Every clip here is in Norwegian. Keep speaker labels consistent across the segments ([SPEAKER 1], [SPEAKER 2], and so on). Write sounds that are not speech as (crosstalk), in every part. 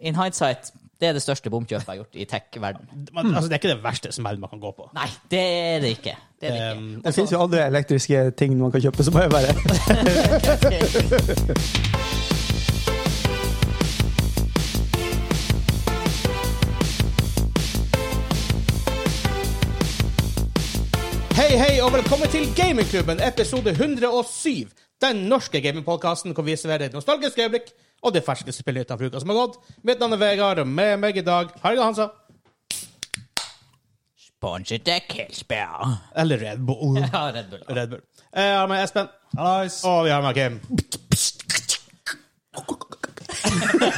[SPEAKER 1] in hindsight, det er det største bomkjøpet jeg har gjort i tech-verden.
[SPEAKER 2] Man, altså, det er ikke det verste som verden man kan gå på.
[SPEAKER 1] Nei, det er det ikke. Det er sånn. det ikke.
[SPEAKER 2] Um,
[SPEAKER 3] Det finnes jo andre elektriske ting man kan kjøpe, så må jeg bare
[SPEAKER 2] Hei, hei, og velkommen til Gamingklubben, episode 107. Den norske gamingpodkasten hvor vi serverer et nostalgisk øyeblikk og det ferske spillet utenfor uka som har gått. Mitt navn er Vegard, og med meg i dag Harga Hansa.
[SPEAKER 1] Sponset til Kilsberg.
[SPEAKER 2] Eller Red Bull.
[SPEAKER 1] Ja, Red Bull.
[SPEAKER 2] Red Bull. Eh, Jeg har med Espen. Og vi har med Kim. Jeg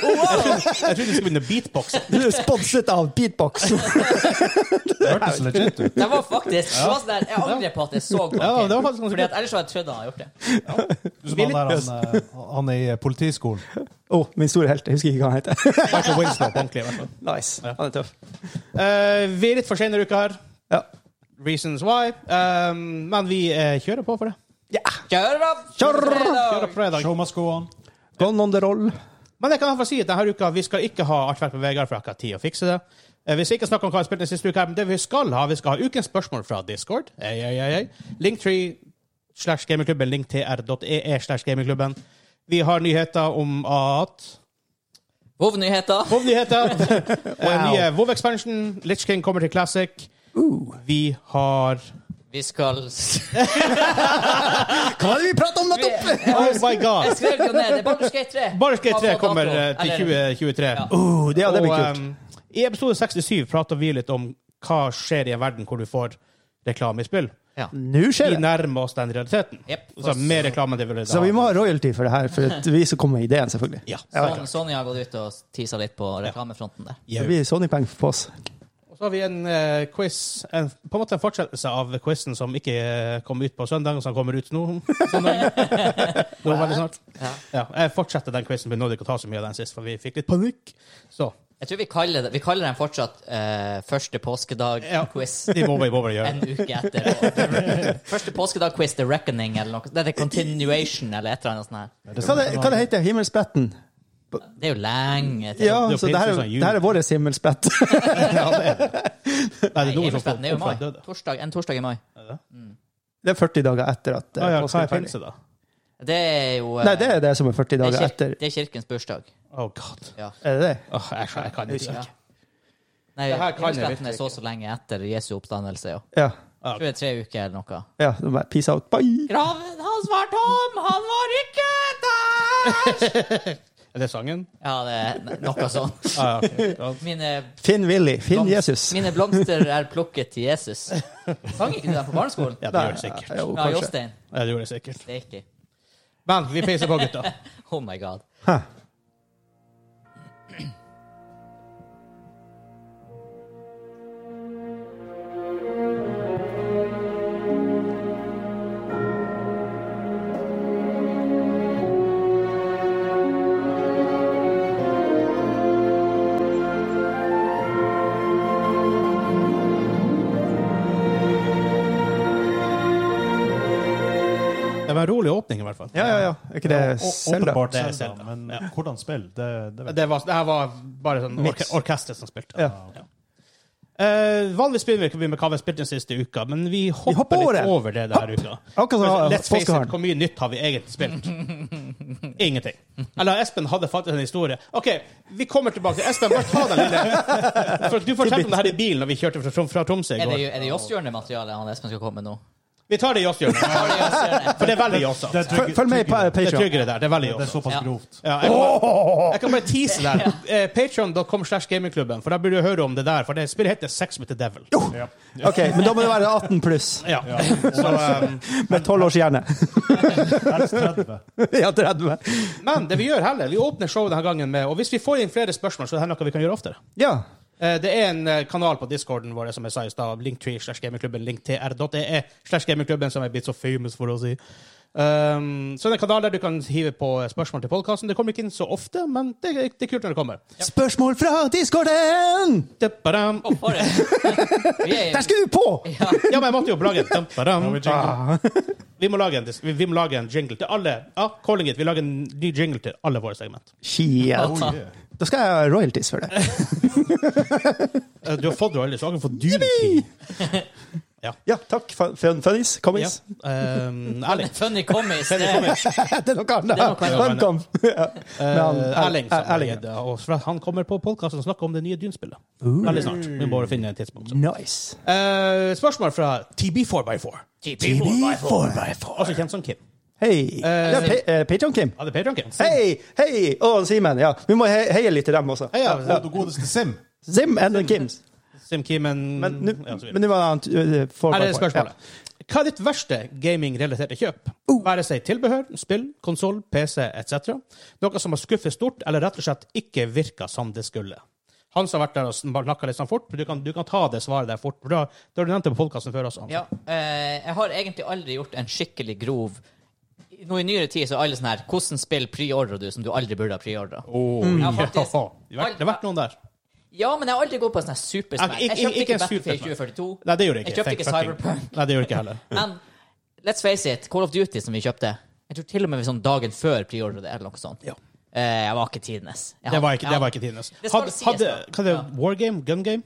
[SPEAKER 2] trodde vi skulle begynne å beatboxe.
[SPEAKER 3] Du er sponset av Beatbox.
[SPEAKER 4] Det hørtes legit
[SPEAKER 1] (laughs)
[SPEAKER 4] ut.
[SPEAKER 1] Det var faktisk det var sånn der, Jeg angrer på at jeg så på
[SPEAKER 2] Ja,
[SPEAKER 1] Kim,
[SPEAKER 2] det var faktisk ganske
[SPEAKER 1] Fordi at Ellers hadde jeg trodd han hadde gjort det.
[SPEAKER 4] Du som han, der, han, eh, han er i politiskolen.
[SPEAKER 3] Å, min store helt. Jeg husker ikke hva han heter. (laughs)
[SPEAKER 2] Michael Winslow, ordentlig, i hvert fall.
[SPEAKER 3] Nice. Han er tøff.
[SPEAKER 2] Eh, Vi er litt for sene i uka her.
[SPEAKER 3] Ja.
[SPEAKER 2] Reasons why. Eh, Men vi eh, kjører på for det.
[SPEAKER 1] Kjør opp!
[SPEAKER 3] Kjør!
[SPEAKER 2] Kjører på fredag.
[SPEAKER 4] Show must go on.
[SPEAKER 3] Gone Sånn on the roll.
[SPEAKER 2] Men jeg kan i hvert fall si at denne uka vi skal ikke ha artverk med Vegard, for jeg har ikke hatt tid å fikse det. Eh, Vi skal ikke snakke om hva vi spilte den siste uka, her, men det vi skal ha, vi skal ha ukens spørsmål fra Discord. Ei, ei, ei, ei. Linktree slash gamingklubben, linktr.ee slash gamingklubben. Vi har nyheter om at
[SPEAKER 1] Vov-nyheter.
[SPEAKER 2] WoW-nyheter. wow. Eh, Nye WoW-expansion. Litch King kommer til Classic. Vi har
[SPEAKER 1] Vi skal
[SPEAKER 3] Hva er det vi prater om nettopp?
[SPEAKER 2] Oh my
[SPEAKER 1] Jeg
[SPEAKER 2] god!
[SPEAKER 1] skrev det jo ned. Det er Baldur's Gate 3.
[SPEAKER 2] Bare Skate 3
[SPEAKER 1] Har fått
[SPEAKER 2] kommer
[SPEAKER 1] dato.
[SPEAKER 2] eh, til Uh,
[SPEAKER 1] Eller-
[SPEAKER 2] 2023.
[SPEAKER 1] Ja.
[SPEAKER 3] Oh, det, ja, det blir
[SPEAKER 2] Og, ehm,
[SPEAKER 3] kult.
[SPEAKER 2] em, I episode 67 prater vi litt om hva skjer i en verden hvor du får reklame i spill.
[SPEAKER 1] Ja.
[SPEAKER 3] Nå
[SPEAKER 2] Vi
[SPEAKER 3] skjer det.
[SPEAKER 2] nærmer oss den realiteten.
[SPEAKER 1] Jep.
[SPEAKER 2] Så mer reklame enn det vil
[SPEAKER 3] Så vi må ha royalty for det her, for at vi som kom med ideen, selvfølgelig.
[SPEAKER 2] Ja.
[SPEAKER 3] Ja,
[SPEAKER 1] Son- Sony har gått ut og tisa litt på reklamefronten der.
[SPEAKER 3] Det blir Sony-penger på oss.
[SPEAKER 2] Og så har vi en eh, quiz, en, på en måte en fortsettelse av quizen som ikke eh, kom ut på søndag, som kommer ut nå. (laughs) Søndag. nå veldig snart.
[SPEAKER 1] Ja.
[SPEAKER 2] Ja, jeg fortsetter den quizen, vi nådde ikke å ta så mye av den sist, for vi fikk litt panikk. Så
[SPEAKER 1] Jeg tror vi kaller, det, vi kaller den fortsatt eh, første
[SPEAKER 2] Ja.
[SPEAKER 1] påskedag-quiz.
[SPEAKER 2] det må vi må bare gjøre.
[SPEAKER 1] En uke etter. (laughs) Første påskedag-quiz, The Reckoning, eller noe. Det er The Continuation, eller et eller annet sånt. her.
[SPEAKER 3] Hva det, hva det heter Himmelspretten?
[SPEAKER 1] Det er jo lenge til.
[SPEAKER 3] Ja,
[SPEAKER 2] Det er
[SPEAKER 3] så det her,
[SPEAKER 2] prinsessa Julie.
[SPEAKER 3] det her er vår himmelsbrett.
[SPEAKER 2] (laughs) Ja, det er det. Nei, det er noen som
[SPEAKER 1] Himmelspretten
[SPEAKER 2] får
[SPEAKER 1] er jo i
[SPEAKER 2] opp fra
[SPEAKER 1] mai.
[SPEAKER 2] døde.
[SPEAKER 1] Torsdag, en torsdag i mai.
[SPEAKER 3] (laughs) Det er 40 dager etter at
[SPEAKER 2] Ja,
[SPEAKER 3] eh,
[SPEAKER 2] ja,
[SPEAKER 3] påsken
[SPEAKER 2] hva
[SPEAKER 3] er
[SPEAKER 2] er
[SPEAKER 3] ferdig.
[SPEAKER 2] pinse, da?
[SPEAKER 1] Det er jo eh,
[SPEAKER 3] Nei, det er det som er 40
[SPEAKER 1] det er
[SPEAKER 3] dager
[SPEAKER 1] kir-
[SPEAKER 3] etter.
[SPEAKER 1] Det er kirkens bursdag.
[SPEAKER 2] Oh, god.
[SPEAKER 1] Ja.
[SPEAKER 3] Er det det?
[SPEAKER 2] Åh, jeg, jeg kan ikke.
[SPEAKER 1] Ja. Nei,
[SPEAKER 2] Det her kan jeg
[SPEAKER 1] himmelspretten er
[SPEAKER 2] virkelig
[SPEAKER 1] så så lenge etter Jesu oppstandelse, ja.
[SPEAKER 3] Ja.
[SPEAKER 1] Jeg tror det er tre uker eller noe.
[SPEAKER 3] ja det er bare peace out. Bye!
[SPEAKER 1] Graven hans var tom, han var ikke
[SPEAKER 3] (laughs)
[SPEAKER 1] der!
[SPEAKER 2] Er det sangen?
[SPEAKER 1] Ja, det er ne- noe sånt.
[SPEAKER 2] Ah, (laughs) ja, ok. Ja.
[SPEAKER 1] Mine
[SPEAKER 3] Finn Willy. Finn
[SPEAKER 1] blomst-
[SPEAKER 3] Jesus.
[SPEAKER 1] Mine blomster er plukket til
[SPEAKER 3] (laughs)
[SPEAKER 1] Jesus. Sang ikke du den på barneskolen?
[SPEAKER 2] ja, det
[SPEAKER 3] Nei,
[SPEAKER 2] gjør det sikkert.
[SPEAKER 3] ja, jo,
[SPEAKER 1] Ja,
[SPEAKER 3] kanskje.
[SPEAKER 1] Jostein.
[SPEAKER 2] Ja, det gjør det sikkert.
[SPEAKER 1] Det er ikke
[SPEAKER 2] Men vi peiser på, gutta.
[SPEAKER 1] Oh my god.
[SPEAKER 3] Hæ.
[SPEAKER 2] Det var en rolig åpning, i hvert fall.
[SPEAKER 3] Ja, ja, ja. Er ikke det Selda?
[SPEAKER 4] Åpenbart
[SPEAKER 2] Det er
[SPEAKER 4] Zelda,
[SPEAKER 2] Zelda,
[SPEAKER 4] men eh, hvordan spill? Det, det vet jeg.
[SPEAKER 2] Det, var, det her var bare sånn orke,
[SPEAKER 3] Mix.
[SPEAKER 2] orkester som spilte.
[SPEAKER 3] Ja.
[SPEAKER 2] Eh, vanligvis begynner vi ikke med hva vi har spilt den siste uka, men vi hopper,
[SPEAKER 3] hopper over
[SPEAKER 2] litt
[SPEAKER 3] det.
[SPEAKER 2] over det denne uka.
[SPEAKER 3] Akkurat
[SPEAKER 2] For
[SPEAKER 3] som
[SPEAKER 2] Let's face it,
[SPEAKER 3] påskeharen.
[SPEAKER 2] hvor mye nytt har vi egentlig
[SPEAKER 3] (laughs)
[SPEAKER 2] spilt? Ingenting. Eller Espen hadde faktisk en historie. OK, vi kommer tilbake til Espen. Bare ta den lille
[SPEAKER 3] (laughs)
[SPEAKER 2] for Du fortalte om det her i bilen da vi kjørte fra, Trom- fra Tromsø i
[SPEAKER 1] Er det,
[SPEAKER 2] går.
[SPEAKER 1] er det Joss-hjørne-materialet han Espen skal komme med nå?
[SPEAKER 2] Vi tar det i Joss-hjørnet,
[SPEAKER 1] Har det Joss-hjørne?
[SPEAKER 2] for det er veldig Joss-akt.
[SPEAKER 4] Det er trygg-
[SPEAKER 3] Følg- Følg med på
[SPEAKER 4] tryggere.
[SPEAKER 2] Det er
[SPEAKER 3] Patreon.
[SPEAKER 2] tryggere der. Det er veldig
[SPEAKER 4] Det er
[SPEAKER 2] Joss.
[SPEAKER 4] såpass
[SPEAKER 1] Ja.
[SPEAKER 4] grovt.
[SPEAKER 2] Ja, jeg, kan bare, jeg kan bare tease der. Eh, Patreon.com slash gamingklubben, for da burde du høre om det der. For det spillet heter Sex with the Devil.
[SPEAKER 4] Ja.
[SPEAKER 3] (laughs) OK, men da må det være 18 pluss.
[SPEAKER 2] Ja.
[SPEAKER 4] Ja.
[SPEAKER 2] Så, ehm,
[SPEAKER 3] Med 12 års hjerne. (laughs)
[SPEAKER 4] Helst 30.
[SPEAKER 3] Ja, 30.
[SPEAKER 2] men det vi gjør heller, vi åpner showet denne gangen med Og hvis vi får inn flere spørsmål, så er det her noe vi kan gjøre oftere.
[SPEAKER 3] Ja.
[SPEAKER 2] Eh, Det er en eh, kanal på discorden vår som jeg sa i stad, linktree slash gamingklubben, linktr.ee E slash gamingklubben, som er blitt så famous for å si. Um, så det er en kanal der du kan hive på eh, spørsmål til podkasten. Det kommer ikke inn så ofte, men det, er- det er kult når det kommer.
[SPEAKER 3] Spørsmål fra discorden!
[SPEAKER 2] Deppadam.
[SPEAKER 1] Å, for en- Vi er-
[SPEAKER 3] Der skal du på!
[SPEAKER 1] Ja,
[SPEAKER 2] Ja, men jeg måtte jo lage en Deppadam.
[SPEAKER 4] vi jingle.
[SPEAKER 2] Vi må lage en, dis- vi, vi må lage en jingle til alle. Ja, calling it. Vi lager en ny jingle til alle våre segment.
[SPEAKER 3] Shit.
[SPEAKER 4] Oh, yeah.
[SPEAKER 3] Da skal jeg ha royalties for det.
[SPEAKER 2] Eh, Du har fått royalties, du har ikke fått duty.
[SPEAKER 3] Ja, takk. Fun, fun- funnies.
[SPEAKER 2] Ja.
[SPEAKER 3] Commies.
[SPEAKER 2] Um, Erling.
[SPEAKER 1] Funny commies. Det,
[SPEAKER 3] (laughs) det er noe annet.
[SPEAKER 1] Det er noe annet.
[SPEAKER 3] Fun com. (laughs) Ja. Men han-
[SPEAKER 2] Eh, Erling, som
[SPEAKER 3] Erling,
[SPEAKER 2] er det, og fra- han kommer på podkasten og snakker om det nye Dune-spillet. Veldig snart. Vi må bare finne et tidspunkt. så.
[SPEAKER 3] Nice.
[SPEAKER 2] Eh, spørsmål fra TB4x4,
[SPEAKER 3] TB4x4.
[SPEAKER 2] altså kjent som Kim.
[SPEAKER 3] Hei. Det er Pa- eh, Patreon, Kim.
[SPEAKER 2] Ja, det er Patreon-Kim.
[SPEAKER 3] Hei, hei! Og han Simen. Ja, vi må he heie litt til dem også.
[SPEAKER 2] Hei, ja.
[SPEAKER 4] Ja. Du godeste Sim.
[SPEAKER 3] Sim and the Kims.
[SPEAKER 2] Sim Kimen
[SPEAKER 3] Men nå
[SPEAKER 2] ja, og så videre.
[SPEAKER 3] men nå var det annet, eh, for-
[SPEAKER 2] Her er
[SPEAKER 3] for-
[SPEAKER 2] spørsmålet. Hva er ditt verste gaming-relaterte kjøp?
[SPEAKER 1] Oh.
[SPEAKER 2] Være seg tilbehør, spill, konsoll, PC etc. Noe som har skuffet stort, eller rett og slett ikke virka som det skulle. Han som har vært der og snakka litt sånn fort, du kan, du kan ta det svaret der fort. for Da, da har du nevnt det på podkasten før også. Hans.
[SPEAKER 1] ja, eh, jeg har egentlig aldri gjort en skikkelig grov Nå I nyere tid så er alle sånn her Hvordan spill preordrer du som du aldri burde ha preordra?
[SPEAKER 2] Åh,
[SPEAKER 1] Ja, faktisk.
[SPEAKER 2] Det har vært- det har vært noen der.
[SPEAKER 1] Ja, men jeg har aldri gått på en sånn her supersmell.
[SPEAKER 2] Ikke-
[SPEAKER 1] Jeg kjøpte
[SPEAKER 2] ikke- ikke
[SPEAKER 1] ikke
[SPEAKER 2] en
[SPEAKER 1] Battlefield
[SPEAKER 2] supersmell.
[SPEAKER 1] 2042.
[SPEAKER 2] Nei, det gjorde jeg ikke.
[SPEAKER 1] Jeg kjøpte
[SPEAKER 2] Thank
[SPEAKER 1] ikke
[SPEAKER 2] fucking-
[SPEAKER 1] Cyberpunk.
[SPEAKER 2] Nei, det gjorde jeg ikke
[SPEAKER 1] (laughs)
[SPEAKER 2] heller.
[SPEAKER 1] Men let's face it, Call of Duty som vi kjøpte Jeg tror til og med vi sånn dagen før preordra det, eller noe sånt.
[SPEAKER 2] Ja.
[SPEAKER 1] Eh, jeg var ikke tidenes. Jeg
[SPEAKER 2] Det var
[SPEAKER 1] hadde-
[SPEAKER 2] ikke, det var ikke tidenes.
[SPEAKER 1] Det skal
[SPEAKER 2] Hadde,
[SPEAKER 1] sies,
[SPEAKER 2] hadde,
[SPEAKER 1] da.
[SPEAKER 2] hva er det, War game? Gun game?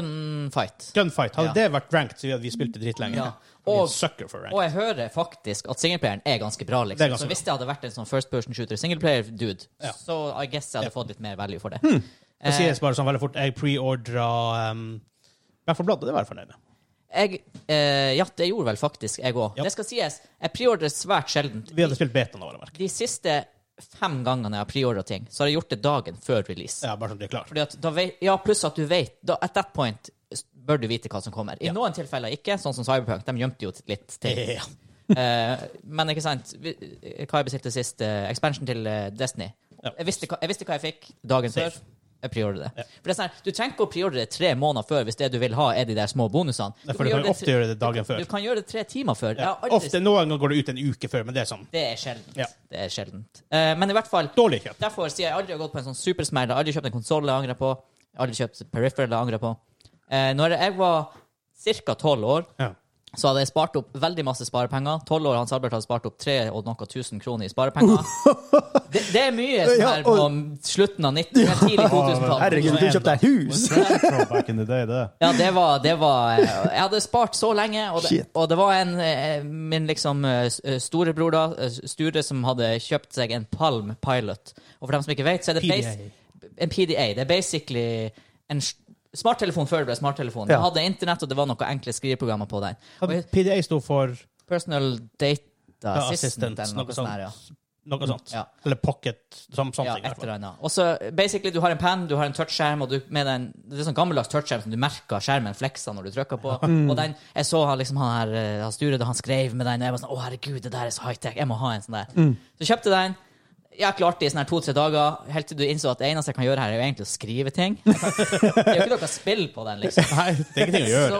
[SPEAKER 1] Gunfight.
[SPEAKER 2] Gunfight. Hadde
[SPEAKER 1] Ja.
[SPEAKER 2] det vært ranked, så vi hadde vi spilt det dritlenge.
[SPEAKER 1] Ja.
[SPEAKER 2] Vi er
[SPEAKER 1] Og-
[SPEAKER 2] Sucker for ranked.
[SPEAKER 1] Og jeg hører faktisk at singleplayeren er ganske bra.
[SPEAKER 2] Det er
[SPEAKER 1] liksom.
[SPEAKER 2] ganske
[SPEAKER 1] så
[SPEAKER 2] bra.
[SPEAKER 1] hvis det hadde vært en sånn first person shooter singleplayer-dude,
[SPEAKER 2] Ja.
[SPEAKER 1] så I guess jeg hadde
[SPEAKER 2] Ja.
[SPEAKER 1] fått
[SPEAKER 2] Hmm.
[SPEAKER 1] litt mer value for det.
[SPEAKER 2] Det
[SPEAKER 1] Eh,
[SPEAKER 2] sies bare sånn veldig fort. Jeg preordra um, Back for Blood, og det var jeg fornøyd med.
[SPEAKER 1] jeg, eh, ja, det gjorde vel faktisk jeg òg.
[SPEAKER 2] Ja.
[SPEAKER 1] Det skal sies, jeg preordrer svært sjeldent.
[SPEAKER 2] Vi hadde spilt beta nå, vel å merke.
[SPEAKER 1] De siste fem gangene jeg har preordra ting, så har jeg gjort det dagen før release.
[SPEAKER 2] Ja, bare sånn at du er klar.
[SPEAKER 1] Fordi at da vei- ja, pluss at du vet da, At that point s- bør du vite hva som kommer. I
[SPEAKER 2] Ja.
[SPEAKER 1] noen tilfeller ikke, sånn som Cyberpunk. De gjemte jo litt til.
[SPEAKER 2] Ja.
[SPEAKER 1] Eh, men ikke sant vi, Hva jeg bestilte sist? eh, expansion til eh, Destiny.
[SPEAKER 2] Ja.
[SPEAKER 1] Jeg, visste, hva- jeg visste hva jeg fikk dagen
[SPEAKER 2] Safe.
[SPEAKER 1] før. Jeg preordrer det.
[SPEAKER 2] Ja.
[SPEAKER 1] For det er sånn, her, du trenger ikke å preordre det tre måneder før hvis det du vil ha, er de der små bonusene.
[SPEAKER 2] Ja, for du kan jo ofte
[SPEAKER 1] tre-
[SPEAKER 2] gjøre det dagen før.
[SPEAKER 1] Du kan gjøre det tre timer før. Jeg har aldri-
[SPEAKER 2] Ofte Noen ganger går det ut en uke før, men det er sånn.
[SPEAKER 1] Det er sjeldent.
[SPEAKER 2] Ja.
[SPEAKER 1] Det er sjeldent. Eh, men i hvert fall
[SPEAKER 2] Dårlig kjøp.
[SPEAKER 1] Derfor sier jeg aldri har gått på en sånn supersmell. Jeg har Aldri kjøpt en konsoll jeg angrer på. Jeg har Aldri kjøpt peripheral jeg angrer på. Eh, når jeg var ca. tolv år,
[SPEAKER 2] Ja.
[SPEAKER 1] så hadde jeg spart opp veldig masse sparepenger. Tolv år Hans Albert hadde spart opp tre og noe tusen kroner i sparepenger.
[SPEAKER 3] (laughs)
[SPEAKER 1] det, det er mye sånn
[SPEAKER 3] Ja,
[SPEAKER 1] her på
[SPEAKER 3] og-
[SPEAKER 1] slutten av 90, tidlig 2000-tall.
[SPEAKER 3] Herregud, du kjøpte deg hus!
[SPEAKER 4] From back in the day, det.
[SPEAKER 1] Ja, det var, det var Jeg hadde spart så lenge, og det,
[SPEAKER 3] Shit.
[SPEAKER 1] og det var en eh, min liksom eh, s- eh, storebror, da, eh, Sture, som hadde kjøpt seg en Palm Pilot. Og for dem som ikke vet, så er det
[SPEAKER 2] PDA.
[SPEAKER 1] bas- en PDA. Det er basically en s- smarttelefon før det ble smarttelefon. Den
[SPEAKER 3] Ja.
[SPEAKER 1] hadde internett, og det var noen enkle skriveprogrammer på den. Og
[SPEAKER 2] Hadde PDA sto for
[SPEAKER 1] personal data
[SPEAKER 2] Ja,
[SPEAKER 1] assistant,
[SPEAKER 2] assistant,
[SPEAKER 1] eller noe,
[SPEAKER 2] noe
[SPEAKER 1] sånt.
[SPEAKER 2] sånt.
[SPEAKER 1] her, ja.
[SPEAKER 2] noe sånt.
[SPEAKER 1] Ja.
[SPEAKER 2] Eller pocket, som, sånne
[SPEAKER 1] Ja,
[SPEAKER 2] ting. i hvert
[SPEAKER 1] et
[SPEAKER 2] fall.
[SPEAKER 1] eller annet. Og så basically, du har en penn, du har en touchskjerm, og du, med den, det er sånn gammeldags touchskjerm som du merker skjermen fleksa når du trykker på.
[SPEAKER 2] Mm.
[SPEAKER 1] Og den, jeg så han liksom han her, eh, han Sture, da han skrev med den, og jeg var sånn, å herregud, det der er så high-tech, jeg må ha en sånn der.
[SPEAKER 2] Mm.
[SPEAKER 1] Så kjøpte den, jeg klarte det i sånne her to-tre dager, helt til du innså at det eneste jeg kan gjøre her er jo egentlig å skrive
[SPEAKER 2] (laughs)
[SPEAKER 1] ting. Jeg kan, det er jo ikke noe spill på den, liksom.
[SPEAKER 2] Nei, det er ingenting å gjøre.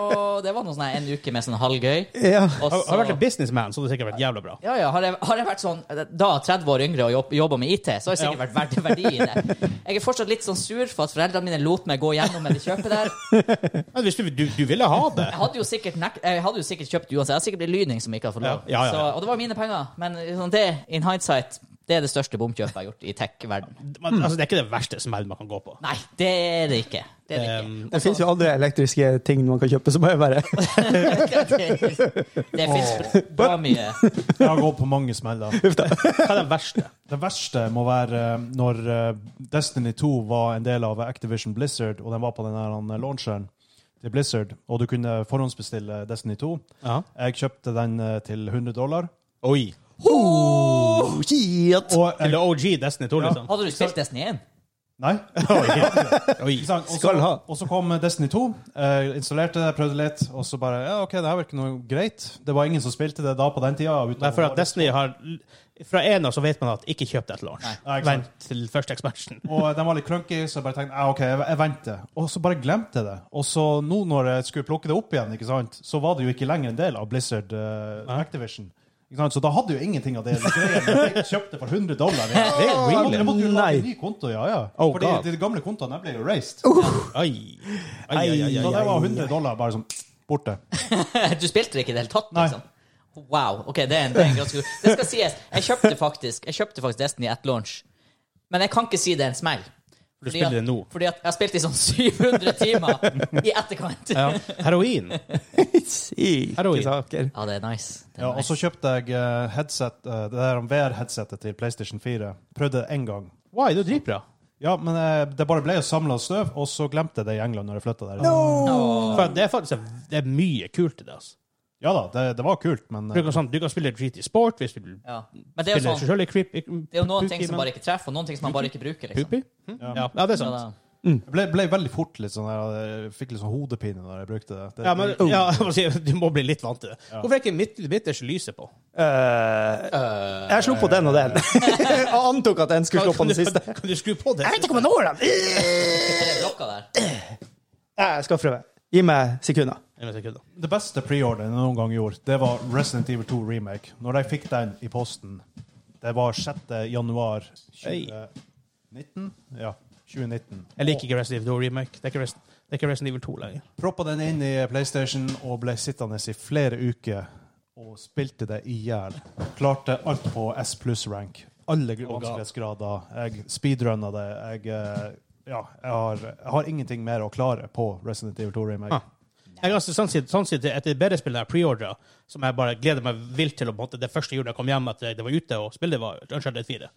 [SPEAKER 1] Så det var noe sånn her en uke med sånn halvgøy.
[SPEAKER 3] (laughs) Ja.
[SPEAKER 1] Og
[SPEAKER 2] Har, har du vært
[SPEAKER 1] (laughs) så-
[SPEAKER 2] en businessman, så hadde det sikkert vært jævla bra.
[SPEAKER 1] ja, ja. Har jeg, har jeg vært sånn da 30 år yngre og jobb, jobba med IT, så har jeg sikkert vært verdt verdi i det. Jeg er fortsatt litt sånn sur for at foreldrene mine lot meg gå gjennom med det kjøpet der.
[SPEAKER 2] Men hvis du, du, du ville ha det
[SPEAKER 1] Jeg hadde jo sikkert, nek jeg hadde jo sikkert kjøpt uansett. Jeg hadde sikkert blitt lyning som ikke hadde fått lov.
[SPEAKER 2] Ja, ja, ja, ja.
[SPEAKER 1] Så, og det var mine penger. Men sånn, det, in hindsight, det er det største bomkjøpet jeg har gjort i tech-verden.
[SPEAKER 2] men, altså, Det er ikke det verste smell man kan gå på.
[SPEAKER 1] Hmm. Nei, det er det ikke. Det er det ikke.
[SPEAKER 2] Um,
[SPEAKER 3] Det fins jo andre elektriske ting man kan kjøpe, så må jeg bare (laughs)
[SPEAKER 1] Det, (laughs) det fins bra mye.
[SPEAKER 4] Jeg har gått på mange smeller.
[SPEAKER 2] hva er den verste?
[SPEAKER 4] Det verste må være eh, når eh, Destiny 2 var en del av Activision Blizzard, og den var på den her eh, launcheren til Blizzard, og du kunne forhåndsbestille Destiny 2.
[SPEAKER 2] Ja.
[SPEAKER 4] Jeg kjøpte den eh, til 100 dollar.
[SPEAKER 2] Oi.
[SPEAKER 3] oh, shit.
[SPEAKER 4] Og jeg,
[SPEAKER 2] Eller OG Destiny 2, liksom.
[SPEAKER 1] Hadde du spilt Destiny 1?
[SPEAKER 4] nei.
[SPEAKER 2] (laughs) Oi.
[SPEAKER 4] Ikke sant? Og så-
[SPEAKER 3] Skal ha.
[SPEAKER 4] Og så kom eh, Destiny 2. eh, installerte det, prøvde litt, og så bare Ja, OK, det her virker noe greit. Det var ingen som spilte det da på den tida. utover
[SPEAKER 2] Nei, for at
[SPEAKER 4] året.
[SPEAKER 2] Destiny har Fra en av så vet man at ikke kjøp det til launch.
[SPEAKER 4] Nei, ikke sant.
[SPEAKER 2] Vent til første expansion.
[SPEAKER 4] Og den var litt clunky, så jeg bare tenkte ah, ok, jeg, jeg venter. Og så bare glemte jeg det. Og så nå når jeg skulle plukke det opp igjen, ikke sant, så var det jo ikke lenger en del av Blizzard eh, Activision. Ikke sant? Så da hadde jo ingenting av det greiene jeg kjøpte for 100 dollar. Jeg, jeg, måtte, jeg måtte jo lage en ny konto, ja, ja.
[SPEAKER 2] Oh,
[SPEAKER 4] Fordi
[SPEAKER 2] God.
[SPEAKER 4] de gamle kontoene ble jo raised.
[SPEAKER 2] Oi. Ai, ai, ai,
[SPEAKER 4] Så
[SPEAKER 2] ai,
[SPEAKER 4] det
[SPEAKER 2] ai.
[SPEAKER 4] var 100 dollar bare sånn borte.
[SPEAKER 1] Eh, Du spilte det ikke i det hele tatt,
[SPEAKER 4] Nei.
[SPEAKER 1] liksom? Wow. ok, Det er en, det er en ganske god Det skal sies, jeg kjøpte faktisk Jeg kjøpte faktisk Destiny at launch, men jeg kan ikke si det er en smell.
[SPEAKER 2] For du spiller det nå.
[SPEAKER 1] Fordi at jeg har spilt i sånn (laughs) 700 timer i etterkant. Ja,
[SPEAKER 2] Ja. Heroin.
[SPEAKER 3] Syke
[SPEAKER 2] Heroin.
[SPEAKER 3] saker.
[SPEAKER 1] det er nice. Det er
[SPEAKER 4] Ja, og så
[SPEAKER 1] nice.
[SPEAKER 4] kjøpte jeg eh, headset, eh, det der VR-headsetet til PlayStation 4. Prøvde det én gang.
[SPEAKER 2] Why? Det er jo dritbra.
[SPEAKER 4] Ja, men eh, det bare ble jo samla støv, og så glemte jeg det i England når jeg flytta der.
[SPEAKER 2] For det er faktisk det er mye kult i det. altså.
[SPEAKER 4] Ja da, det, det var kult, men
[SPEAKER 2] For
[SPEAKER 4] eh,
[SPEAKER 2] Du kan, sånn, du kan spille GT Sport hvis du vil
[SPEAKER 1] Ja. Men det er
[SPEAKER 2] spille
[SPEAKER 1] jo
[SPEAKER 2] deg
[SPEAKER 1] sånn,
[SPEAKER 2] selv i creep.
[SPEAKER 1] det er jo noen ting som bare ikke treffer, og noen ting som man bare ikke bruker. liksom.
[SPEAKER 2] Poopy? Ja. ja, det er sant.
[SPEAKER 1] Ja, da.
[SPEAKER 4] jeg ble, ble veldig fort litt sånn der, jeg fikk litt sånn hodepine når jeg brukte det. det
[SPEAKER 2] Ja, men, ja, (laughs) jeg må si, du må bli litt vant til det. Hvorfor er ikke midt, midters lyset på?
[SPEAKER 3] Eh, jeg slo på den og den. (laughs) jeg antok at den skulle slå på
[SPEAKER 2] Kan
[SPEAKER 3] den
[SPEAKER 2] du-
[SPEAKER 3] siste.
[SPEAKER 2] Kan du skru på det?
[SPEAKER 3] Jeg vet ikke om jeg når den!
[SPEAKER 1] Er det blokka der?
[SPEAKER 3] (laughs) Jeg skal prøve. Gi meg sekunder.
[SPEAKER 2] En sekund, da.
[SPEAKER 4] Det beste preorderen jeg noen gang gjorde, det var Resident Evil 2 Remake. Når jeg fikk den i posten, det var 6. januar 2019. Ja, 2019.
[SPEAKER 2] Jeg liker ikke Resident Evil 2 Remake. Det er ikke Resident, det er ikke Resident Evil 2 lenger.
[SPEAKER 4] Proppa den inn i PlayStation og ble sittende i flere uker og spilte det i hjel. Klarte alt på S pluss-rank. Alle gru- vanskelighetsgrader. Jeg speedrunna det. Jeg, eh, ja, jeg, har, jeg har ingenting mer å klare på Resident Evil 2 Remake.
[SPEAKER 2] Ah. Jeg har sånn sett sånn sett et bedre spill jeg preordra, som jeg bare gleder meg vilt til. å på en måte, det første julen jeg kom hjem at eh, det var ute og spille, det var Uncharted 4.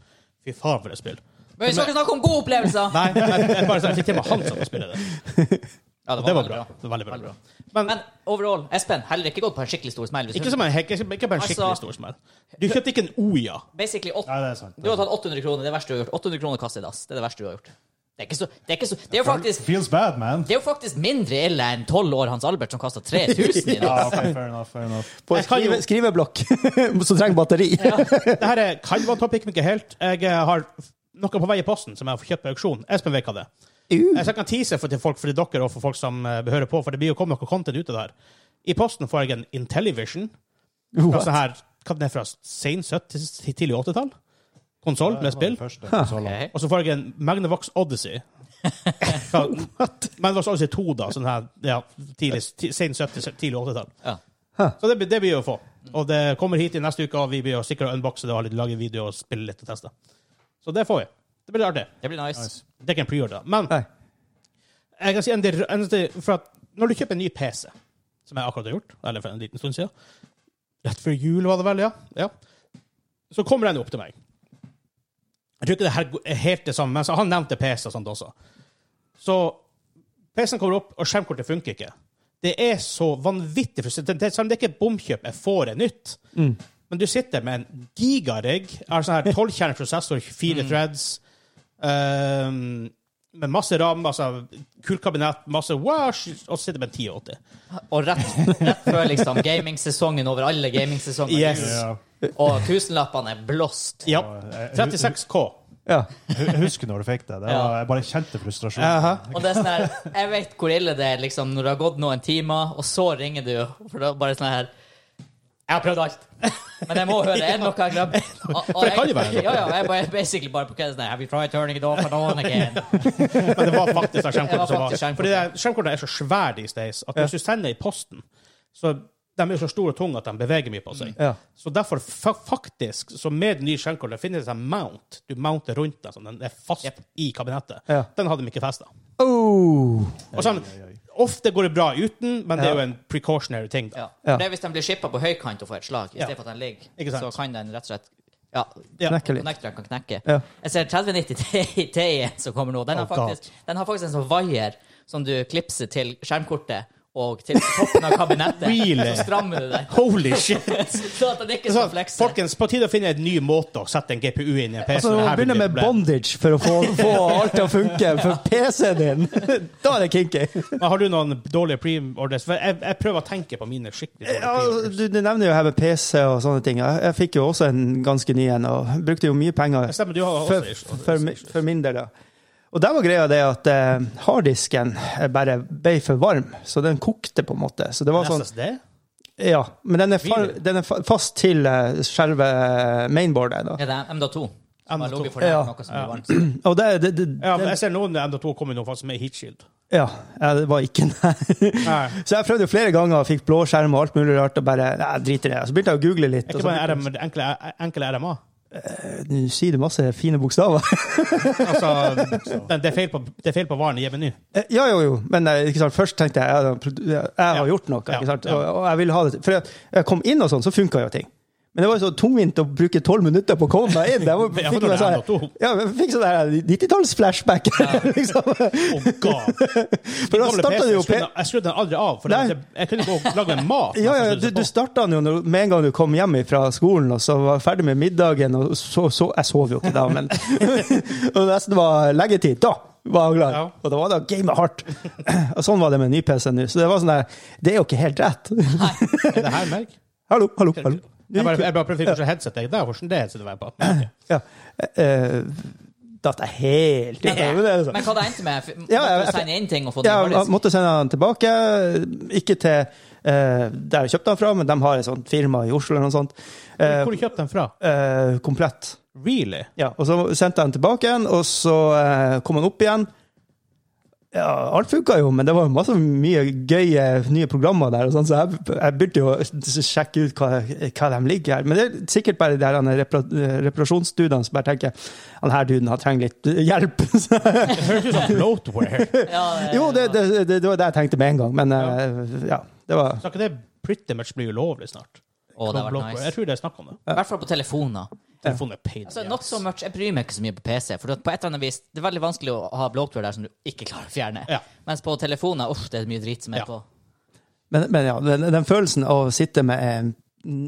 [SPEAKER 2] Fy faen, for et spill.
[SPEAKER 1] Men vi skal ikke snakke om gode opplevelser!
[SPEAKER 2] Nei, jeg, jeg, bare, sånn, jeg fikk til meg han som spille det.
[SPEAKER 1] Ja,
[SPEAKER 2] Og det var
[SPEAKER 1] veldig
[SPEAKER 2] bra. Det var veldig, veldig bra. Men
[SPEAKER 1] Men overall, Espen, heller ikke gått på en skikkelig stor smell. Hvis
[SPEAKER 2] ikke
[SPEAKER 1] du,
[SPEAKER 2] som en, hekk- ikke bare en skikkelig
[SPEAKER 1] Altså-
[SPEAKER 2] stor smell. Du kjøpte ikke en Oya.
[SPEAKER 1] basically, åt,
[SPEAKER 4] Nei, det er sant.
[SPEAKER 1] du har tatt 800 kroner, det er det verste du har gjort. 800 kroner kasse i dass. Det er det verste du har gjort. Det er ikke så, det er ikke så, det er jo faktisk...
[SPEAKER 4] Feels bad, man.
[SPEAKER 1] Det er jo faktisk mindre ille enn 12 år Hans Albert, som kasta 3000 i
[SPEAKER 4] Ja,
[SPEAKER 1] dass.
[SPEAKER 4] ok, fair enough, fair enough.
[SPEAKER 3] På en
[SPEAKER 2] Jeg kan jo-
[SPEAKER 3] skrive, skriveblokk (laughs) som trenger batteri. (laughs)
[SPEAKER 2] Det her er- kan være en topic, men ikke helt. Jeg eh, har f- noe på vei i posten som jeg har kjøpt på auksjon. Espen vet hva det er. Jeg skal ikke tease for til folk for dere og for folk som eh, hører på, for det blir jo kommet noe content ut av det her. I posten får jeg en Intellivision. Fra sånn her, hva den er fra sen 70 til tidlig 80-tall? Konsoll med
[SPEAKER 4] Det
[SPEAKER 2] spill.
[SPEAKER 4] var det første. Så langt.
[SPEAKER 1] (laughs) Ok.
[SPEAKER 2] Og så får jeg en Magnavox
[SPEAKER 4] (laughs)
[SPEAKER 2] Odyssey. Fra- Magnavox Odyssey 2, da. Sånn her, ja, tidlig, ti- sen 70, tidlig 80-tall.
[SPEAKER 1] Ja.
[SPEAKER 2] Så det, blir- det blir jo å få. Og det kommer hit i neste uke, og vi blir jo sikkert å unboxe det og lage video og spille litt og teste. Så det får vi. Det blir artig.
[SPEAKER 1] Det blir nice.
[SPEAKER 2] Det er ikke en preorder, men
[SPEAKER 3] Nei.
[SPEAKER 2] jeg kan si en del, en del for at når du kjøper en ny PC, som jeg akkurat har gjort, eller for en liten stund siden, rett før jul var det vel, ja, ja. så kommer den opp til meg. Jeg tror ikke det her er helt det samme, men så han nevnte PC og sånt også. Så PC-en kommer opp, og skjermkortet funker ikke. Det er så vanvittig frustrerende. Det- Selv om det ikke er bomkjøp, jeg får det nytt. Men du sitter med en gigarigg, altså her 12-kjernet prosessor, 24 threads, ehm, med masse ram, altså kult kabinett, masse wash, og så sitter med en 1080.
[SPEAKER 1] Og rett, rett før liksom gamingsesongen over alle gamingsesongene
[SPEAKER 2] Yes.
[SPEAKER 4] Ja.
[SPEAKER 1] og tusenlappene er blåst
[SPEAKER 2] Ja.
[SPEAKER 4] jeg-
[SPEAKER 2] 36K.
[SPEAKER 3] Ja.
[SPEAKER 4] Jeg husker når du fikk det. det var, jeg bare kjente frustrasjonen.
[SPEAKER 1] Og det er sånn her Jeg vet hvor ille det er liksom når det har gått noen timer, og så ringer du, for da bare sånn her Jeg har prøvd alt, men jeg må høre. Er det noe jeg har
[SPEAKER 2] (laughs)
[SPEAKER 1] glemt? For
[SPEAKER 2] det kan jo være noe.
[SPEAKER 1] Ja, ja. Jeg bare basically bare på kødden sånn her, Have you tried turning it off and on
[SPEAKER 2] (laughs)
[SPEAKER 1] again?
[SPEAKER 2] Men det var
[SPEAKER 1] (laughs) Det
[SPEAKER 2] faktisk det
[SPEAKER 1] var
[SPEAKER 2] skjermkortet som var.
[SPEAKER 1] faktisk skjermkortet.
[SPEAKER 2] Fordi det- skjermkortet er så svært i stays at hvis du sender i posten, så de er jo så store og tunge at de beveger mye på seg.
[SPEAKER 3] Ja.
[SPEAKER 2] Så derfor fa faktisk, så med det nye skjermkortet, finnes det en mount. Du mounter rundt den, sånn den er fast
[SPEAKER 1] Yep.
[SPEAKER 2] i kabinettet.
[SPEAKER 3] Ja.
[SPEAKER 2] Den hadde de ikke festet.
[SPEAKER 3] Oh.
[SPEAKER 2] Og sånn, ofte går det bra uten, men det er jo
[SPEAKER 3] Ja.
[SPEAKER 2] en precautionary ting da.
[SPEAKER 1] Ja. For det er hvis den blir shippa på høykant og får et slag, i
[SPEAKER 2] Ja.
[SPEAKER 1] stedet for at den ligger,
[SPEAKER 2] Ikke sant.
[SPEAKER 1] så kan den rett og slett ja,
[SPEAKER 2] Ja.
[SPEAKER 3] Knekke litt.
[SPEAKER 1] Connectoren kan knekke.
[SPEAKER 3] Ja.
[SPEAKER 1] Jeg ser 3090 Ti-en som kommer nå. Den har,
[SPEAKER 4] Oh, God.
[SPEAKER 1] faktisk, den har faktisk en sånn vaier som du klipser til skjermkortet og til toppen av kabinettet.
[SPEAKER 2] Really?
[SPEAKER 1] Så strammer du den,
[SPEAKER 2] Holy shit!
[SPEAKER 1] så at den ikke
[SPEAKER 2] Så,
[SPEAKER 1] skal
[SPEAKER 3] Altså,
[SPEAKER 1] flekse.
[SPEAKER 2] folkens, på tide å finne en ny måte å sette en GPU inn i en PC.
[SPEAKER 3] Altså,
[SPEAKER 2] Det her
[SPEAKER 3] begynne
[SPEAKER 2] blir
[SPEAKER 3] med
[SPEAKER 2] problem.
[SPEAKER 3] bondage for å få, få alt til å funke for PC-en din. (laughs) Da er det kinky.
[SPEAKER 2] Men har du noen dårlige pre-orders? For Jeg, jeg prøver å tenke på mine skikkelig dårlige
[SPEAKER 3] Ja, altså,
[SPEAKER 2] pre-orders.
[SPEAKER 3] du, du nevner jo her med PC og sånne ting. Jeg, jeg fikk jo også en ganske ny en, og brukte jo mye penger
[SPEAKER 2] Det stemmer, du har også
[SPEAKER 3] for,
[SPEAKER 2] issues.
[SPEAKER 3] for, mi- for min del. Ja. Og der var greia det at eh, harddisken eh, bare ble for varm, så den kokte på en måte. Så det var sånn,
[SPEAKER 2] SSD?
[SPEAKER 3] ja, Men den er, fa
[SPEAKER 2] Really?
[SPEAKER 3] den er fa fast til eh, selve eh, mainboardet. Da.
[SPEAKER 1] Er det MDA2? Som har
[SPEAKER 2] MDA2.
[SPEAKER 1] ligget for nær
[SPEAKER 3] (clears throat) Ja.
[SPEAKER 1] noe som blir varmt.
[SPEAKER 3] Og det, det, det,
[SPEAKER 2] Ja, men
[SPEAKER 3] den,
[SPEAKER 2] jeg ser noen MD2 kommer nå faktisk med
[SPEAKER 3] (laughs)
[SPEAKER 2] heatshield.
[SPEAKER 3] ja, ja, det var ikke den.
[SPEAKER 2] Nei.
[SPEAKER 3] Så jeg prøvde jo flere ganger, fikk blå skjerm og alt mulig rart, og bare nei, jeg driter i det. Så begynte jeg å google litt.
[SPEAKER 2] Er
[SPEAKER 3] og
[SPEAKER 2] ikke
[SPEAKER 3] så
[SPEAKER 2] bare
[SPEAKER 3] begynte
[SPEAKER 2] RM,
[SPEAKER 3] jeg- (laughs)
[SPEAKER 2] enkle, enkle RMA?
[SPEAKER 3] eh, Nå sier du masse fine bokstaver. (laughs)
[SPEAKER 2] Altså, men det er feil på, det er feil på varen i meny.
[SPEAKER 3] Eh, Ja, jo, jo, men eh, ikke sant? først tenkte jeg ja, produ- jeg har gjort noe.
[SPEAKER 2] Ja,
[SPEAKER 3] Ikke sant?
[SPEAKER 2] ja.
[SPEAKER 3] Og, og jeg ville ha det. For jeg, jeg kom inn, og sånn, så funka jo ting. Men det var jo så tungvint å bruke tolv minutter på å komme meg inn. Jeg
[SPEAKER 2] (laughs)
[SPEAKER 3] må-
[SPEAKER 2] Ja, for
[SPEAKER 3] fikk
[SPEAKER 2] når
[SPEAKER 3] meg
[SPEAKER 2] det er
[SPEAKER 3] sånn-
[SPEAKER 2] N.O.
[SPEAKER 3] ja, men jeg fikk sånn der (laughs) 90-talls-flashback.
[SPEAKER 2] (laughs)
[SPEAKER 3] liksom.
[SPEAKER 2] Oh, God.
[SPEAKER 3] For (laughs) da
[SPEAKER 2] Gamle
[SPEAKER 3] starta
[SPEAKER 2] PC,
[SPEAKER 3] det
[SPEAKER 2] jeg
[SPEAKER 3] jo P-
[SPEAKER 2] skrudde- Jeg skrudde den aldri av, for
[SPEAKER 3] Nei.
[SPEAKER 2] jeg, jeg kunne gå og lage meg mat. Altså,
[SPEAKER 3] Ja, ja, ja, du,
[SPEAKER 2] sånn,
[SPEAKER 3] du starta den jo når, med en gang du kom hjem fra skolen og så var ferdig med middagen. og så, så, Jeg sov jo ikke da, men og det nesten var leggetid. Da var jeg glad.
[SPEAKER 2] Ja.
[SPEAKER 3] Og da var det å game hardt. (clears throat) Og sånn var det med ny PC nå. Så det var sånn der Det er jo ikke helt rett. (laughs)
[SPEAKER 2] Er det her meg?
[SPEAKER 3] hallo, hallo, hallo.
[SPEAKER 2] Jeg bare, jeg bare prøvde å finne hvordan headset jeg det er. Hvordan det headsetet var jeg på. Ok.
[SPEAKER 3] Ja. Eh, datt jeg helt ut. Men det er sånn.
[SPEAKER 1] Men hva det endte med? F-
[SPEAKER 3] Ja, jeg-
[SPEAKER 1] Måtte du sende inn ting og få det
[SPEAKER 3] Ja,
[SPEAKER 1] i
[SPEAKER 3] jeg
[SPEAKER 1] harddisk?
[SPEAKER 3] måtte sende han tilbake. Ikke til eh, der jeg kjøpte han fra, men de har et sånt firma i Oslo eller noe sånt. Eh,
[SPEAKER 2] Hvor kjøpte du den fra?
[SPEAKER 3] eh, komplett.
[SPEAKER 2] Really?
[SPEAKER 3] Ja, og så sendte jeg den tilbake igjen, og så eh, kom han opp igjen. Ja, alt funka jo, men det var masse mye gøye nye programmer der, og sånn, så jeg, jeg begynte jo å s- sjekke ut hva, hva de ligger her. Men det er sikkert bare de her han, repara reparasjonsdudene som bare tenker han her duden han trenger litt eh, hjelp. (laughs) Så,
[SPEAKER 2] Det høres ut som bloatware.
[SPEAKER 1] Ja,
[SPEAKER 3] jo, det, det, det, det var det jeg tenkte med en gang, men eh, ja. Det var
[SPEAKER 2] Skal ikke det pretty much bli ulovlig snart?
[SPEAKER 1] Å, det har vært
[SPEAKER 2] Bloatware. Jeg
[SPEAKER 1] nice.
[SPEAKER 2] tror det er snakk om det.
[SPEAKER 1] I hvert fall på telefoner.
[SPEAKER 2] Telefonen er pain.
[SPEAKER 1] Altså,
[SPEAKER 2] in the
[SPEAKER 1] not
[SPEAKER 2] ass.
[SPEAKER 1] so much. Jeg bryr meg ikke så mye på PC. For at på et eller annet vis, Det er veldig vanskelig å ha bloatware der som du ikke klarer å fjerne.
[SPEAKER 2] Ja.
[SPEAKER 1] Mens på telefoner uff, det er mye drit som er
[SPEAKER 2] Ja.
[SPEAKER 1] på.
[SPEAKER 3] Men, men ja, den, den følelsen av å sitte med en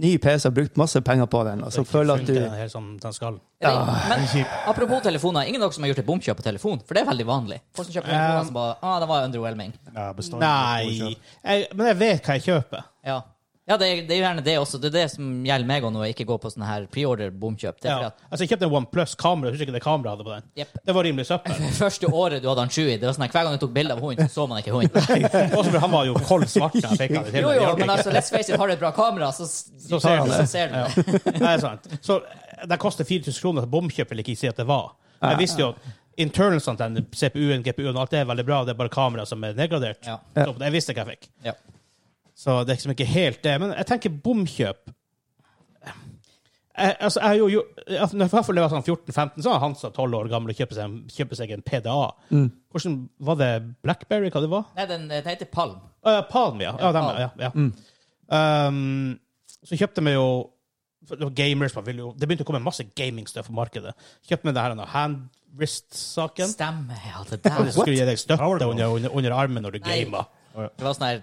[SPEAKER 3] ny PC og brukt masse penger på den, og så
[SPEAKER 2] Ikke
[SPEAKER 3] føle at
[SPEAKER 2] funker
[SPEAKER 3] du
[SPEAKER 2] den helt som den skal.
[SPEAKER 1] Er det- Men apropos telefoner, ingen av dere som har gjort et bomkjøp på telefon? For det er veldig vanlig. Folk som kjøper telefoner som bare ah, det var underwhelming.
[SPEAKER 4] Ja, bestandig.
[SPEAKER 2] Nei. Jeg, men jeg vet hva jeg kjøper.
[SPEAKER 1] Ja, ja det, er- det er jo gjerne det også. Det er det som gjelder meg og når jeg ikke går på sånne her preorder bomkjøp. Det er
[SPEAKER 2] Ja.
[SPEAKER 1] fordi at
[SPEAKER 2] Altså, jeg kjøpte en OnePlus-kamera. Jeg husker ikke det kameraet jeg hadde på den.
[SPEAKER 1] Jepp.
[SPEAKER 2] Det var rimelig søppel. (laughs)
[SPEAKER 1] det (laughs) første året du hadde han Chewie, det var sånn at hver gang du tok bilde av hunden, så så man ikke
[SPEAKER 2] (laughs)
[SPEAKER 1] hunden.
[SPEAKER 2] Også for han var jo kold svart da jeg fikk han. det til.
[SPEAKER 1] Jo, jo,
[SPEAKER 2] Jeg
[SPEAKER 1] men
[SPEAKER 2] orker
[SPEAKER 1] altså, let's face it, har du et bra kamera, så, s-
[SPEAKER 2] (laughs) Så ser du det.
[SPEAKER 1] så ser du det.
[SPEAKER 2] ikke. (laughs) Nei, det er sant. Så eh, det koster 4000 kroner, så bomkjøp vil jeg ikke si at det var. Jeg visste jo at internalsene til den CPU-en, GPU-en, alt det er veldig bra, det er bare kamera som er nedgradert.
[SPEAKER 1] Ja.
[SPEAKER 2] Så jeg visste hva jeg fikk.
[SPEAKER 1] Ja.
[SPEAKER 2] Så det er liksom ikke helt det. Men jeg tenker bomkjøp jeg, altså, jeg har jo, jo, altså, når jeg var- når jeg var sånn 14-15, så var Hansa 12 år gammel og kjøpte seg, kjøpte seg en PDA. Hvordan Var det Blackberry? Hva det var?
[SPEAKER 1] Nei, den, den heter Palm.
[SPEAKER 2] Å ja, Palm, ja. ja, dem,
[SPEAKER 1] Palm.
[SPEAKER 2] ja, ja. Um, så kjøpte vi jo for det var Gamers man ville jo, Det begynte å komme masse gamingstuff på markedet. Kjøpte vi det her hand-wrist-saken.
[SPEAKER 1] Stemmer, ja, det
[SPEAKER 2] Det
[SPEAKER 1] der.
[SPEAKER 2] skulle gi deg støtte under, under, under armen når du
[SPEAKER 1] Nei.
[SPEAKER 2] gama.
[SPEAKER 1] Det var sånn her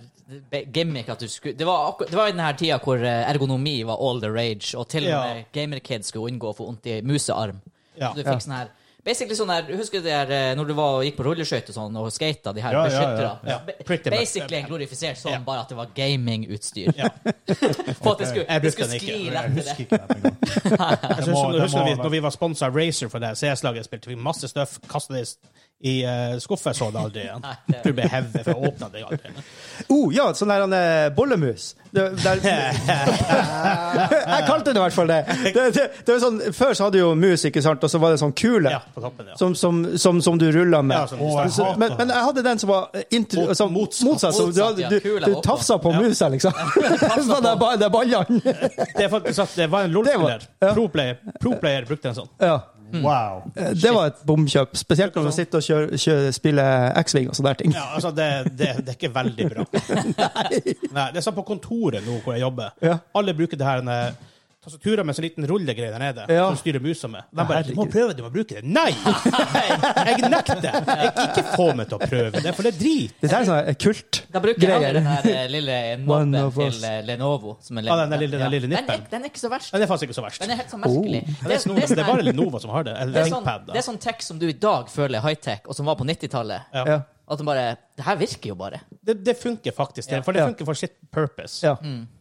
[SPEAKER 1] be- gimmick at du skulle Det var, akkur- det var i den her tida hvor eh, ergonomi var all the rage, og til og
[SPEAKER 2] Ja.
[SPEAKER 1] med gamerkids skulle unngå å få vondt i musearm.
[SPEAKER 2] Ja.
[SPEAKER 1] Så du fikk sånn her Basically sånn her, Husker du det her eh, når du var, og gikk på rulleskøyter og sånn, og skata, de her
[SPEAKER 4] Ja, ja,
[SPEAKER 1] beskytterne?
[SPEAKER 4] ja,
[SPEAKER 2] ja.
[SPEAKER 1] Ba-
[SPEAKER 2] Pretty much.
[SPEAKER 1] Basically en glorifisert sånn,
[SPEAKER 2] Ja.
[SPEAKER 1] bare at det var gamingutstyr.
[SPEAKER 2] Ja.
[SPEAKER 1] (laughs) For at det skulle, det
[SPEAKER 2] Jeg brukte
[SPEAKER 1] skulle
[SPEAKER 2] den ikke.
[SPEAKER 1] skli
[SPEAKER 4] Jeg
[SPEAKER 1] lett til
[SPEAKER 4] husker
[SPEAKER 1] det.
[SPEAKER 4] ikke det engang.
[SPEAKER 2] (laughs) Jeg
[SPEAKER 4] Det må-
[SPEAKER 2] husker,
[SPEAKER 4] det
[SPEAKER 2] husker
[SPEAKER 4] må
[SPEAKER 2] vi,
[SPEAKER 4] være-
[SPEAKER 2] når vi var sponsa av Razer for det CS-laget, spilte vi masse støff, kastet det i uh, skuffer, så det aldri igjen.
[SPEAKER 1] det-
[SPEAKER 2] Du ble hevet, for jeg åpna det aldri.
[SPEAKER 3] Oh, ja, sånn der han eh, bollemus. Det, der,
[SPEAKER 2] (laughs)
[SPEAKER 3] jeg kalte det i hvert fall det. det, det, det var sånn, før så hadde du jo mus, ikke sant, og så var det sånn kule
[SPEAKER 2] Ja, på toppen, ja.
[SPEAKER 3] som, som, som, som du rulla med.
[SPEAKER 2] Ja, som du
[SPEAKER 4] Å, jeg
[SPEAKER 3] Så-
[SPEAKER 4] hater
[SPEAKER 3] men,
[SPEAKER 4] det.
[SPEAKER 3] men jeg hadde den som var eh, intro,
[SPEAKER 2] Mot-
[SPEAKER 3] som,
[SPEAKER 2] motsatt.
[SPEAKER 3] motsatt. som du,
[SPEAKER 1] Motsatt, ja.
[SPEAKER 3] du,
[SPEAKER 1] Kula
[SPEAKER 3] du
[SPEAKER 1] var oppå.
[SPEAKER 3] tafsa på musa,
[SPEAKER 2] (laughs)
[SPEAKER 3] liksom. Sånn der ba- der ballene.
[SPEAKER 2] Det er faktisk at det var en LOL-spiller.
[SPEAKER 3] Det var- ja.
[SPEAKER 2] Pro-player Pro player brukte en sånn.
[SPEAKER 3] (laughs) Ja,
[SPEAKER 4] Wow.
[SPEAKER 3] eh, det var et bomkjøp. Spesielt når du sitter og kjører, kjører, spiller X-Wing og sånne der ting.
[SPEAKER 2] Sånn. Ja, altså, det, det, det er ikke veldig bra. Nei, det er sånn på kontoret nå hvor jeg jobber.
[SPEAKER 3] Ja.
[SPEAKER 2] Alle bruker det her denne tastaturet med sånn liten rullegreie der nede,
[SPEAKER 3] Ja.
[SPEAKER 2] som styrer musa med. De bare
[SPEAKER 3] Herregud.
[SPEAKER 2] 'Du må prøve, du må bruke det'. Nei! Jeg nekter! Jeg ikke få meg til å prøve det, for det er drit.
[SPEAKER 3] Det der er sånn eh, kult.
[SPEAKER 1] Da bruker jeg
[SPEAKER 3] Greier.
[SPEAKER 1] aldri den her eh, lille
[SPEAKER 3] One
[SPEAKER 1] nobben
[SPEAKER 3] of us.
[SPEAKER 1] til eh, Lenovo. Som er
[SPEAKER 2] Ja, den der lille- den lille
[SPEAKER 1] Den er,
[SPEAKER 2] nippen.
[SPEAKER 1] den er ikke så verst.
[SPEAKER 2] Men det er faktisk ikke så verst.
[SPEAKER 1] Den er sånn helt så merkelig.
[SPEAKER 2] Men Det er, Sno- det er bare Lenova som har det.
[SPEAKER 1] Det
[SPEAKER 2] Eller
[SPEAKER 1] er, sånn,
[SPEAKER 2] ThinkPad.
[SPEAKER 1] det
[SPEAKER 2] Da.
[SPEAKER 1] er sånn tech som du i dag føler er high-tech, og som var på 90-tallet.
[SPEAKER 2] Ja.
[SPEAKER 3] Ja.
[SPEAKER 1] At den bare Det her virker jo bare.
[SPEAKER 2] Det, det funker faktisk, det, for det
[SPEAKER 3] Ja.
[SPEAKER 2] funker for sitt purpose.
[SPEAKER 3] Ja.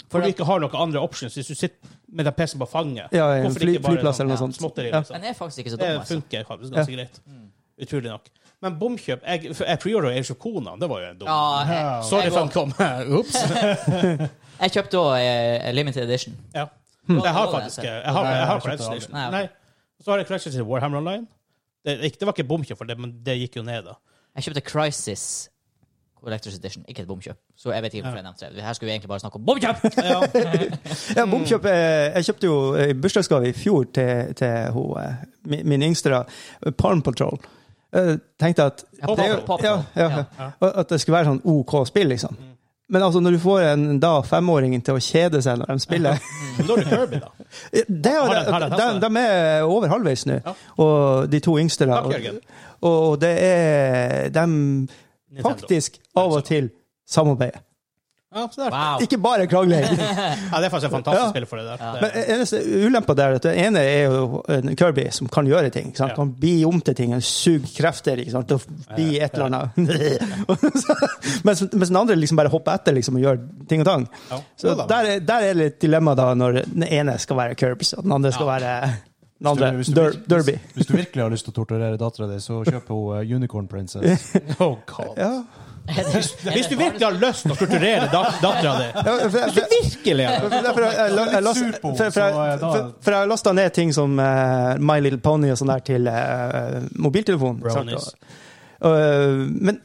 [SPEAKER 2] For du ikke har noen andre options hvis du sitter med den PC-en på fanget.
[SPEAKER 3] Ja, ja,
[SPEAKER 2] hvorfor
[SPEAKER 3] fly-
[SPEAKER 2] ikke bare
[SPEAKER 3] flyplass
[SPEAKER 2] sånn
[SPEAKER 3] eller noe sånt.
[SPEAKER 2] småtteri,
[SPEAKER 3] Ja.
[SPEAKER 2] liksom?
[SPEAKER 1] Den er faktisk ikke så
[SPEAKER 2] Det
[SPEAKER 1] dum. Altså.
[SPEAKER 2] funker faktisk ganske greit. Utrolig nok. Men bomkjøp Jeg, for jeg preordra Age of Conan, det var jo en dum
[SPEAKER 1] Ja, jeg,
[SPEAKER 2] Sorry
[SPEAKER 1] jeg,
[SPEAKER 2] for han
[SPEAKER 1] jeg,
[SPEAKER 2] (laughs) kom. Ops.
[SPEAKER 1] (laughs) jeg kjøpte òg eh, limited edition.
[SPEAKER 2] Ja.
[SPEAKER 1] Mm.
[SPEAKER 2] Jeg har faktisk Jeg har, jeg har
[SPEAKER 4] Nei, jeg kjøpte
[SPEAKER 2] Collection
[SPEAKER 4] aldri.
[SPEAKER 2] Edition.
[SPEAKER 1] Nei, ok.
[SPEAKER 2] Nei. Så har jeg Collection til Warhammer Online. Det, det var ikke bomkjøp for det, men det gikk jo ned, da.
[SPEAKER 1] Jeg kjøpte Crisis Collectors Edition, ikke et bomkjøp. Så jeg vet ikke hvorfor jeg nevnte det. Her skulle vi egentlig bare snakke om bomkjøp!
[SPEAKER 3] Ja,
[SPEAKER 1] Mm.
[SPEAKER 3] bomkjøp, eh, jeg kjøpte jo i bursdagsgave i fjor til, til hun, eh, min, min yngste, da, Palm Patrol. Jeg tenkte at
[SPEAKER 1] Ja, Paw
[SPEAKER 3] det er
[SPEAKER 1] Patrol,
[SPEAKER 3] jo-
[SPEAKER 1] Mm. Paw
[SPEAKER 3] ja,
[SPEAKER 1] Patrol.
[SPEAKER 3] ja, ja. At det skulle være sånn OK spill, liksom. Men altså, når du får en da femåring til å kjede seg når de spiller
[SPEAKER 2] Men da er det Kirby, da.
[SPEAKER 3] (laughs) Ja, det er,
[SPEAKER 2] Har den- har den
[SPEAKER 3] de,
[SPEAKER 2] testet
[SPEAKER 3] de er over halvveis nå, og de to yngste. Da,
[SPEAKER 2] Takk, Jørgen.
[SPEAKER 3] og, og det er De faktisk av og til samarbeider.
[SPEAKER 2] Ja, så der.
[SPEAKER 1] (laughs) Wow!
[SPEAKER 3] Ikke bare
[SPEAKER 2] (laughs)
[SPEAKER 3] krangling.
[SPEAKER 2] ja, det er faktisk et fantastisk
[SPEAKER 3] Ja.
[SPEAKER 2] spill for det der.
[SPEAKER 1] Ja.
[SPEAKER 2] Det-
[SPEAKER 3] Men eh, eneste ulempa der er at det ene er jo en Kirby som kan gjøre ting. ikke Sant?
[SPEAKER 2] Ja.
[SPEAKER 3] Han blir om til ting, han suger krefter ikke sant? og blir et eller annet. (laughs) mens, mens den andre liksom bare hopper etter liksom, og gjør ting og tang.
[SPEAKER 2] Ja.
[SPEAKER 3] Så
[SPEAKER 2] Ja da.
[SPEAKER 3] der, er- der er det et dilemma da, når den ene skal være Kirby, og den andre skal
[SPEAKER 2] Ja.
[SPEAKER 3] være den andre,
[SPEAKER 4] Hvis du- hvis du
[SPEAKER 3] der,
[SPEAKER 4] virkelig-
[SPEAKER 3] Derby.
[SPEAKER 4] Hvis du virkelig har lyst til å torturere dattera di, så kjøp henne eh, Unicorn Princess.
[SPEAKER 2] (laughs) Oh god.
[SPEAKER 3] Ja.
[SPEAKER 2] Hvis du virkelig har lyst til å torturere dattera di
[SPEAKER 3] Ja, for, for,
[SPEAKER 2] Virkelig! ja.
[SPEAKER 3] for, for, jeg- jeg- jeg last-
[SPEAKER 4] Sur på,
[SPEAKER 3] for, for,
[SPEAKER 4] så, eh, da-
[SPEAKER 3] for, for jeg lasta ned ting som eh, My Little Pony og sånn der til eh, mobiltelefonen. ikke sant?
[SPEAKER 2] Brownies.
[SPEAKER 3] Og, eh, men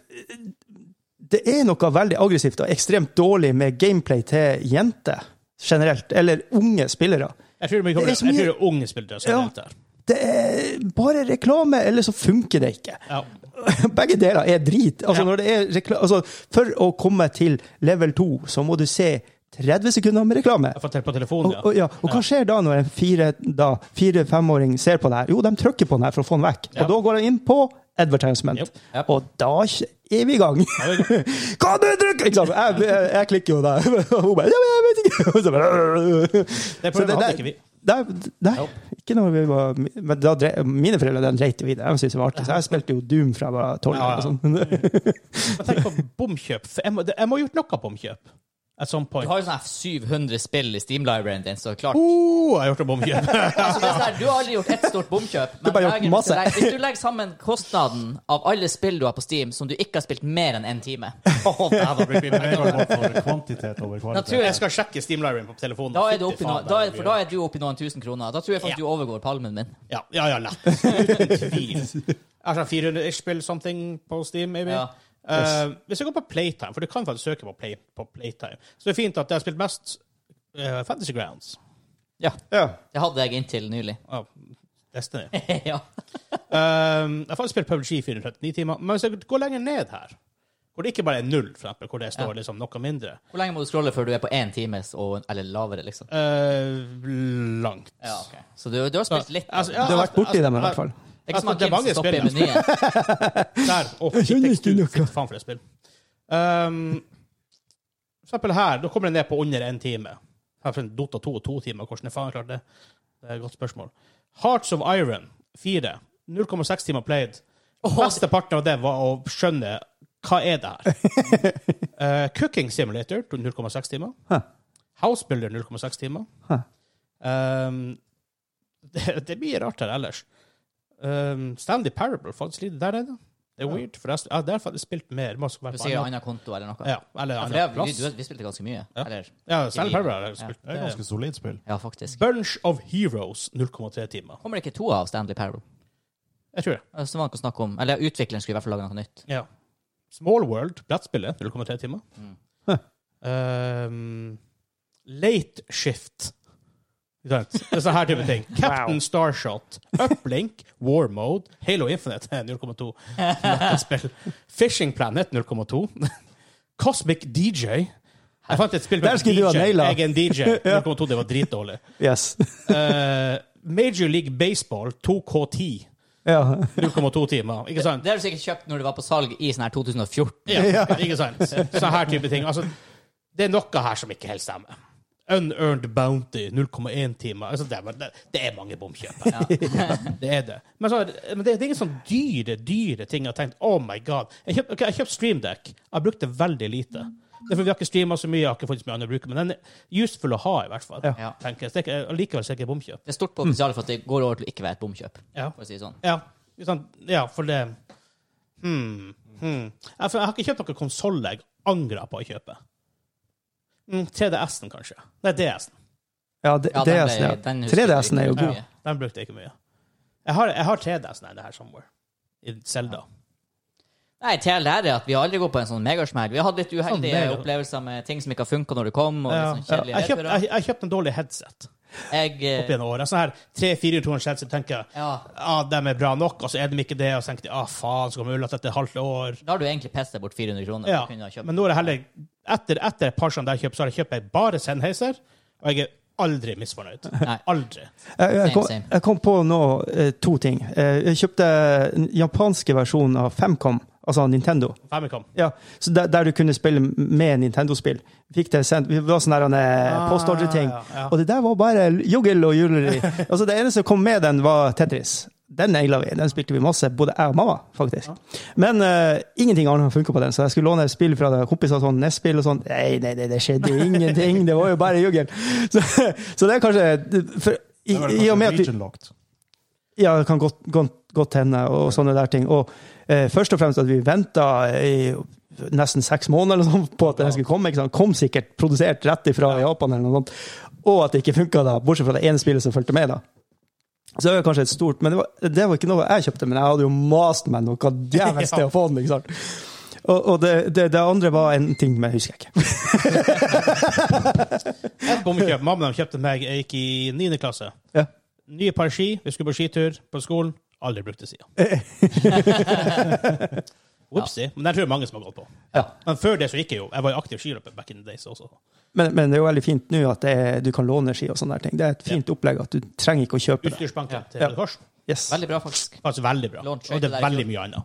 [SPEAKER 3] det er noe veldig aggressivt og ekstremt dårlig med gameplay til jenter generelt, eller unge spillere.
[SPEAKER 2] Jeg tror, vi kommer,
[SPEAKER 3] Det er
[SPEAKER 2] jeg
[SPEAKER 3] så mye-
[SPEAKER 2] tror det er unge spillere som
[SPEAKER 3] Ja.
[SPEAKER 2] er nevnt der.
[SPEAKER 3] Det er bare reklame, eller så funker det ikke. (laughs)
[SPEAKER 2] Ja.
[SPEAKER 3] Begge deler er drit. Altså,
[SPEAKER 2] Ja.
[SPEAKER 3] når det er rekla altså, for å komme til level 2, så må du se 30 sekunder med reklame.
[SPEAKER 2] Jeg får til på telefonen,
[SPEAKER 3] Og,
[SPEAKER 2] Sånn, ja.
[SPEAKER 3] og, ja. og hva skjer da når en fire- da, fire-femåring ser på det her? Jo, de trykker på den her for å få den vekk.
[SPEAKER 2] Ja.
[SPEAKER 3] Og da går han inn på advertisement.
[SPEAKER 2] Yep.
[SPEAKER 1] Yep.
[SPEAKER 3] Og da er vi i gang. (laughs) Hva du trykker? Ikke sant? Jeg, jeg, jeg klikker jo der. (laughs) Og hun bare Ja, men jeg vet ikke. (laughs) Og så bare,
[SPEAKER 2] Det
[SPEAKER 3] Så
[SPEAKER 2] prøver
[SPEAKER 3] det-
[SPEAKER 2] hadde
[SPEAKER 3] det-
[SPEAKER 2] ikke vi.
[SPEAKER 3] Nei, nei, ikke når vi var men da dre, Mine foreldre de dreit jo i det. De syntes det var artig. Så jeg spilte jo Doom fra jeg var tolv.
[SPEAKER 2] Ja, ja.
[SPEAKER 3] og sånn.
[SPEAKER 2] Men tenk på bomkjøp. For Jeg må, jeg må ha gjort noe bomkjøp. At some
[SPEAKER 1] Du
[SPEAKER 2] point.
[SPEAKER 1] har jo sånn her 700 spill i Steam-libraryen din, så klart.
[SPEAKER 2] Oh, jeg har gjort noe
[SPEAKER 1] (laughs)
[SPEAKER 2] bomkjøp.
[SPEAKER 1] Altså, det er sånn her, du har aldri gjort ett stort bomkjøp. Men
[SPEAKER 3] bare gjort
[SPEAKER 1] lager- hvis
[SPEAKER 3] masse.
[SPEAKER 1] du legger- hvis du legger sammen kostnaden av alle spill du har på Steam, som du ikke har spilt mer enn én time
[SPEAKER 2] Å, dæven, blir vi
[SPEAKER 4] Det er
[SPEAKER 2] med.
[SPEAKER 4] jo for Kvantitet over
[SPEAKER 1] Da tror
[SPEAKER 4] kvalitet.
[SPEAKER 1] jeg-
[SPEAKER 2] Jeg skal sjekke Steam Library på telefonen.
[SPEAKER 1] Da er, du oppe i
[SPEAKER 2] Fy
[SPEAKER 1] noe, da
[SPEAKER 2] faen, det
[SPEAKER 1] er,
[SPEAKER 2] blir
[SPEAKER 1] for da er du oppe i noen tusen kroner. Da tror jeg faktisk
[SPEAKER 2] Ja.
[SPEAKER 1] du overgår palmen min.
[SPEAKER 2] Ja, ja, ja,
[SPEAKER 1] (laughs)
[SPEAKER 2] lett. Uten tvil. Jeg har sånn 400 ish spill something på Steam, maybe.
[SPEAKER 1] Ja.
[SPEAKER 2] Eh, hvis jeg går på Playtime, for du kan faktisk søke på, play, på Playtime, så det er fint at jeg har spilt mest eh, Fantasy Grounds.
[SPEAKER 1] Ja,
[SPEAKER 3] ja.
[SPEAKER 1] det hadde jeg inntil nylig. (laughs)
[SPEAKER 2] Ja, Destiny.
[SPEAKER 1] ja.
[SPEAKER 2] Um, jeg har faktisk spilt PUBG i 439 timer, men hvis jeg går lenger ned her, hvor det ikke bare er null, for eksempel, hvor det står
[SPEAKER 1] Ja.
[SPEAKER 2] liksom noe mindre,
[SPEAKER 1] Hvor lenge må du scrolle før du er på én times og, eller lavere, liksom?
[SPEAKER 2] eh, langt.
[SPEAKER 1] Ja, ok. Så du, du har spilt litt?
[SPEAKER 2] Altså,
[SPEAKER 1] da.
[SPEAKER 2] ja,
[SPEAKER 3] Du har vært borti dem i hvert fall.
[SPEAKER 1] Det er ikke som
[SPEAKER 2] altså, det er
[SPEAKER 1] at
[SPEAKER 2] mange
[SPEAKER 1] Kim stopper i (laughs)
[SPEAKER 2] spill,
[SPEAKER 1] menyen.
[SPEAKER 2] Der. Å,
[SPEAKER 3] Jeg skjønner ikke
[SPEAKER 2] fy
[SPEAKER 3] noe.
[SPEAKER 2] faen for et spill. Um, for eksempel her, da kommer det ned på under én time. Her for en Dota 2 og to timer, hvordan jeg faen klarte det? Det er et godt spørsmål. Hearts of Iron 4. 0,6 timer played. Mesteparten av det var å skjønne hva er det her. Eh, Cooking Simulator 0,6 timer.
[SPEAKER 3] Hæ.
[SPEAKER 2] Housebuilder 0,6 timer.
[SPEAKER 3] Hæ.
[SPEAKER 2] Um, det, det blir rart her ellers. Um, Stanley Parable, faktisk litt der nede. Det er weird, for jeg har ja, faktisk spilt mer. Må også
[SPEAKER 1] Du
[SPEAKER 2] være på
[SPEAKER 1] sier
[SPEAKER 2] annen-
[SPEAKER 1] annen konto eller noe.
[SPEAKER 2] ja, eller
[SPEAKER 1] Ja, for
[SPEAKER 2] annen
[SPEAKER 1] det er- vi,
[SPEAKER 2] plass.
[SPEAKER 1] du, vi spilte ganske mye.
[SPEAKER 2] Ja.
[SPEAKER 1] Eller
[SPEAKER 2] Ja, Stanley Parable har jeg
[SPEAKER 1] Ja.
[SPEAKER 2] spilt.
[SPEAKER 4] Det er ganske solid spill.
[SPEAKER 1] Ja, faktisk.
[SPEAKER 2] Bunch of Heroes 0,3 timer.
[SPEAKER 1] Kommer det ikke to av Stanley Parable?
[SPEAKER 2] Jeg tror det.
[SPEAKER 1] Som man kan snakke om. Eller utvikleren skulle i hvert fall lage noe nytt.
[SPEAKER 2] Ja. Small World, brettspillet, 0,3 timer.
[SPEAKER 1] Mm.
[SPEAKER 3] Huh.
[SPEAKER 2] Um, late Shift. Ikke sant? Det er sånne her type ting.
[SPEAKER 3] (laughs)
[SPEAKER 2] Captain Starshot, Uplink, War Mode, Halo Infinite (laughs) 0,2. Nøkkelspill. Fishing Planet 0,2. Cosmic DJ. Jeg fant et spill med
[SPEAKER 3] Der skulle du ha
[SPEAKER 2] DJ.
[SPEAKER 3] naila.
[SPEAKER 2] Jeg er en
[SPEAKER 3] (laughs)
[SPEAKER 2] DJ. 0,2, det var dritdårlig.
[SPEAKER 3] Yes. (laughs)
[SPEAKER 2] Uh, Major League Baseball 2K10.
[SPEAKER 3] Ja.
[SPEAKER 2] 0,2 timer. Ikke sant?
[SPEAKER 1] Det har du sikkert kjøpt når det var på salg i sånn her 2014.
[SPEAKER 2] Ja, ikke sant? Sånn her type ting. Altså, det er noe her som ikke helt stemmer. Unearned bounty, 0,1 timer. Altså, det, er, det, det er mange bomkjøp. her. Det er det. Men, så, men det, det er ingen sånn dyre, dyre ting jeg har tenkt Oh my god. Jeg kjøpte okay, jeg kjøpte Streamdeck. Jeg brukte veldig lite. Det er fordi Vi har ikke streama så mye, jeg har ikke fått så mye annet å bruke, men den er useful å ha, i hvert fall.
[SPEAKER 1] Ja.
[SPEAKER 2] tenker jeg. Så det er ikke- Allikevel så er det ikke bomkjøp.
[SPEAKER 1] Det er stort potensial for at det går over til å ikke være et bomkjøp.
[SPEAKER 2] Ja.
[SPEAKER 1] For å si det sånn.
[SPEAKER 2] Ja, ikke sant? ja for det hmm. Hmm. Jeg, for jeg har ikke kjøpt noen konsoller jeg angrer på å kjøpe. Mm, 3DS-en, kanskje. Nei, DS-en.
[SPEAKER 3] Ja, d-
[SPEAKER 1] Ja, den ble-
[SPEAKER 3] DS-en, ja.
[SPEAKER 1] den husker
[SPEAKER 3] 3DS-en er jo
[SPEAKER 1] jeg ikke
[SPEAKER 3] god.
[SPEAKER 1] mye.
[SPEAKER 2] Den brukte jeg ikke mye. Jeg har, jeg har 3DS-en her somewhere. I Zelda.
[SPEAKER 1] Nei, Nei, TL her er at vi har aldri gått på en sånn megasmell. Vi har hatt litt uheldige
[SPEAKER 2] mega.
[SPEAKER 1] opplevelser med ting som ikke har funka når det kom. og
[SPEAKER 4] Ja.
[SPEAKER 1] litt sånn
[SPEAKER 2] Ja,
[SPEAKER 1] kjedelige
[SPEAKER 2] jeg kjøpte
[SPEAKER 1] returer.
[SPEAKER 2] jeg, jeg kjøpte en dårlig headset opp
[SPEAKER 1] Jeg, eh,
[SPEAKER 2] gjennom året. Sånn her 300-400 headset tenker jeg
[SPEAKER 1] ja,
[SPEAKER 2] ah, de er bra nok, og så er de ikke det, og så tenker de ah, faen, så kommer ullete etter et halvt år.
[SPEAKER 1] da har du egentlig pisset bort 400 kroner.
[SPEAKER 2] Ja,
[SPEAKER 1] du kunne ha kjøpt.
[SPEAKER 2] men nå er det heller Etter, etter et par sånne der kjøp, så har jeg kjøpt meg bare Sennheiser, og jeg er aldri
[SPEAKER 3] (laughs)
[SPEAKER 2] misfornøyd.
[SPEAKER 1] Nei.
[SPEAKER 2] Aldri.
[SPEAKER 3] Jeg, jeg,
[SPEAKER 1] Same,
[SPEAKER 3] kom,
[SPEAKER 1] same.
[SPEAKER 3] jeg kom på nå eh, to ting. Eh, jeg kjøpte den japanske versjonen av Famcom, altså Nintendo.
[SPEAKER 2] Famicom.
[SPEAKER 3] Ja, så der, der du kunne spille med Nintendo-spill. Fikk det sendt, vi var sånn sånne
[SPEAKER 2] Ah,
[SPEAKER 3] postordre-ting.
[SPEAKER 2] ja, ja.
[SPEAKER 3] Og det der var bare juggel og
[SPEAKER 4] (laughs)
[SPEAKER 3] juleri. altså, det eneste som kom med den, var Tetris. Den naila vi. Den spilte vi masse, både jeg og mamma, faktisk. Men eh, ingenting annet funka på den, så jeg skulle låne et spill fra kompiser, sånn NES-spill og sånn. Nei, nei, nei, det skjedde ingenting. Det var jo bare juggel. (laughs) Så, så det er kanskje for, i,
[SPEAKER 4] Det var det
[SPEAKER 3] I og med
[SPEAKER 4] kanskje
[SPEAKER 3] at du
[SPEAKER 4] region locked.
[SPEAKER 3] ja, det kan godt, godt, godt hende, og sånne der ting. Og eh, først og fremst at vi venta i nesten seks måneder eller sånn på at den skulle komme. ikke sant? Kom sikkert produsert rett ifra Japan, eller noe sånt. og at det ikke funka, bortsett fra det ene spillet som fulgte med. da. Så det var kanskje et stort, men det var, det var ikke noe jeg kjøpte, men jeg hadde jo mast meg noe djevelsk til å få den. ikke sant? Og, og det, det, det andre var en ting, men jeg husker jeg ikke.
[SPEAKER 2] Et bommekjøp. Mamma de kjøpte meg, jeg gikk i 9. klasse.
[SPEAKER 3] Ja.
[SPEAKER 2] Nye par ski, vi skulle på skitur på skolen. Aldri brukte
[SPEAKER 3] (laughs)
[SPEAKER 2] sida. Opsi. Men den tror jeg mange som har gått på.
[SPEAKER 3] Ja.
[SPEAKER 2] Men før det så gikk jeg jo. Jeg var jo aktiv skiløper back in the days også.
[SPEAKER 3] Men, men det er jo veldig fint nå at det, er- du kan låne ski og sånne der ting. Det er et fint opplegg at du trenger ikke å kjøpe det.
[SPEAKER 2] Utstyrsbanken til
[SPEAKER 3] Ja.
[SPEAKER 2] Røde Kors.
[SPEAKER 3] Yes.
[SPEAKER 1] Veldig bra, faktisk.
[SPEAKER 2] Faktisk veldig bra.
[SPEAKER 1] Lånt skøyter
[SPEAKER 2] Og det
[SPEAKER 1] der
[SPEAKER 2] er
[SPEAKER 1] i
[SPEAKER 2] veldig mye annet.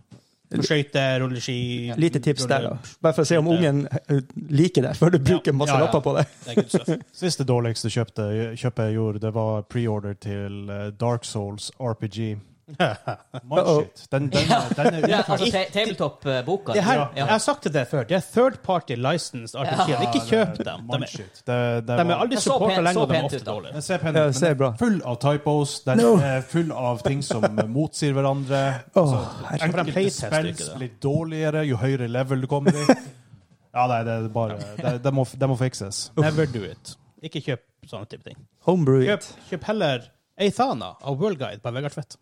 [SPEAKER 2] Skøyter, rulleski
[SPEAKER 3] Lite tips der, da.
[SPEAKER 2] rulle-
[SPEAKER 3] Bare for å se om ungen eh, liker det, før du bruker masse
[SPEAKER 2] Ja, ja.
[SPEAKER 3] lapper på det.
[SPEAKER 2] Det er good stuff.
[SPEAKER 4] Siste dårligste kjøpte, kjøpet jeg gjorde, det var pre-order til eh, Dark Souls
[SPEAKER 3] (laughs)
[SPEAKER 4] RPG. Mindshit. Den, den, den er
[SPEAKER 1] Ja,
[SPEAKER 4] utført.
[SPEAKER 1] altså ta- Tabletop-boka.
[SPEAKER 2] Det her,
[SPEAKER 1] Ja.
[SPEAKER 2] Jeg har sagt det før. Det er third party licensed RPG. Ikke kjøp dem. De er,
[SPEAKER 4] Mindshit. Det, det
[SPEAKER 2] de
[SPEAKER 4] var-
[SPEAKER 2] er aldri
[SPEAKER 1] Det så
[SPEAKER 2] supporta
[SPEAKER 1] pent-
[SPEAKER 2] lenge,
[SPEAKER 1] så
[SPEAKER 2] og de er
[SPEAKER 1] pent
[SPEAKER 2] ofte
[SPEAKER 1] ut, da.
[SPEAKER 2] dårlige.
[SPEAKER 4] Den ser pen ut,
[SPEAKER 3] Ja,
[SPEAKER 4] men
[SPEAKER 3] ser
[SPEAKER 4] den
[SPEAKER 3] bra.
[SPEAKER 4] er full av typos. Den
[SPEAKER 3] No.
[SPEAKER 4] er full av ting som motsier hverandre.
[SPEAKER 3] Åh,
[SPEAKER 4] Altså,
[SPEAKER 3] herregud.
[SPEAKER 2] For de
[SPEAKER 4] Enkelte
[SPEAKER 2] playtester ikke
[SPEAKER 4] spells
[SPEAKER 2] det.
[SPEAKER 4] blir dårligere jo høyere level du kommer i. Ja, nei, det er bare Det, det, må, det må fikses.
[SPEAKER 2] Never do it. Ikke kjøp sånne type ting.
[SPEAKER 3] Homebrew
[SPEAKER 2] Kjøp,
[SPEAKER 3] it.
[SPEAKER 2] kjøp heller Athana av World Guide på Vegard Tvedt.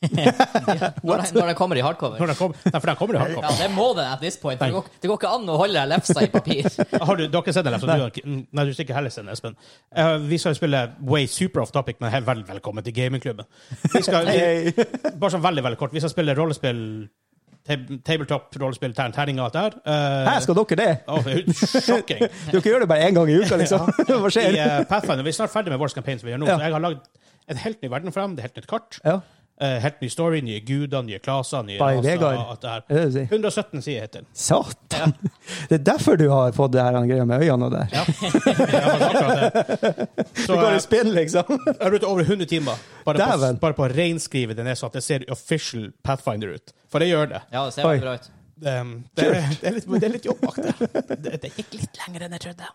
[SPEAKER 1] Når, den- når den kommer i hardcover.
[SPEAKER 2] Når den kom- Nei, For den kommer i
[SPEAKER 1] Ja,
[SPEAKER 2] hardcover.
[SPEAKER 1] det må den at this point. for Det går, det går ikke an å holde lefsa i
[SPEAKER 2] (laughs)
[SPEAKER 1] papir.
[SPEAKER 2] (laughs) Har du, dere sett den? Espen? Du har ikke- mm, Nei, du stikker heller sett den, Espen. Eh, vi skal spille Way Super Off Topic, men hei, vel, velkommen til gamingklubben. Vi skal, (laughs)
[SPEAKER 3] Hey.
[SPEAKER 2] bare sånn veldig, veldig kort. Vi skal spille rollespill, tab tabletop, rollespill, tern, terning og alt det her. Eh,
[SPEAKER 3] Hæ, skal dere det?
[SPEAKER 2] Åh, det er
[SPEAKER 3] (laughs)
[SPEAKER 2] Sjokking.
[SPEAKER 3] Dere gjør det bare én gang i uka, liksom? (laughs)
[SPEAKER 2] I
[SPEAKER 3] Hva skjer?
[SPEAKER 2] eh, Pathfinder, Vi er snart ferdig med vår campaign, som vi gjør nå,
[SPEAKER 3] Ja.
[SPEAKER 2] så jeg har lagd en helt ny verden for dem. Det er helt nytt kart.
[SPEAKER 3] Ja.
[SPEAKER 2] eh, helt ny story, nye guder, nye klaser, nye
[SPEAKER 3] By
[SPEAKER 2] raser,
[SPEAKER 3] Vegard.
[SPEAKER 2] alt det her.
[SPEAKER 3] Er det det du sier?
[SPEAKER 2] 117 sider heter den.
[SPEAKER 3] Satan! Det er derfor du har fått det her greia med øynene og der.
[SPEAKER 2] Ja. Ja, men akkurat det.
[SPEAKER 3] Du (laughs)
[SPEAKER 2] Så
[SPEAKER 3] går
[SPEAKER 2] eh,
[SPEAKER 3] i spinn, liksom.
[SPEAKER 2] (laughs) jeg har brukt over 100 timer bare på,
[SPEAKER 3] Dæven.
[SPEAKER 2] bare på å reinskrive det ned, så at det ser official Pathfinder ut. For det gjør det.
[SPEAKER 1] Ja, det ser
[SPEAKER 3] Oi.
[SPEAKER 1] veldig bra ut. (laughs)
[SPEAKER 2] Det, det, er, det, er, litt, det er litt jobb bak der. Det, det gikk litt lenger enn jeg trodde.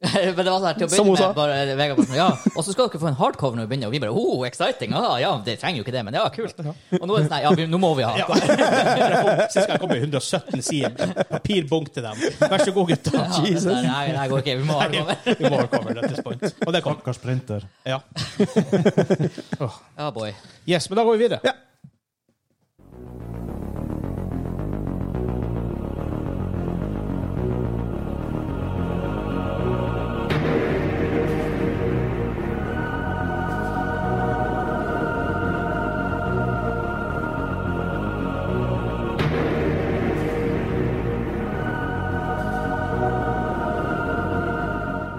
[SPEAKER 1] Men det var sånn her, til å
[SPEAKER 3] Som hun
[SPEAKER 1] begynne
[SPEAKER 3] sa.
[SPEAKER 1] med, bare Vegard bare sånn, ja, og så skal dere få en hardcover når vi begynner, og vi bare, oh, exciting, ah, ja, det trenger jo ikke det, men ja, kult. Og nå er det sånn, her, ja, vi, nå må vi ha.
[SPEAKER 2] Ja. (laughs) Sist gang kom det 117 sider papirbunk til dem. Vær så god, gutta. (laughs)
[SPEAKER 1] Ja, det, der- nei, det her går ikke, vi må ha hardcover.
[SPEAKER 2] Vi må recover at this point. Og det kom.
[SPEAKER 4] Stakkars printer.
[SPEAKER 2] Ja.
[SPEAKER 1] Ja, boy.
[SPEAKER 2] Yes, men da går vi videre.
[SPEAKER 3] Ja.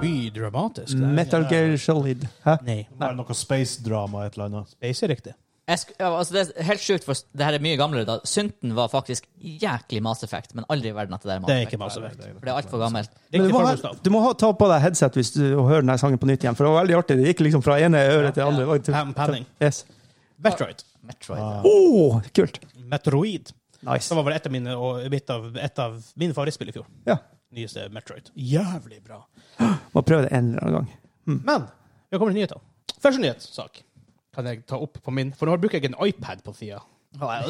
[SPEAKER 2] Mye dramatisk. der.
[SPEAKER 3] Metal Gear Solid. Hæ?
[SPEAKER 2] Nei.
[SPEAKER 4] Det er noe space-drama et eller annet.
[SPEAKER 2] Space er riktig.
[SPEAKER 1] Jeg sk ja, altså, det er helt sjukt, for s- det her er mye gamlere da. Synten var faktisk jæklig Mass Effect, men aldri i verden at det der er Mass
[SPEAKER 2] Det er
[SPEAKER 1] Effect.
[SPEAKER 2] ikke Mass Effect.
[SPEAKER 1] For det er alt for gammelt.
[SPEAKER 3] Men du må,
[SPEAKER 2] Riktig
[SPEAKER 3] ha,
[SPEAKER 2] formålstav.
[SPEAKER 3] du må ha, ta på deg headset hvis du og høre denne sangen på nytt igjen, for det var veldig artig. Det gikk liksom fra ene øret til det andre.
[SPEAKER 2] Pan- Panning.
[SPEAKER 3] Yes.
[SPEAKER 2] Metroid.
[SPEAKER 1] Metroid.
[SPEAKER 3] Åh, kult!
[SPEAKER 2] Metroid.
[SPEAKER 3] Nice.
[SPEAKER 2] Som var vel et av mine, og mitt av, et av mine favorittspill i fjor.
[SPEAKER 3] Ja.
[SPEAKER 2] Nyeste Metroid. Jævlig bra.
[SPEAKER 3] Må prøve det en eller annen gang.
[SPEAKER 2] Mm. Men vi kommer til nyhetene. Første nyhetssak kan jeg ta opp på min, for nå bruker jeg en iPad på tida.
[SPEAKER 1] Ja.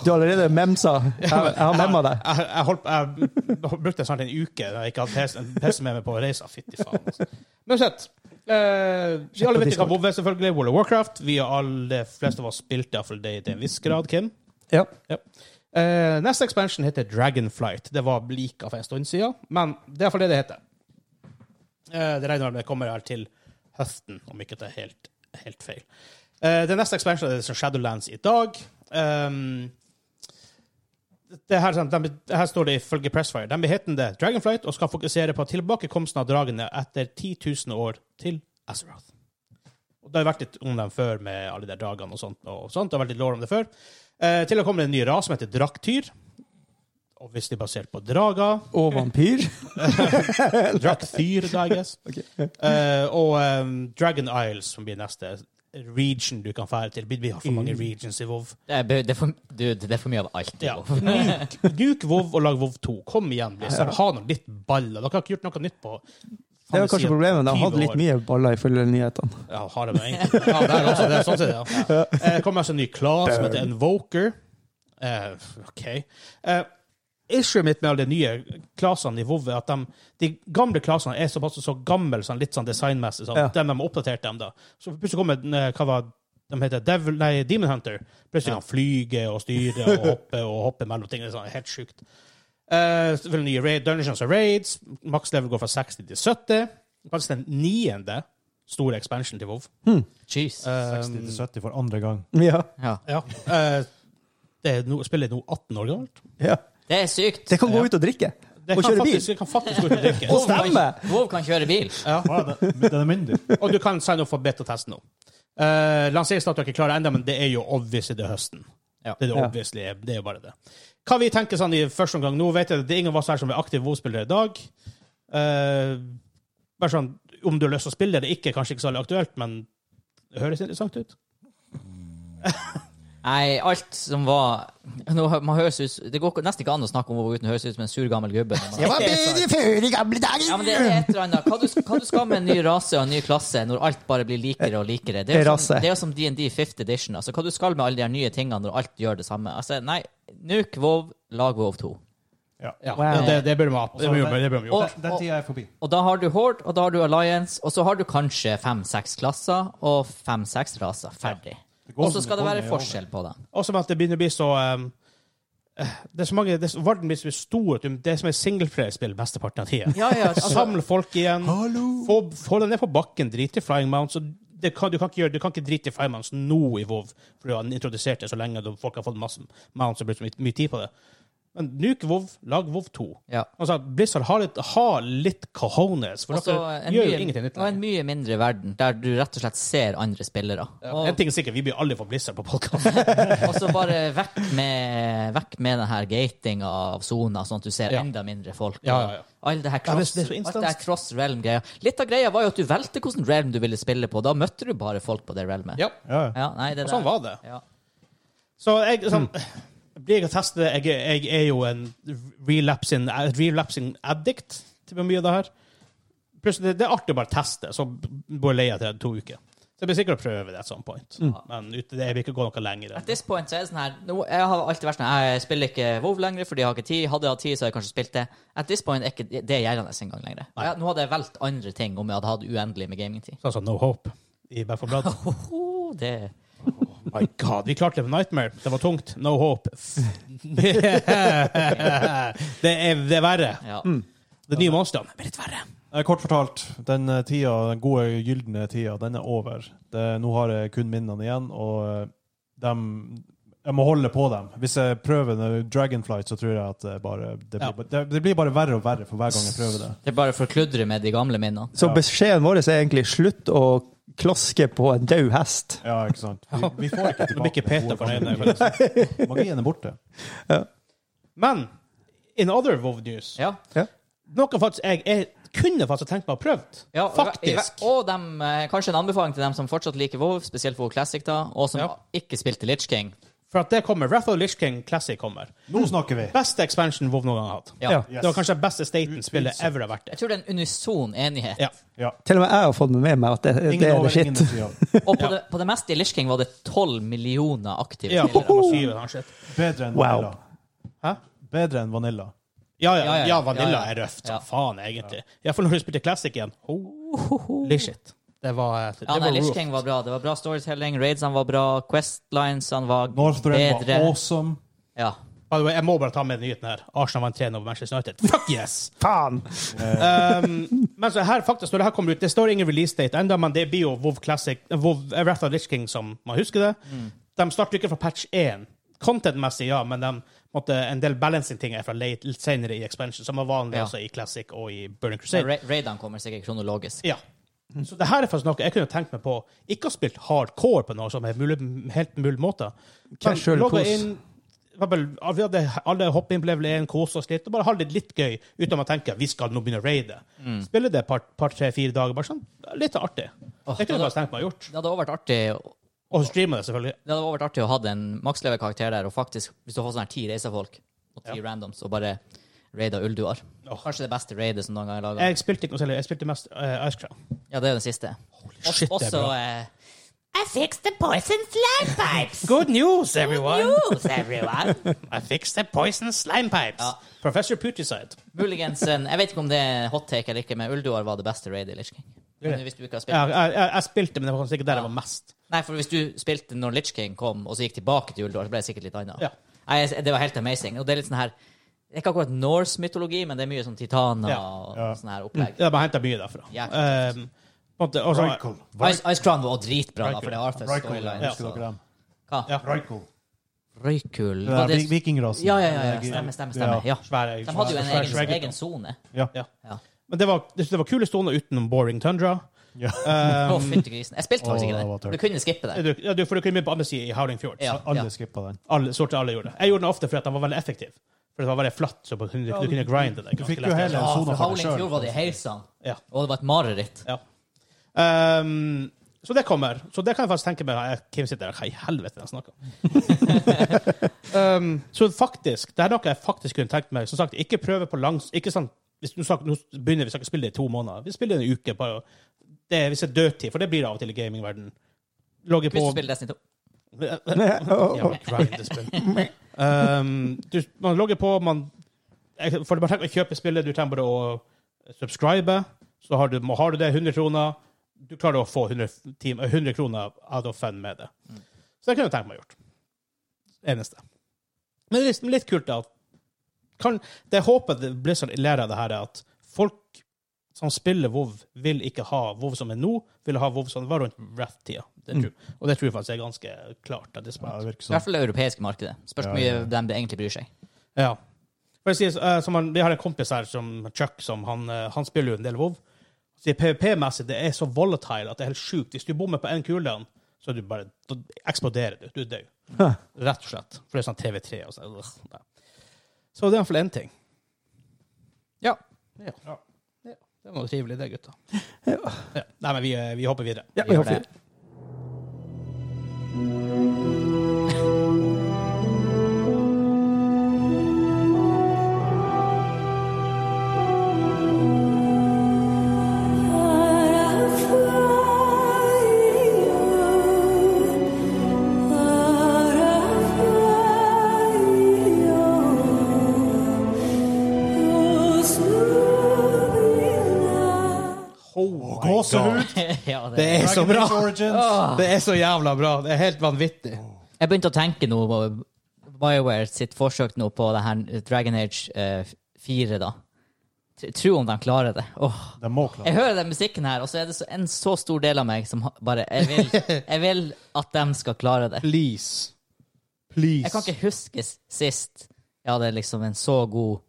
[SPEAKER 3] Du har allerede memsa. Jeg, jeg har memma deg.
[SPEAKER 2] Jeg, jeg, holdt, jeg (laughs) brukte snart en uke da jeg ikke hadde PC- en PC med meg på reisa. Fytti faen. altså. Men uansett. Eh, vi alle vet jo hva WoW er, selvfølgelig. World of Warcraft. Vi har alle, de fleste av oss spilte iallfall det til en viss grad, Kim.
[SPEAKER 3] Ja.
[SPEAKER 2] Ja. Eh, neste expansion heter Dragonflight. Det var blika for en stund siden, men det er iallfall det det heter. Eh, det regner jeg med kommer her til høsten, om ikke det er helt, helt feil. Eh, den neste expansion er Shadowlands i dag. Um, det her, sant, de, det her står det ifølge Pressfire. De blir hetende Dragonflight og skal fokusere på tilbakekomsten av dragene etter 10 000 år til Azeroth. Og det har vært litt om dem før med alle de der dragene og sånt. og sånt. Det har vært litt lår om det før. Eh, til å komme en ny ras som heter Draktyr. Obviously basert på drager.
[SPEAKER 3] Og vampyr.
[SPEAKER 2] Draktyr, da, I guess.
[SPEAKER 3] (laughs) Ok.
[SPEAKER 2] Eh, og eh, Dragon Isles, som blir neste region du kan fære til. Vi har for mange
[SPEAKER 3] Mm.
[SPEAKER 2] regions i WoW.
[SPEAKER 1] Det er, be- det er for, dude, det er for mye av alt.
[SPEAKER 2] Ja. Nuke, nuke WoW og lag WoW 2. Kom igjen, Blizzard. Ha nå litt baller. Dere har ikke gjort noe nytt på
[SPEAKER 3] Det var kanskje problemet. De hadde litt mye baller ifølge nyhetene. (laughs)
[SPEAKER 2] Ja, har det med egentlig. Ja, det er også det. er Sånn sett, ja. Eh, Det kommer altså en ny class som heter Invoker. Eh, OK. Eh, Issue mitt med alle de nye klassene i WoW er at de, de gamle klassene er såpass så gamle, sånn, litt sånn designmessig. Sånn.
[SPEAKER 3] Ja.
[SPEAKER 2] De de har oppdatert dem, da. Så plutselig kommer den, eh, hva var de heter Devil, nei, Demon Hunter. Plutselig kan han flyge og styre og hoppe og hoppe mellom ting. Det er sånn, helt sjukt. Eh, selvfølgelig nye raid, Dungeons and Raids. Max level går fra 60 til 70. Faktisk den niende store expansion til WoW.
[SPEAKER 1] Jeez.
[SPEAKER 2] Eh,
[SPEAKER 4] 60 til 70 for andre gang.
[SPEAKER 3] Ja.
[SPEAKER 1] Ja.
[SPEAKER 2] ja. Eh, det er no, spillet er nå 18 år gammelt.
[SPEAKER 3] ja.
[SPEAKER 1] Det er sykt.
[SPEAKER 3] Det kan gå ut og drikke.
[SPEAKER 2] Det
[SPEAKER 3] Og
[SPEAKER 2] kan
[SPEAKER 3] kjøre bil.
[SPEAKER 2] faktisk, det Kan faktisk gå ut og drikke.
[SPEAKER 3] Og
[SPEAKER 1] Wow
[SPEAKER 3] stemme!
[SPEAKER 1] kan, WoW kan kjøre bil.
[SPEAKER 4] Wow, det- (laughs) Den er myndig.
[SPEAKER 2] Og du kan signe opp for beta-test nå. Uh, Lanseringsdato er ikke klar ennå, men det er jo obviously det er høsten.
[SPEAKER 1] Ja.
[SPEAKER 2] Det er det
[SPEAKER 3] Ja.
[SPEAKER 2] obviously, det er jo bare det. Hva vi tenker sånn i første omgang nå, vet jeg det er ingen av oss her som er aktive WoW-spillere i dag. Eh, bare sånn, om du har lyst til å spille det, ikke, kanskje ikke så veldig aktuelt, men det høres interessant ut.
[SPEAKER 1] Nei, alt som var nå, hø- man høres ut, Det går ikke- nesten ikke an å snakke om WoW uten å høres ut som en sur, gammel gubbe. når man-
[SPEAKER 3] bedre før i gamle
[SPEAKER 1] Ja, men det
[SPEAKER 3] dager!
[SPEAKER 1] er et eller annet. Hva du, hva du skal med en ny rase og en ny klasse når alt bare blir likere og likere? Det er jo
[SPEAKER 3] Rase.
[SPEAKER 1] som- det er jo som D&D 5th edition. Altså, hva du skal med alle de her nye tingene når alt gjør det samme? Altså, nei, nuk WoW, lag WoW 2.
[SPEAKER 4] Ja.
[SPEAKER 2] Ja,
[SPEAKER 3] Wow.
[SPEAKER 2] det, det burde man det burde man- det burde man gjort.
[SPEAKER 1] Og-
[SPEAKER 4] Den, den tida er forbi.
[SPEAKER 1] Og da har du Horde, og da har du Alliance, og så har du kanskje fem-seks klasser og fem-seks raser. Ferdig.
[SPEAKER 4] Det går
[SPEAKER 1] Og så
[SPEAKER 4] som
[SPEAKER 1] skal det
[SPEAKER 4] går,
[SPEAKER 1] være
[SPEAKER 4] er over.
[SPEAKER 1] forskjell på dem.
[SPEAKER 2] Også med at det begynner å bli så um, eh, det er så mange, det er så, Verden blir så stor at du- det er som et singleplayer-spill mesteparten av tida.
[SPEAKER 1] Ja, ja, altså-
[SPEAKER 2] Samle folk igjen. Få, få dem ned på bakken. Drit i flying mounts. Og det kan, du, kan ikke gjøre, du kan ikke drite i flying mounts nå i WoW, for du har introdusert det så lenge og folk har fått masse mounts og brukt så mye, mye tid på det. Men nuk WoW, lag WoW 2.
[SPEAKER 1] Ja.
[SPEAKER 2] Altså, Blizzard har litt, har litt cojones, for
[SPEAKER 1] Også
[SPEAKER 2] dere
[SPEAKER 1] en,
[SPEAKER 2] gjør jo
[SPEAKER 1] mye,
[SPEAKER 2] ingenting nytt.
[SPEAKER 1] og en mye
[SPEAKER 2] lenger.
[SPEAKER 1] mindre verden, der du rett og slett ser andre spillere.
[SPEAKER 2] En
[SPEAKER 1] Og,
[SPEAKER 2] ting er sikkert, vi blir aldri for Blizzard på podkast.
[SPEAKER 1] (laughs) og så bare vekk med, vekk med den her gatinga av soner, sånn at du ser
[SPEAKER 2] Ja.
[SPEAKER 1] enda mindre folk.
[SPEAKER 2] Ja, ja, ja.
[SPEAKER 1] Og All det her
[SPEAKER 2] Ja, det er-
[SPEAKER 1] cross,
[SPEAKER 2] det er så
[SPEAKER 1] alt det her
[SPEAKER 2] instanst.
[SPEAKER 1] cross realm-greia. Litt av greia var jo at du valgte hvilken realm du ville spille på. Da møtte du bare folk på det realmet.
[SPEAKER 2] ja.
[SPEAKER 4] Ja, ja.
[SPEAKER 1] Ja, nei, det
[SPEAKER 2] Og sånn
[SPEAKER 1] der-
[SPEAKER 2] var det.
[SPEAKER 1] Ja.
[SPEAKER 2] Så jeg sånn, (sighs) blir jeg å teste det. Jeg, er- jeg er jo en relapsing, relapsing addict til mye av det her. Plutselig, det, det er artig å bare teste, så bare leier jeg til to uker. Så jeg blir sikkert å prøve det at some point. Men ut, det vil ikke gå noe lenger.
[SPEAKER 1] At this point så er det sånn her nå, Jeg har alltid vært sånn Jeg spiller ikke WoW lenger fordi jeg har ikke tid. Hadde jeg hatt tid, så hadde jeg kanskje spilt det. At this point er ikke det- det gjeldende engang lenger. Ja, nå hadde jeg valgt andre ting om jeg hadde hatt uendelig med gamingtid.
[SPEAKER 2] Sånn som No Hope i
[SPEAKER 1] (laughs)
[SPEAKER 2] Back for Blood.
[SPEAKER 1] Hoho, det
[SPEAKER 2] My God, vi klarte det med Nightmare. Det var tungt.
[SPEAKER 1] (laughs)
[SPEAKER 2] No Hope. (laughs) det, er, det er verre.
[SPEAKER 1] Ja.
[SPEAKER 2] Det nye monsteret blir litt verre.
[SPEAKER 4] Eh, Kort fortalt, den eh, tida, den gode, gylne tida, den er over. Det, nå har jeg kun minnene igjen, og eh, dem Jeg må holde på dem. Hvis jeg prøver det- Dragonflight, så tror jeg at det bare det
[SPEAKER 2] Ja.
[SPEAKER 4] blir, det, det blir bare verre og verre for hver gang jeg prøver det.
[SPEAKER 1] Det er bare å forkludre med de gamle minnene.
[SPEAKER 3] Så beskjeden vår er egentlig slutt å klaske på en død hest.
[SPEAKER 4] Ja, ikke sant? Vi, vi (laughs) får ikke
[SPEAKER 2] Nå blir ikke
[SPEAKER 4] tilbake
[SPEAKER 2] Peter
[SPEAKER 4] gode
[SPEAKER 2] fornøyd.
[SPEAKER 4] gamle
[SPEAKER 2] når jeg får det.
[SPEAKER 4] tider. (laughs) Magien er borte.
[SPEAKER 2] Men in other WoW news
[SPEAKER 1] Ja.
[SPEAKER 2] Noe faktisk jeg, jeg kunne faktisk tenkt meg å ha prøvd.
[SPEAKER 1] ja og-
[SPEAKER 2] faktisk.
[SPEAKER 1] Og dem, eh, kanskje en anbefaling til dem som fortsatt liker WoW, spesielt WoW Classic, da, og som
[SPEAKER 2] Ja.
[SPEAKER 1] ikke spilte Litch King.
[SPEAKER 2] For at det kommer. Wrath of the Lich King Classic kommer.
[SPEAKER 4] Nå snakker vi!
[SPEAKER 2] Beste expansion WoW noen gang har hatt.
[SPEAKER 1] Ja.
[SPEAKER 3] Ja.
[SPEAKER 4] Yes.
[SPEAKER 2] Det var kanskje det beste Staten-spillet
[SPEAKER 4] Utvilsomt.
[SPEAKER 2] ever har vært.
[SPEAKER 1] Jeg tror det er en unison enighet.
[SPEAKER 2] Ja.
[SPEAKER 4] Ja.
[SPEAKER 3] Til og med jeg har fått med meg at det,
[SPEAKER 4] Ingen
[SPEAKER 3] det er
[SPEAKER 4] over,
[SPEAKER 3] legit.
[SPEAKER 4] ingen ved siden av.
[SPEAKER 1] Og på, det, på det meste i Litch King var det 12 millioner aktive
[SPEAKER 2] Ja,
[SPEAKER 1] spillere.
[SPEAKER 2] syv, kanskje.
[SPEAKER 1] (laughs)
[SPEAKER 4] Bedre enn
[SPEAKER 3] Wow.
[SPEAKER 4] Vanilla.
[SPEAKER 2] Hæ?
[SPEAKER 4] Bedre enn Vanilla.
[SPEAKER 2] Ja, ja,
[SPEAKER 1] Ja, ja,
[SPEAKER 2] ja,
[SPEAKER 1] ja. Ja,
[SPEAKER 2] Vanilla
[SPEAKER 1] ja.
[SPEAKER 2] er røft.
[SPEAKER 1] Ja.
[SPEAKER 2] Som faen, egentlig. Iallfall når du spilte Classic igjen. Holy shit. Det var, (laughs) eh, det
[SPEAKER 1] Ja,
[SPEAKER 2] var
[SPEAKER 1] nei, Lich
[SPEAKER 2] rough.
[SPEAKER 1] King var bra. Det var bra storytelling. Raidsene var bra. Questlinesene var
[SPEAKER 4] Northrend
[SPEAKER 1] bedre.
[SPEAKER 4] var awesome.
[SPEAKER 1] Ja.
[SPEAKER 2] By the way, jeg må bare ta med den nyheten her. Arsenal vant 3-0 over Manchester United. Fuck yes!
[SPEAKER 3] Faen!
[SPEAKER 2] Um, men så her faktisk, når det her kommer ut, det står ingen release date enda, men det blir jo WoW Classic, eh, WoW eh, Wrath of Lich King som man husker det. De starter ikke fra patch 1. Content-messig, ja, men de, på en måte, en del balancing-ting er fra late, litt senere i expansion, som var vanlig
[SPEAKER 1] Ja.
[SPEAKER 2] også i Classic og i Burning
[SPEAKER 1] Ja,
[SPEAKER 2] Crusade.
[SPEAKER 1] Ra Raidene kommer sikkert kronologisk.
[SPEAKER 2] Ja. Så det her er faktisk noe jeg kunne tenkt meg på. Ikke å spille hardcore på noe som er mulig, helt mulig måte. Men
[SPEAKER 3] Casual
[SPEAKER 2] logge
[SPEAKER 3] kos.
[SPEAKER 2] inn, for eksempel, Vi hadde alle hoppet inn, ble vel en kose oss litt, og bare ha det litt gøy uten å tenke vi skal nå begynne å raide. Spille det et par, par tre-fire dager, bare sånn. Litt artig. det kunne jeg
[SPEAKER 1] da-
[SPEAKER 2] bare tenkt meg å gjort.
[SPEAKER 1] Det hadde også vært artig
[SPEAKER 2] Og streame det, selvfølgelig.
[SPEAKER 1] Det hadde vært artig å ha en makslevel-karakter der, og faktisk, hvis du har sånn her ti reisefolk og ti randoms, og bare raida ulduar.
[SPEAKER 2] Åh.
[SPEAKER 1] Kanskje det beste raidet som noen gang er laga.
[SPEAKER 2] Jeg spilte ikke noe særlig. Jeg spilte mest eh, Ice Crown.
[SPEAKER 1] Ja, det er den siste.
[SPEAKER 2] shit, det er
[SPEAKER 1] Også
[SPEAKER 2] bra.
[SPEAKER 1] eh, I fixed the poison slime pipes!
[SPEAKER 2] (laughs) Good news, everyone!
[SPEAKER 1] News, everyone!
[SPEAKER 2] I fixed the poison slime pipes!
[SPEAKER 1] Ja.
[SPEAKER 2] Professor Putricide.
[SPEAKER 1] Muligens en Jeg vet ikke om det er hot take eller ikke, men ulduar var det beste raidet i Lich King. Men hvis du ikke har spilt
[SPEAKER 2] Ja, jeg, jeg, jeg spilte, men det var kanskje ikke der jeg
[SPEAKER 1] Ja.
[SPEAKER 2] var mest.
[SPEAKER 1] Nei, for hvis du spilte når Lich King kom, og så gikk tilbake til Uldor, så ble det sikkert litt annet.
[SPEAKER 2] Ja.
[SPEAKER 1] Nei, jeg- det var helt amazing. Og det er litt sånn her det er Ikke akkurat Norse mytologi, men det er mye sånn titaner
[SPEAKER 2] Ja.
[SPEAKER 1] og
[SPEAKER 4] Ja.
[SPEAKER 1] sånne her opplegg.
[SPEAKER 2] Ja, De har henta mye derfra.
[SPEAKER 1] Jækla
[SPEAKER 2] Um, på en måte, og så-
[SPEAKER 4] Rykel.
[SPEAKER 1] Ice, Ice Crown var også dritbra, da,
[SPEAKER 2] Rykul.
[SPEAKER 1] for det er Arthurs
[SPEAKER 4] Rykel,
[SPEAKER 1] storyline.
[SPEAKER 4] husker
[SPEAKER 1] så-
[SPEAKER 4] dere dem?
[SPEAKER 1] Hva?
[SPEAKER 2] Ja.
[SPEAKER 4] Rykel.
[SPEAKER 1] Røykul
[SPEAKER 4] Det
[SPEAKER 1] Var
[SPEAKER 4] er
[SPEAKER 1] det-
[SPEAKER 4] vikingrasen.
[SPEAKER 1] Ja, ja, ja, ja. Stemmer, stemmer. stemmer. Ja.
[SPEAKER 2] svære,
[SPEAKER 1] De hadde jo
[SPEAKER 2] svære-
[SPEAKER 1] en
[SPEAKER 2] svære-
[SPEAKER 1] egen, egen sone.
[SPEAKER 4] Ja.
[SPEAKER 2] Ja.
[SPEAKER 1] Ja.
[SPEAKER 2] Men det var, jeg synes det var kule stoner utenom Boring Tundra. Ehm,
[SPEAKER 4] Ja.
[SPEAKER 1] Å, fytti grisen. Jeg spilte faktisk
[SPEAKER 4] Åh,
[SPEAKER 1] ikke
[SPEAKER 4] det var
[SPEAKER 1] det.
[SPEAKER 4] tørt.
[SPEAKER 1] Du kunne skippe det.
[SPEAKER 2] Du, ja, du, for du kunne bli på andre siden i Howling Fjords.
[SPEAKER 1] Ja.
[SPEAKER 4] (laughs) Alle skippa den.
[SPEAKER 2] Alle, stort sett alle gjorde det. Jeg gjorde den ofte fordi at den var veldig effektiv. For det var veldig flatt, så du, du, kunne grinde det.
[SPEAKER 4] Du
[SPEAKER 2] ganske
[SPEAKER 4] fikk jo
[SPEAKER 2] lett.
[SPEAKER 4] hele
[SPEAKER 1] Ja, for
[SPEAKER 4] sona for deg
[SPEAKER 1] Howling Fjord var
[SPEAKER 4] sjøl.
[SPEAKER 1] det i heisene,
[SPEAKER 2] Ja.
[SPEAKER 1] og det var et mareritt.
[SPEAKER 2] ja. Ehm, så det kommer. Så det kan jeg faktisk tenke meg. Jeg, Kim sitter der, hva i helvete er det jeg snakker om? um, så faktisk, det er noe jeg faktisk kunne tenkt meg. Som sagt, ikke prøve på langs... Ikke sånn, hvis du snakker, nå begynner vi snakker å spille det i to måneder. Vi spiller det en uke. Bare, det, hvis det er dødtid, for det blir det av og til i gamingverdenen. Logge
[SPEAKER 1] Hvis
[SPEAKER 2] på
[SPEAKER 1] du spiller Destiny 2.
[SPEAKER 2] (laughs)
[SPEAKER 3] (laughs)
[SPEAKER 2] Jævla grindespill. um, du, man logger på, man jeg- For du bare trenger å kjøpe spillet, du trenger bare å eh, subscribe. Så har du, må- har du det, 100 kroner. Du klarer å få 100, tim- 100 eh, kroner out of fun med det. Så det kunne jeg tenkt meg å gjort. Eneste. Men det er liksom litt kult da, at kan, Det håpet det Blizzard lærer av det her, er at folk som spiller WoW, vil ikke ha WoW som er nå, vil ha WoW som var rundt Wrath-tida. Det tror- Og det tror jeg faktisk er ganske klart. at det
[SPEAKER 4] Ja,
[SPEAKER 2] smaker.
[SPEAKER 4] det virker
[SPEAKER 1] I hvert
[SPEAKER 4] sånn.
[SPEAKER 1] fall det europeiske markedet. Spørs hvor
[SPEAKER 4] Ja, ja,
[SPEAKER 1] mye
[SPEAKER 4] ja.
[SPEAKER 1] de egentlig bryr
[SPEAKER 4] (laughs)
[SPEAKER 1] seg.
[SPEAKER 2] Ja. For å si, eh, som han, vi har en kompis her, som Chuck, som han, eh, han spiller jo en del WoW. Så PVP-messig det er så volatile at det er helt sjukt. Hvis du bommer på én kule, så er du bare, da eksploderer du. Du er død.
[SPEAKER 3] Hæ.
[SPEAKER 2] Rett og slett. For det er sånn TV3 og sånn. øh, nei. Så det er iallfall én ting.
[SPEAKER 1] Ja.
[SPEAKER 2] Ja. ja. Det var trivelig, det, gutta.
[SPEAKER 3] Ja.
[SPEAKER 2] Ja. Nei, men vi, eh, vi hopper videre.
[SPEAKER 3] Ja,
[SPEAKER 1] Vi
[SPEAKER 3] vi
[SPEAKER 1] gjør
[SPEAKER 3] har
[SPEAKER 1] det.
[SPEAKER 3] fint.
[SPEAKER 2] Oh,
[SPEAKER 4] Gåsehud!
[SPEAKER 1] ja, det.
[SPEAKER 2] Det er så
[SPEAKER 4] Dragon
[SPEAKER 2] bra!
[SPEAKER 4] Age Origins.
[SPEAKER 2] Det er så jævla bra. Det er helt vanvittig.
[SPEAKER 1] Jeg begynte å tenke nå på BioWare sitt forsøk nå på det her Dragon Age eh, 4, da. Tr- Tro om de klarer det. Åh.
[SPEAKER 4] De må klare
[SPEAKER 1] Jeg hører den musikken her, og så er det så, en så stor del av meg som ha- bare jeg vil,
[SPEAKER 4] (laughs)
[SPEAKER 1] jeg vil at de skal klare det.
[SPEAKER 2] Please. Please.
[SPEAKER 1] Jeg kan ikke huske s- sist jeg hadde liksom en så god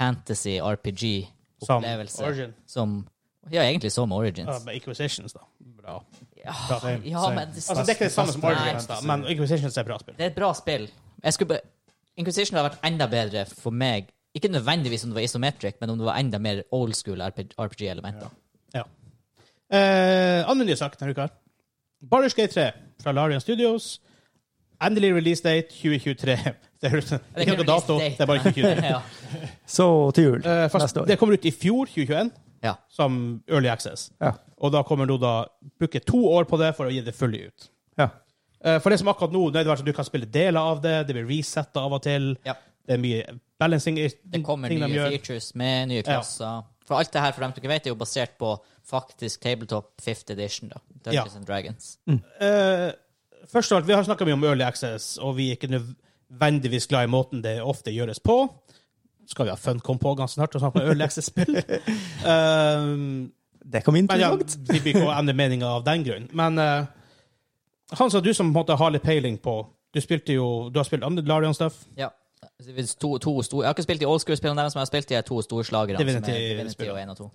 [SPEAKER 1] fantasy-RPG-opplevelse.
[SPEAKER 2] Som Origin.
[SPEAKER 1] Som Ja, egentlig som
[SPEAKER 2] Ja,
[SPEAKER 1] Origins.
[SPEAKER 2] men Inquisitions, da. Bra.
[SPEAKER 1] Ja,
[SPEAKER 4] Same,
[SPEAKER 1] ja
[SPEAKER 4] same.
[SPEAKER 1] men
[SPEAKER 2] Altså, det er ikke det samme som
[SPEAKER 1] Nei.
[SPEAKER 2] Origins, da, men Inquisitions er et bra spill.
[SPEAKER 1] Det er et bra spill. Jeg skulle be- Inquisition hadde vært enda bedre for meg. Ikke nødvendigvis om det var isometric, men om det var enda mer old school RPG-elementer.
[SPEAKER 2] Ja. Eh, Andre nye sak denne uka. Baldur's Gate 3 fra Larian Studios. Endelig release date 2023. (laughs) Det er ikke
[SPEAKER 1] er ikke
[SPEAKER 2] noe dato,
[SPEAKER 1] release date.
[SPEAKER 2] det er bare
[SPEAKER 1] (laughs)
[SPEAKER 2] 2023.
[SPEAKER 1] Ja.
[SPEAKER 3] Så til jul
[SPEAKER 2] Eh, fast,
[SPEAKER 3] neste år.
[SPEAKER 2] det kommer ut i fjor, 2021,
[SPEAKER 1] ja.
[SPEAKER 2] som Early Access.
[SPEAKER 3] Ja.
[SPEAKER 2] Og da kommer du da bruke to år på det for å gi det fullt ut.
[SPEAKER 3] Ja.
[SPEAKER 2] Eh, For det som akkurat nå, det er det sånn at du kan spille deler av det, det blir resetta av og til.
[SPEAKER 1] Ja.
[SPEAKER 2] Det er mye balancing i
[SPEAKER 1] Det kommer
[SPEAKER 2] ting de
[SPEAKER 1] nye
[SPEAKER 2] gjør.
[SPEAKER 1] features med nye klasser. For alt det her, for dem som ikke vet, er jo basert på faktisk Tabletop 5th edition, da. Dungeons
[SPEAKER 2] Ja.
[SPEAKER 1] and Dragons.
[SPEAKER 2] Eh, først og alt, vi har snakka mye om Early Access, og vi er ikke nøv... vendigvis glad i måten det ofte gjøres på. Skal vi ha Funcom på ganske snart og snakke om
[SPEAKER 1] (laughs)
[SPEAKER 2] ørleksespill? um,
[SPEAKER 3] Det kan bli
[SPEAKER 2] men ja,
[SPEAKER 3] interessant.
[SPEAKER 2] vi blir ikke å endre meninga av den grunn. Men eh, Hans, og du som på en måte har litt peiling på Du spilte jo, du har spilt Larion-stuff.
[SPEAKER 1] Ja. To, to store, jeg har ikke spilt i old school-spillene deres, men jeg har spilt i de to storslagerne. som er
[SPEAKER 2] Divinity-
[SPEAKER 1] Divinity og 1 og 2.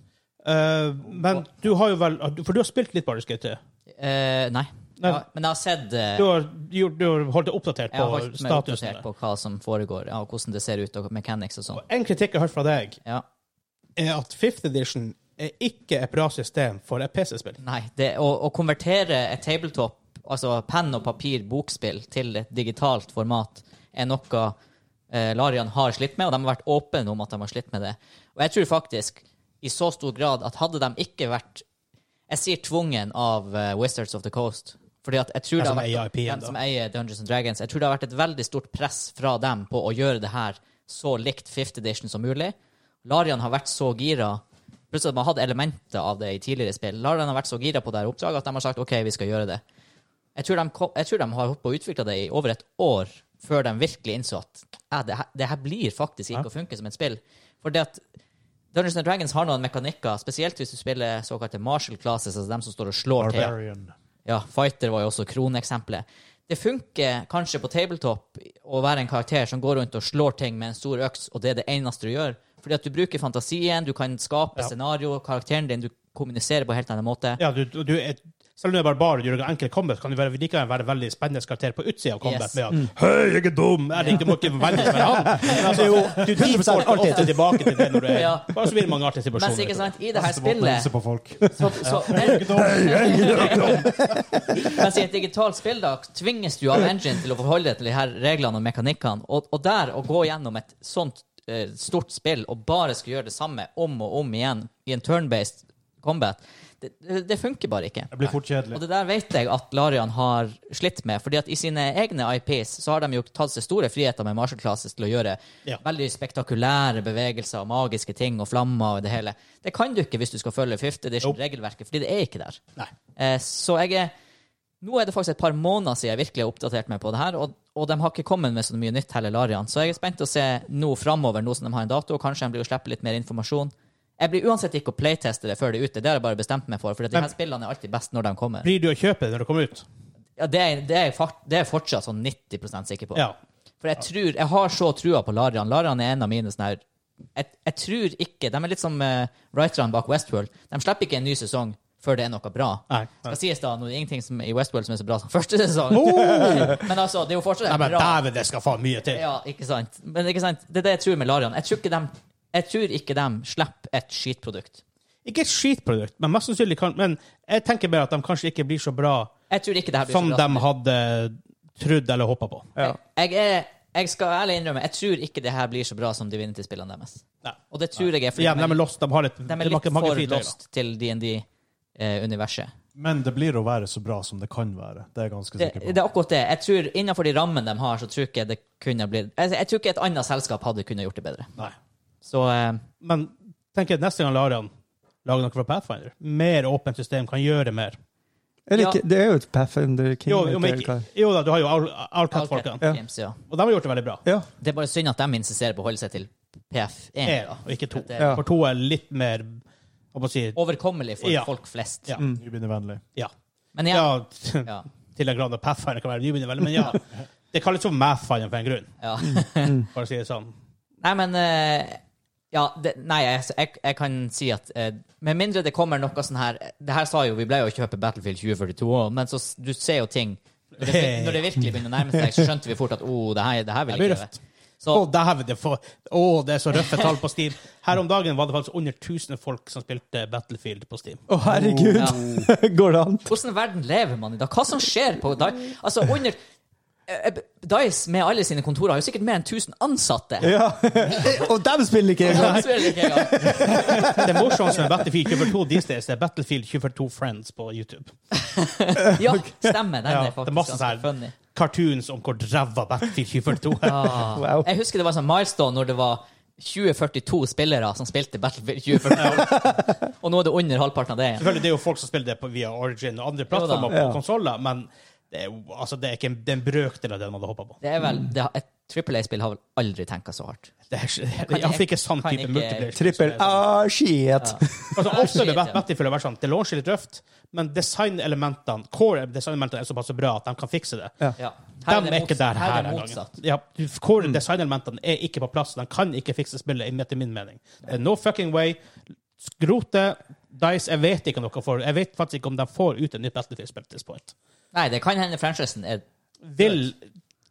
[SPEAKER 2] Eh, men du har jo vel For du har spilt litt Baldur's Gate 3.
[SPEAKER 1] Eh, nei.
[SPEAKER 2] Nei.
[SPEAKER 1] Ja, men jeg har sett eh,
[SPEAKER 2] Du har, gjort- du har holdt deg oppdatert
[SPEAKER 1] Jeg har
[SPEAKER 2] på
[SPEAKER 1] holdt meg
[SPEAKER 2] statusen.
[SPEAKER 1] oppdatert på hva som foregår, ja, og hvordan det ser ut, og mechanics og sånn.
[SPEAKER 2] Og En kritikk jeg har hørt fra deg,
[SPEAKER 1] Ja.
[SPEAKER 2] er at 5th edition er ikke et bra system for et PC-spill.
[SPEAKER 1] Nei, det, å, å konvertere et tabletop, altså penn og papir bokspill, til et digitalt format, er noe eh, Larian har slitt med, og de har vært åpne om at de har slitt med det. Og jeg tror faktisk, i så stor grad, at hadde de ikke vært Jeg sier tvungen av eh, Wizards of the Coast. Fordi at jeg tror
[SPEAKER 2] Ja,
[SPEAKER 1] det har
[SPEAKER 2] som
[SPEAKER 1] vært,
[SPEAKER 2] eier IP-en,
[SPEAKER 1] den
[SPEAKER 2] da.
[SPEAKER 1] som eier Dungeons and Dragons. Jeg tror det har vært et veldig stort press fra dem på å gjøre det her så likt 5th edition som mulig. Larian har vært så gira Plutselig at man hadde elementer av det i tidligere spill. Larian har vært så gira på det her oppdraget at de har sagt OK, vi skal gjøre det. Jeg tror de, ko- jeg tror de har holdt på å utvikle det i over et år før de virkelig innså at ja, det, her, det her blir faktisk ikke å funke som et spill. For det at Dungeons and Dragons har noen mekanikker, spesielt hvis du spiller såkalte martial classes, altså dem som står og slår til.
[SPEAKER 4] Barbarian.
[SPEAKER 1] Ja, Fighter var jo også kroneksempelet. Det funker kanskje på tabletop å være en karakter som går rundt og slår ting med en stor øks, og det er det eneste du gjør. Fordi at du bruker fantasien, du kan skape
[SPEAKER 2] Ja.
[SPEAKER 1] scenario, karakteren din, du kommuniserer på en helt annen måte.
[SPEAKER 2] Ja, du, du er, selv om du er barbar og du gjør en enkel combat, kan du være, likevel være veldig spennende karakter på utsida av combat.
[SPEAKER 1] Yes. Mm.
[SPEAKER 2] Med at, Hei, jeg er dum! Eller ikke, må ikke velge å være han. Men altså, du defaulter ofte tilbake til det når du er
[SPEAKER 1] Ja.
[SPEAKER 2] Bare så blir det mange artige
[SPEAKER 1] Mens ikke
[SPEAKER 2] situasjoner.
[SPEAKER 1] sant, i det her
[SPEAKER 4] Kaste våpen og hilse
[SPEAKER 1] spillet
[SPEAKER 4] på
[SPEAKER 1] så,
[SPEAKER 2] (laughs)
[SPEAKER 4] folk.
[SPEAKER 1] så, Mens i et digitalt spill da tvinges du av engine til å forholde deg til de her reglene og mekanikkene. Og, og der å gå gjennom et sånt eh, stort spill og bare skulle gjøre det samme om og om igjen i en turn-based combat, det, det det funker bare ikke.
[SPEAKER 4] Det blir fort kjedelig.
[SPEAKER 1] Og det der vet jeg at Larian har slitt med. fordi at i sine egne IPs så har de jo tatt seg store friheter med martial classes til å gjøre
[SPEAKER 2] Ja.
[SPEAKER 1] veldig spektakulære bevegelser og magiske ting og flammer og det hele. Det kan du ikke hvis du skal følge 5th edition-regelverket, fordi det er ikke der.
[SPEAKER 2] Nei.
[SPEAKER 1] Eh, så jeg er Nå er det faktisk et par måneder siden jeg virkelig har oppdatert meg på det her, og, og de har ikke kommet med så mye nytt heller, Larian. Så jeg er spent å se nå framover, nå som de har en dato, og kanskje de blir å slippe litt mer informasjon. Jeg blir uansett ikke å playteste det før det er ute, det har jeg bare bestemt meg for, for de
[SPEAKER 2] Men-
[SPEAKER 1] her spillene er alltid best når de kommer.
[SPEAKER 2] Blir du å kjøpe det når det kommer ut?
[SPEAKER 1] Ja, det er, det er, jeg fakt- det er jeg fortsatt sånn 90 sikker på.
[SPEAKER 2] Ja.
[SPEAKER 1] For jeg tror, jeg har så trua på Larian. Larian er en av mine sånne her jeg, jeg tror ikke De er litt som uh, writerne bak Westworld. De slipper ikke en ny sesong før det er noe bra.
[SPEAKER 2] Nei.
[SPEAKER 1] Skal sies da, nå er det ingenting som, i Westworld som er så bra som (laughs) første sesong. Men altså, det er jo fortsatt
[SPEAKER 2] Nei, men
[SPEAKER 1] bra.
[SPEAKER 2] dæven, det skal faen mye til.
[SPEAKER 1] Ja, ikke sant. Men ikke sant? det er det jeg tror med Larian. Jeg tror ikke dem- jeg tror ikke de slipper et skitprodukt.
[SPEAKER 2] Ikke et skitprodukt, men mest sannsynlig kan Men jeg tenker bare at de kanskje ikke blir så bra
[SPEAKER 1] Jeg tror ikke det her blir så
[SPEAKER 2] som
[SPEAKER 1] bra
[SPEAKER 2] de hadde trodd eller håpa på.
[SPEAKER 3] Ja.
[SPEAKER 1] Jeg, er, jeg skal ærlig innrømme, jeg tror ikke det her blir så bra som Divinity-spillene deres.
[SPEAKER 2] Nei.
[SPEAKER 1] Og det tror jeg er fordi
[SPEAKER 2] Ja, de er lost. De har litt
[SPEAKER 1] de er litt
[SPEAKER 2] mange- mange
[SPEAKER 1] for
[SPEAKER 2] fritøy, da.
[SPEAKER 1] lost til eh, DND-universet.
[SPEAKER 4] Men det blir å være så bra som det kan være. Det er jeg ganske
[SPEAKER 1] Det,
[SPEAKER 4] sikker
[SPEAKER 1] det
[SPEAKER 4] på.
[SPEAKER 1] er akkurat det. Jeg tror Innenfor de rammene de har, så tror ikke jeg det kunne blitt altså, jeg, jeg tror ikke et annet selskap hadde kunnet gjort det bedre.
[SPEAKER 4] Nei.
[SPEAKER 1] Så eh,
[SPEAKER 2] Men tenk at neste gang Larian lager noe fra Pathfinder. Mer åpent system kan gjøre mer.
[SPEAKER 3] Er det,
[SPEAKER 1] Ja.
[SPEAKER 3] ikke, det er jo et Pathfinder King.
[SPEAKER 2] Jo,
[SPEAKER 3] eller
[SPEAKER 2] jo,
[SPEAKER 3] hva
[SPEAKER 2] men,
[SPEAKER 3] det
[SPEAKER 2] ikke,
[SPEAKER 3] kalles.
[SPEAKER 2] jo da, du har jo
[SPEAKER 1] Alcat
[SPEAKER 2] Outcat-folkene.
[SPEAKER 1] Games, ja.
[SPEAKER 2] Og de har gjort det veldig bra.
[SPEAKER 3] ja.
[SPEAKER 1] Det er bare synd at de insisterer på å holde seg til E, PF1.
[SPEAKER 2] Er, da, og ikke to.
[SPEAKER 1] Det er
[SPEAKER 3] Ja.
[SPEAKER 2] For to er litt mer hva må jeg si,
[SPEAKER 1] Overkommelig for
[SPEAKER 2] Ja.
[SPEAKER 1] folk flest.
[SPEAKER 2] Ja.
[SPEAKER 4] Nybegynnervennlig.
[SPEAKER 2] ja.
[SPEAKER 1] Men
[SPEAKER 2] ja.
[SPEAKER 1] igjen,
[SPEAKER 2] ja. (laughs)
[SPEAKER 1] ja.
[SPEAKER 2] Til en grad at Pathfinder kan være nybegynnervennlig, men
[SPEAKER 1] (laughs)
[SPEAKER 2] ja. Det kalles jo Mathfinder for en grunn,
[SPEAKER 1] ja.
[SPEAKER 2] for å si det sånn.
[SPEAKER 1] Nei, men eh, Ja, det, nei, jeg, jeg, jeg kan si at eh, Med mindre det kommer noe sånn her Det her sa jo, vi ble jo å kjøpe Battlefield 2042 også, men så s- du ser jo ting Når det, når det virkelig begynner å nærme seg, så skjønte vi fort at oh, det her, det her vil
[SPEAKER 2] Det
[SPEAKER 1] jeg
[SPEAKER 2] blir
[SPEAKER 1] ikke
[SPEAKER 2] røft.
[SPEAKER 1] gjøre.
[SPEAKER 2] Å,
[SPEAKER 1] Så
[SPEAKER 2] dæven, det, er for- å, det er så røffe tall på Steam. Her om dagen var det faktisk under 1000 folk som spilte Battlefield på Steam.
[SPEAKER 3] Å, herregud!
[SPEAKER 1] ja.
[SPEAKER 3] (laughs) Går det an?
[SPEAKER 1] Hvordan verden lever man i dag? Hva som skjer på Di- Altså, under eh, Dice med alle sine kontorer har jo sikkert mer enn 1000 ansatte.
[SPEAKER 3] Ja. (laughs) Og dem spiller ikke engang!
[SPEAKER 1] Det spiller ikke
[SPEAKER 2] (laughs)
[SPEAKER 1] engang.
[SPEAKER 2] Det morsomste med Battlefield 22 these days er Battlefield 22 Friends på YouTube.
[SPEAKER 1] Ja, stemmer. Den
[SPEAKER 2] Ja,
[SPEAKER 1] er
[SPEAKER 2] det er
[SPEAKER 1] faktisk
[SPEAKER 2] masse
[SPEAKER 1] ganske
[SPEAKER 2] sånn
[SPEAKER 1] funny.
[SPEAKER 2] her cartoons om hvor ræva Battlefield 22 er.
[SPEAKER 1] Ah.
[SPEAKER 3] Wow.
[SPEAKER 1] Jeg husker det var en sånn milestone når det var 2042 spillere som spilte Battlefield 2042.
[SPEAKER 2] (laughs)
[SPEAKER 1] Og nå er det under halvparten av det igjen.
[SPEAKER 2] Selvfølgelig, det er jo folk som spiller det på, via Origin og andre plattformer på
[SPEAKER 3] Ja.
[SPEAKER 2] konsoller, men det er, jo, altså, det er ikke en, det er en brøkdel av det man hadde håpa på.
[SPEAKER 1] Det er vel det, jeg Triple A-spill har vel aldri tenka så hardt.
[SPEAKER 2] Det er, ikke-
[SPEAKER 1] Kan
[SPEAKER 2] jeg fikk
[SPEAKER 1] ikke-
[SPEAKER 2] en sann
[SPEAKER 1] kan
[SPEAKER 2] type
[SPEAKER 1] ikke-
[SPEAKER 2] multiplayer.
[SPEAKER 3] Trippel ah, shit!
[SPEAKER 2] Altså,
[SPEAKER 1] Ah,
[SPEAKER 2] ofte
[SPEAKER 1] shit,
[SPEAKER 2] med Bat-
[SPEAKER 1] ja.
[SPEAKER 2] Battlefield har vært sånn, det launcher litt røft, men designelementene, core designelementene er såpass bra at de kan fikse det.
[SPEAKER 3] Ja.
[SPEAKER 1] Ja.
[SPEAKER 2] De
[SPEAKER 1] Her
[SPEAKER 2] er, ikke
[SPEAKER 1] mots-
[SPEAKER 2] der her,
[SPEAKER 1] her er det
[SPEAKER 2] en gang.
[SPEAKER 1] motsatt.
[SPEAKER 2] Ja, core designelementene er ikke på plass. De kan ikke fikse spillet, i- etter min mening. Det er No fucking way. Skrot det. Dice, jeg vet ikke om dere får Jeg vet faktisk ikke om de får ut en ny Battlefield-spill til this point.
[SPEAKER 1] Nei, det kan hende franchisen er
[SPEAKER 2] Vil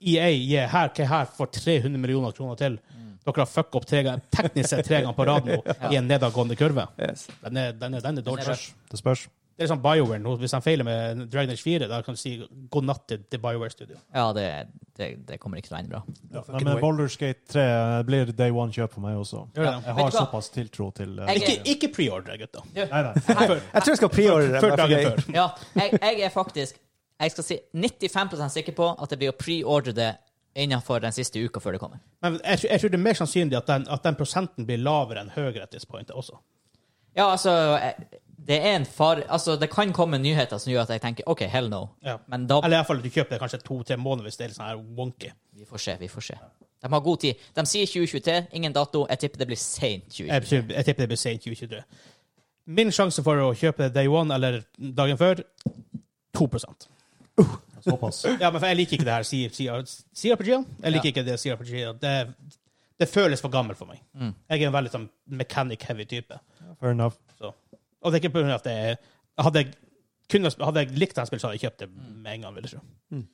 [SPEAKER 2] EA gi her hva her for 300 millioner kroner til? Dere har fucka opp tre ganger, teknisk sett tre ganger på
[SPEAKER 1] (laughs)
[SPEAKER 2] rad nå i en nedadgående kurve.
[SPEAKER 3] Yes.
[SPEAKER 2] Den er, den er, den er dodgy.
[SPEAKER 1] Spørs.
[SPEAKER 4] Det spørs.
[SPEAKER 2] Det er sånn BioWare nå. Hvis de feiler med Dragon Age 4, da kan du si god natt til, til BioWare Studio.
[SPEAKER 1] Ja, det, det, det kommer ikke til å ende bra.
[SPEAKER 4] Ja,
[SPEAKER 2] fucking
[SPEAKER 4] nei, men
[SPEAKER 2] way.
[SPEAKER 4] Baldur's Gate 3 blir day one-kjøp for meg også.
[SPEAKER 2] Gjør det.
[SPEAKER 4] Jeg
[SPEAKER 1] Vet
[SPEAKER 4] har
[SPEAKER 1] du hva?
[SPEAKER 4] såpass tiltro til eh,
[SPEAKER 1] Jeg-
[SPEAKER 2] Ikke, ikke preordre, gutta.
[SPEAKER 4] Nei, nei.
[SPEAKER 3] Jeg tror jeg skal prioritere
[SPEAKER 2] Før dagen før.
[SPEAKER 1] Ja, jeg, jeg er faktisk Jeg skal si 95 sikker på at det blir å preordre det innenfor den siste uka før det kommer.
[SPEAKER 2] Men jeg, tror- jeg tror det er mer sannsynlig at den, at den prosenten blir lavere enn høyere at this point også.
[SPEAKER 1] Ja, altså jeg- Det er en far... Altså, det kan komme nyheter som gjør at jeg tenker OK, hell no.
[SPEAKER 2] Ja.
[SPEAKER 1] Men da
[SPEAKER 2] Eller i hvert fall at du kjøper det kanskje to-tre måneder hvis det er litt sånn her wonky.
[SPEAKER 1] Vi får se, vi får se. De har god tid. De sier 2023, ingen dato. Jeg tipper det blir seint 2023.
[SPEAKER 2] Jeg, tror- jeg tipper det blir sent 2023. Min sjanse for å kjøpe det day one eller dagen før 2
[SPEAKER 4] Såpass.
[SPEAKER 2] Ja, men for jeg liker ikke det her C- C- CRPG-en. Jeg liker
[SPEAKER 1] Ja.
[SPEAKER 2] ikke det CRPG-en. Det, det føles for gammelt for meg.
[SPEAKER 1] Mm.
[SPEAKER 2] Jeg er en veldig sånn mechanic-heavy type.
[SPEAKER 4] Fair enough.
[SPEAKER 2] Så. Og det er ikke på grunn av at jeg hadde jeg, kun, hadde jeg likt det spillet, så hadde jeg kjøpt det med en gang. vil jeg tro.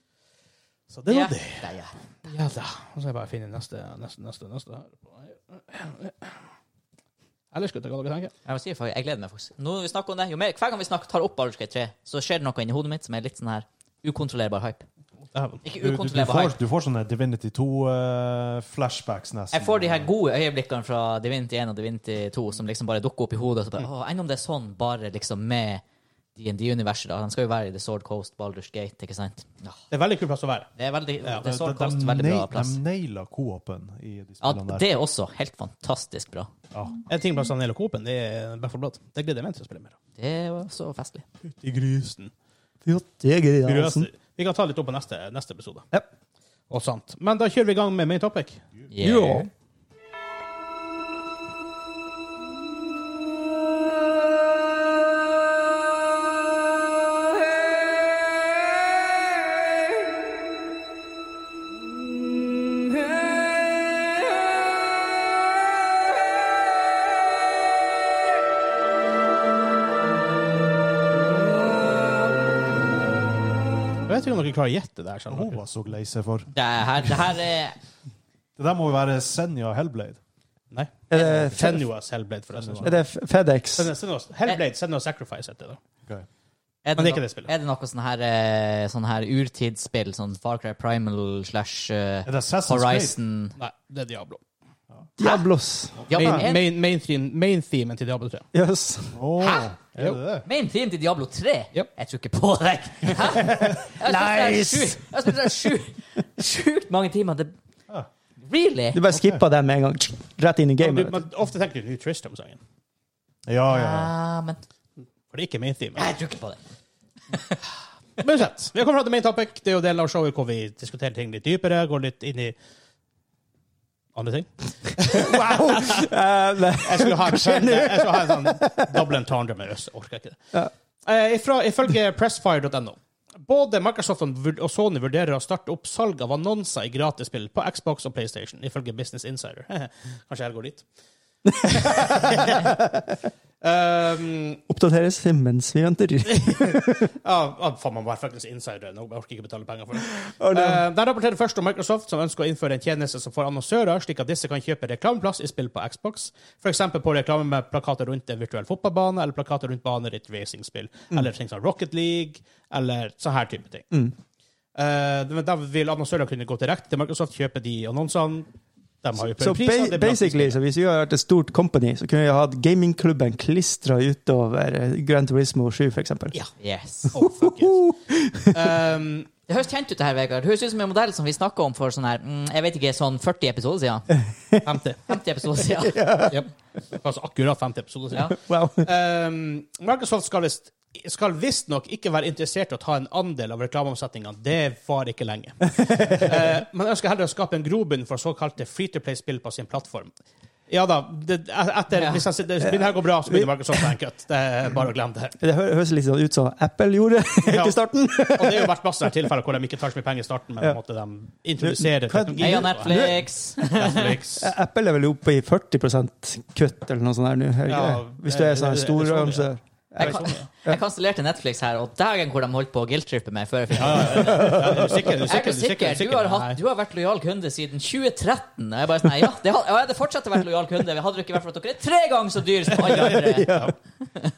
[SPEAKER 2] Så det var det.
[SPEAKER 1] Ja, ja.
[SPEAKER 2] Ja da. Nå skal jeg bare finne neste, neste, neste. neste her. Ellers, gutter, hva dere tenker?
[SPEAKER 1] Jeg, må si, faktisk, jeg gleder meg faktisk. Nå når vi snakker om det, jo mer, Hver gang vi snakker, tar opp Baldur's Gate 3, så skjer det noe inni hodet mitt som er litt sånn her ukontrollerbar hype.
[SPEAKER 2] Dæven.
[SPEAKER 1] Ikke
[SPEAKER 4] Du, du, du,
[SPEAKER 1] ukontrollerbar
[SPEAKER 4] får,
[SPEAKER 1] hype.
[SPEAKER 4] du får sånne Divinity 2-flashbacks nesten.
[SPEAKER 1] Jeg får de her gode øyeblikkene fra Divinity 1 og Divinity 2 som liksom bare dukker opp i hodet. Og så bare, «Åh, Enn om det er sånn bare liksom med D&D-universet? da? De skal jo være i The Sword Coast, Baldur's Gate, ikke sant? Ja,
[SPEAKER 2] Det er veldig kul plass å være.
[SPEAKER 1] det er veldig,
[SPEAKER 2] Ja,
[SPEAKER 1] The
[SPEAKER 4] De-
[SPEAKER 1] Sword
[SPEAKER 4] de-
[SPEAKER 1] Coast,
[SPEAKER 4] de
[SPEAKER 1] veldig bra
[SPEAKER 4] nail-
[SPEAKER 1] plass.
[SPEAKER 4] De naila co-open i de
[SPEAKER 1] Ja,
[SPEAKER 4] spillene der.
[SPEAKER 1] det er også helt fantastisk bra.
[SPEAKER 4] Ja.
[SPEAKER 2] En ting bare sånn hele Coop-en, det er Back 4 Blood. Det gleder jeg meg til å spille mer. av.
[SPEAKER 1] Det er jo så festlig.
[SPEAKER 2] Fytti grisen.
[SPEAKER 3] Det er gøy, altså.
[SPEAKER 2] Grøsen. Vi kan ta litt opp på neste, neste episode.
[SPEAKER 3] Ja.
[SPEAKER 2] Og sant. Men da kjører vi i gang med main topic.
[SPEAKER 1] Yeah.
[SPEAKER 3] Jo.
[SPEAKER 2] Jeg vet ikke om dere klarer å gjette det her. skjønner
[SPEAKER 4] Hun
[SPEAKER 2] dere.
[SPEAKER 4] var så lei seg for.
[SPEAKER 1] Det her, det her er
[SPEAKER 4] Det der må jo være Senja Hellblade.
[SPEAKER 2] Nei.
[SPEAKER 3] Er
[SPEAKER 2] Eh,
[SPEAKER 3] det, Fe-
[SPEAKER 2] Senua's Hellblade, forresten.
[SPEAKER 3] er det F- FedEx?
[SPEAKER 2] Senua's- Senua's- Hellblade, Senua's Sacrifice heter det. da.
[SPEAKER 4] Okay.
[SPEAKER 1] er
[SPEAKER 2] Men det er
[SPEAKER 1] no-
[SPEAKER 2] ikke det spillet.
[SPEAKER 1] Er det noe sånn her, eh, sånn her urtidsspill, sånn Far Cry Primal slash eh,
[SPEAKER 4] Er det Assassin's Creed?
[SPEAKER 1] Horizon
[SPEAKER 2] Nei, det er Diablo.
[SPEAKER 3] Diablos.
[SPEAKER 1] ja, men
[SPEAKER 2] Main,
[SPEAKER 1] er-
[SPEAKER 2] main, main, theme, main theme til Diablo 3.
[SPEAKER 3] Yes.
[SPEAKER 4] Åh, er
[SPEAKER 2] Jo.
[SPEAKER 4] det det?
[SPEAKER 1] Main theme til Diablo 3?
[SPEAKER 2] Yep.
[SPEAKER 1] Jeg tror ikke på deg! Hæ? Jeg har
[SPEAKER 3] Nice.
[SPEAKER 1] spilt det her sjukt- Jeg har spilt det her sjukt- sjukt mange timer. Det, really?
[SPEAKER 3] Du bare skippa dem med en gang. Rett inn i
[SPEAKER 2] Men,
[SPEAKER 3] gamet.
[SPEAKER 2] du- men ofte tenker du New Tristram-sangen.
[SPEAKER 4] Ja, ja, ja.
[SPEAKER 1] Ja, Ah, men
[SPEAKER 2] For det er ikke main theme.
[SPEAKER 1] jeg tror ikke på det.
[SPEAKER 2] Men uansett, vi har kommet fra til main topic. Det er jo delen av showet hvor vi diskuterer ting litt dypere, går litt inn i andre ting. (laughs) wow!
[SPEAKER 3] Eh, nei.
[SPEAKER 2] Jeg skulle ha en, sånn- jeg skulle ha en sånn double entendre med Øst. Jeg Orker ikke det. Eh, ifra, ifølge pressfire.no både Microsoft og Vur- og Sony vurderer å starte opp salg av annonser i gratisspill på Xbox og PlayStation, ifølge Business Insider. (laughs) Kanskje jeg går dit. (laughs) um,
[SPEAKER 3] Oppdateres mens vi venter.
[SPEAKER 2] (laughs) ja, ja, faen, man må være faktisk insider nå. Jeg orker ikke betale penger for
[SPEAKER 3] (laughs)
[SPEAKER 2] det.
[SPEAKER 3] Å,
[SPEAKER 2] De
[SPEAKER 3] nei.
[SPEAKER 2] rapporterer først om Microsoft, som ønsker å innføre en tjeneste som får annonsører, slik at disse kan kjøpe reklameplass i spill på Xbox, f.eks. på reklame med plakater rundt en virtuell fotballbane, eller plakater rundt baner i et racingspill,
[SPEAKER 3] Mm.
[SPEAKER 2] eller ting som Rocket League, eller sånn her type ting. Eh, men da vil annonsører kunne gå direkte til Microsoft, kjøpe de annonsene. De har jo
[SPEAKER 3] Så
[SPEAKER 2] priser,
[SPEAKER 3] ba
[SPEAKER 2] det er bra
[SPEAKER 3] basically, så hvis vi hadde vært et stort company, så kunne vi ha hatt gamingklubben klistra utover eh, Gran Turismo 7, for eksempel.
[SPEAKER 2] Ja.
[SPEAKER 1] Yes.
[SPEAKER 2] Oh, fuck yes. um,
[SPEAKER 1] Det høres kjent ut, det her, Vegard. Det høres ut som en modell som vi snakka om for sånn her, mm, jeg vet ikke, sånn 40 episoder siden.
[SPEAKER 2] 50.
[SPEAKER 1] 50 episoder siden.
[SPEAKER 2] Yep. Altså akkurat 50 episoder siden.
[SPEAKER 1] Ja.
[SPEAKER 3] Wow.
[SPEAKER 2] Um, Microsoft skal visst skal visstnok ikke være interessert i å ta en andel av reklameomsetninga. Det varer ikke lenge. Eh, Man ønsker heller å skape en grobunn for såkalte free-to-play-spill på sin plattform. Ja da, det, eh, etter,
[SPEAKER 1] Ja.
[SPEAKER 2] hvis jeg, sier- det, det her går bra, så begynner Microsoft å tenke at det er bare å glemme det.
[SPEAKER 3] (laughs) Det hø- høres litt sånn ut som Apple gjorde (laughs) helt
[SPEAKER 2] Ja.
[SPEAKER 3] i starten.
[SPEAKER 2] Og det har jo vært masse tilfeller hvor de ikke tar så mye penger i starten, men på en måte de introduserer
[SPEAKER 3] Hva-
[SPEAKER 2] teknologi.
[SPEAKER 1] Heia Netflix!
[SPEAKER 2] Netflix.
[SPEAKER 3] Apple er vel oppe i 40 kutt eller noe sånt her nå, er det ikke
[SPEAKER 2] Ja,
[SPEAKER 3] det? hvis du er sånn
[SPEAKER 2] det- det-
[SPEAKER 3] stor
[SPEAKER 2] det- det-
[SPEAKER 3] armse.
[SPEAKER 1] Jeg, kan, jeg kansellerte Netflix her, og dagen hvor de holdt på å guilt-trippe meg før jeg fikk
[SPEAKER 2] Ja, er du sikker?
[SPEAKER 1] Jeg er
[SPEAKER 2] Er du sikker? Er du sikker? Er
[SPEAKER 1] sikker,
[SPEAKER 2] du sikker?
[SPEAKER 1] du har,
[SPEAKER 2] Nei.
[SPEAKER 1] hatt, du har vært lojal kunde siden 2013. Og jeg bare sånn, nei, ja, det hadde, jeg hadde fortsatt vært lojal kunde. Vi hadde det ikke vært for at dere er tre ganger så dyre som alle andre.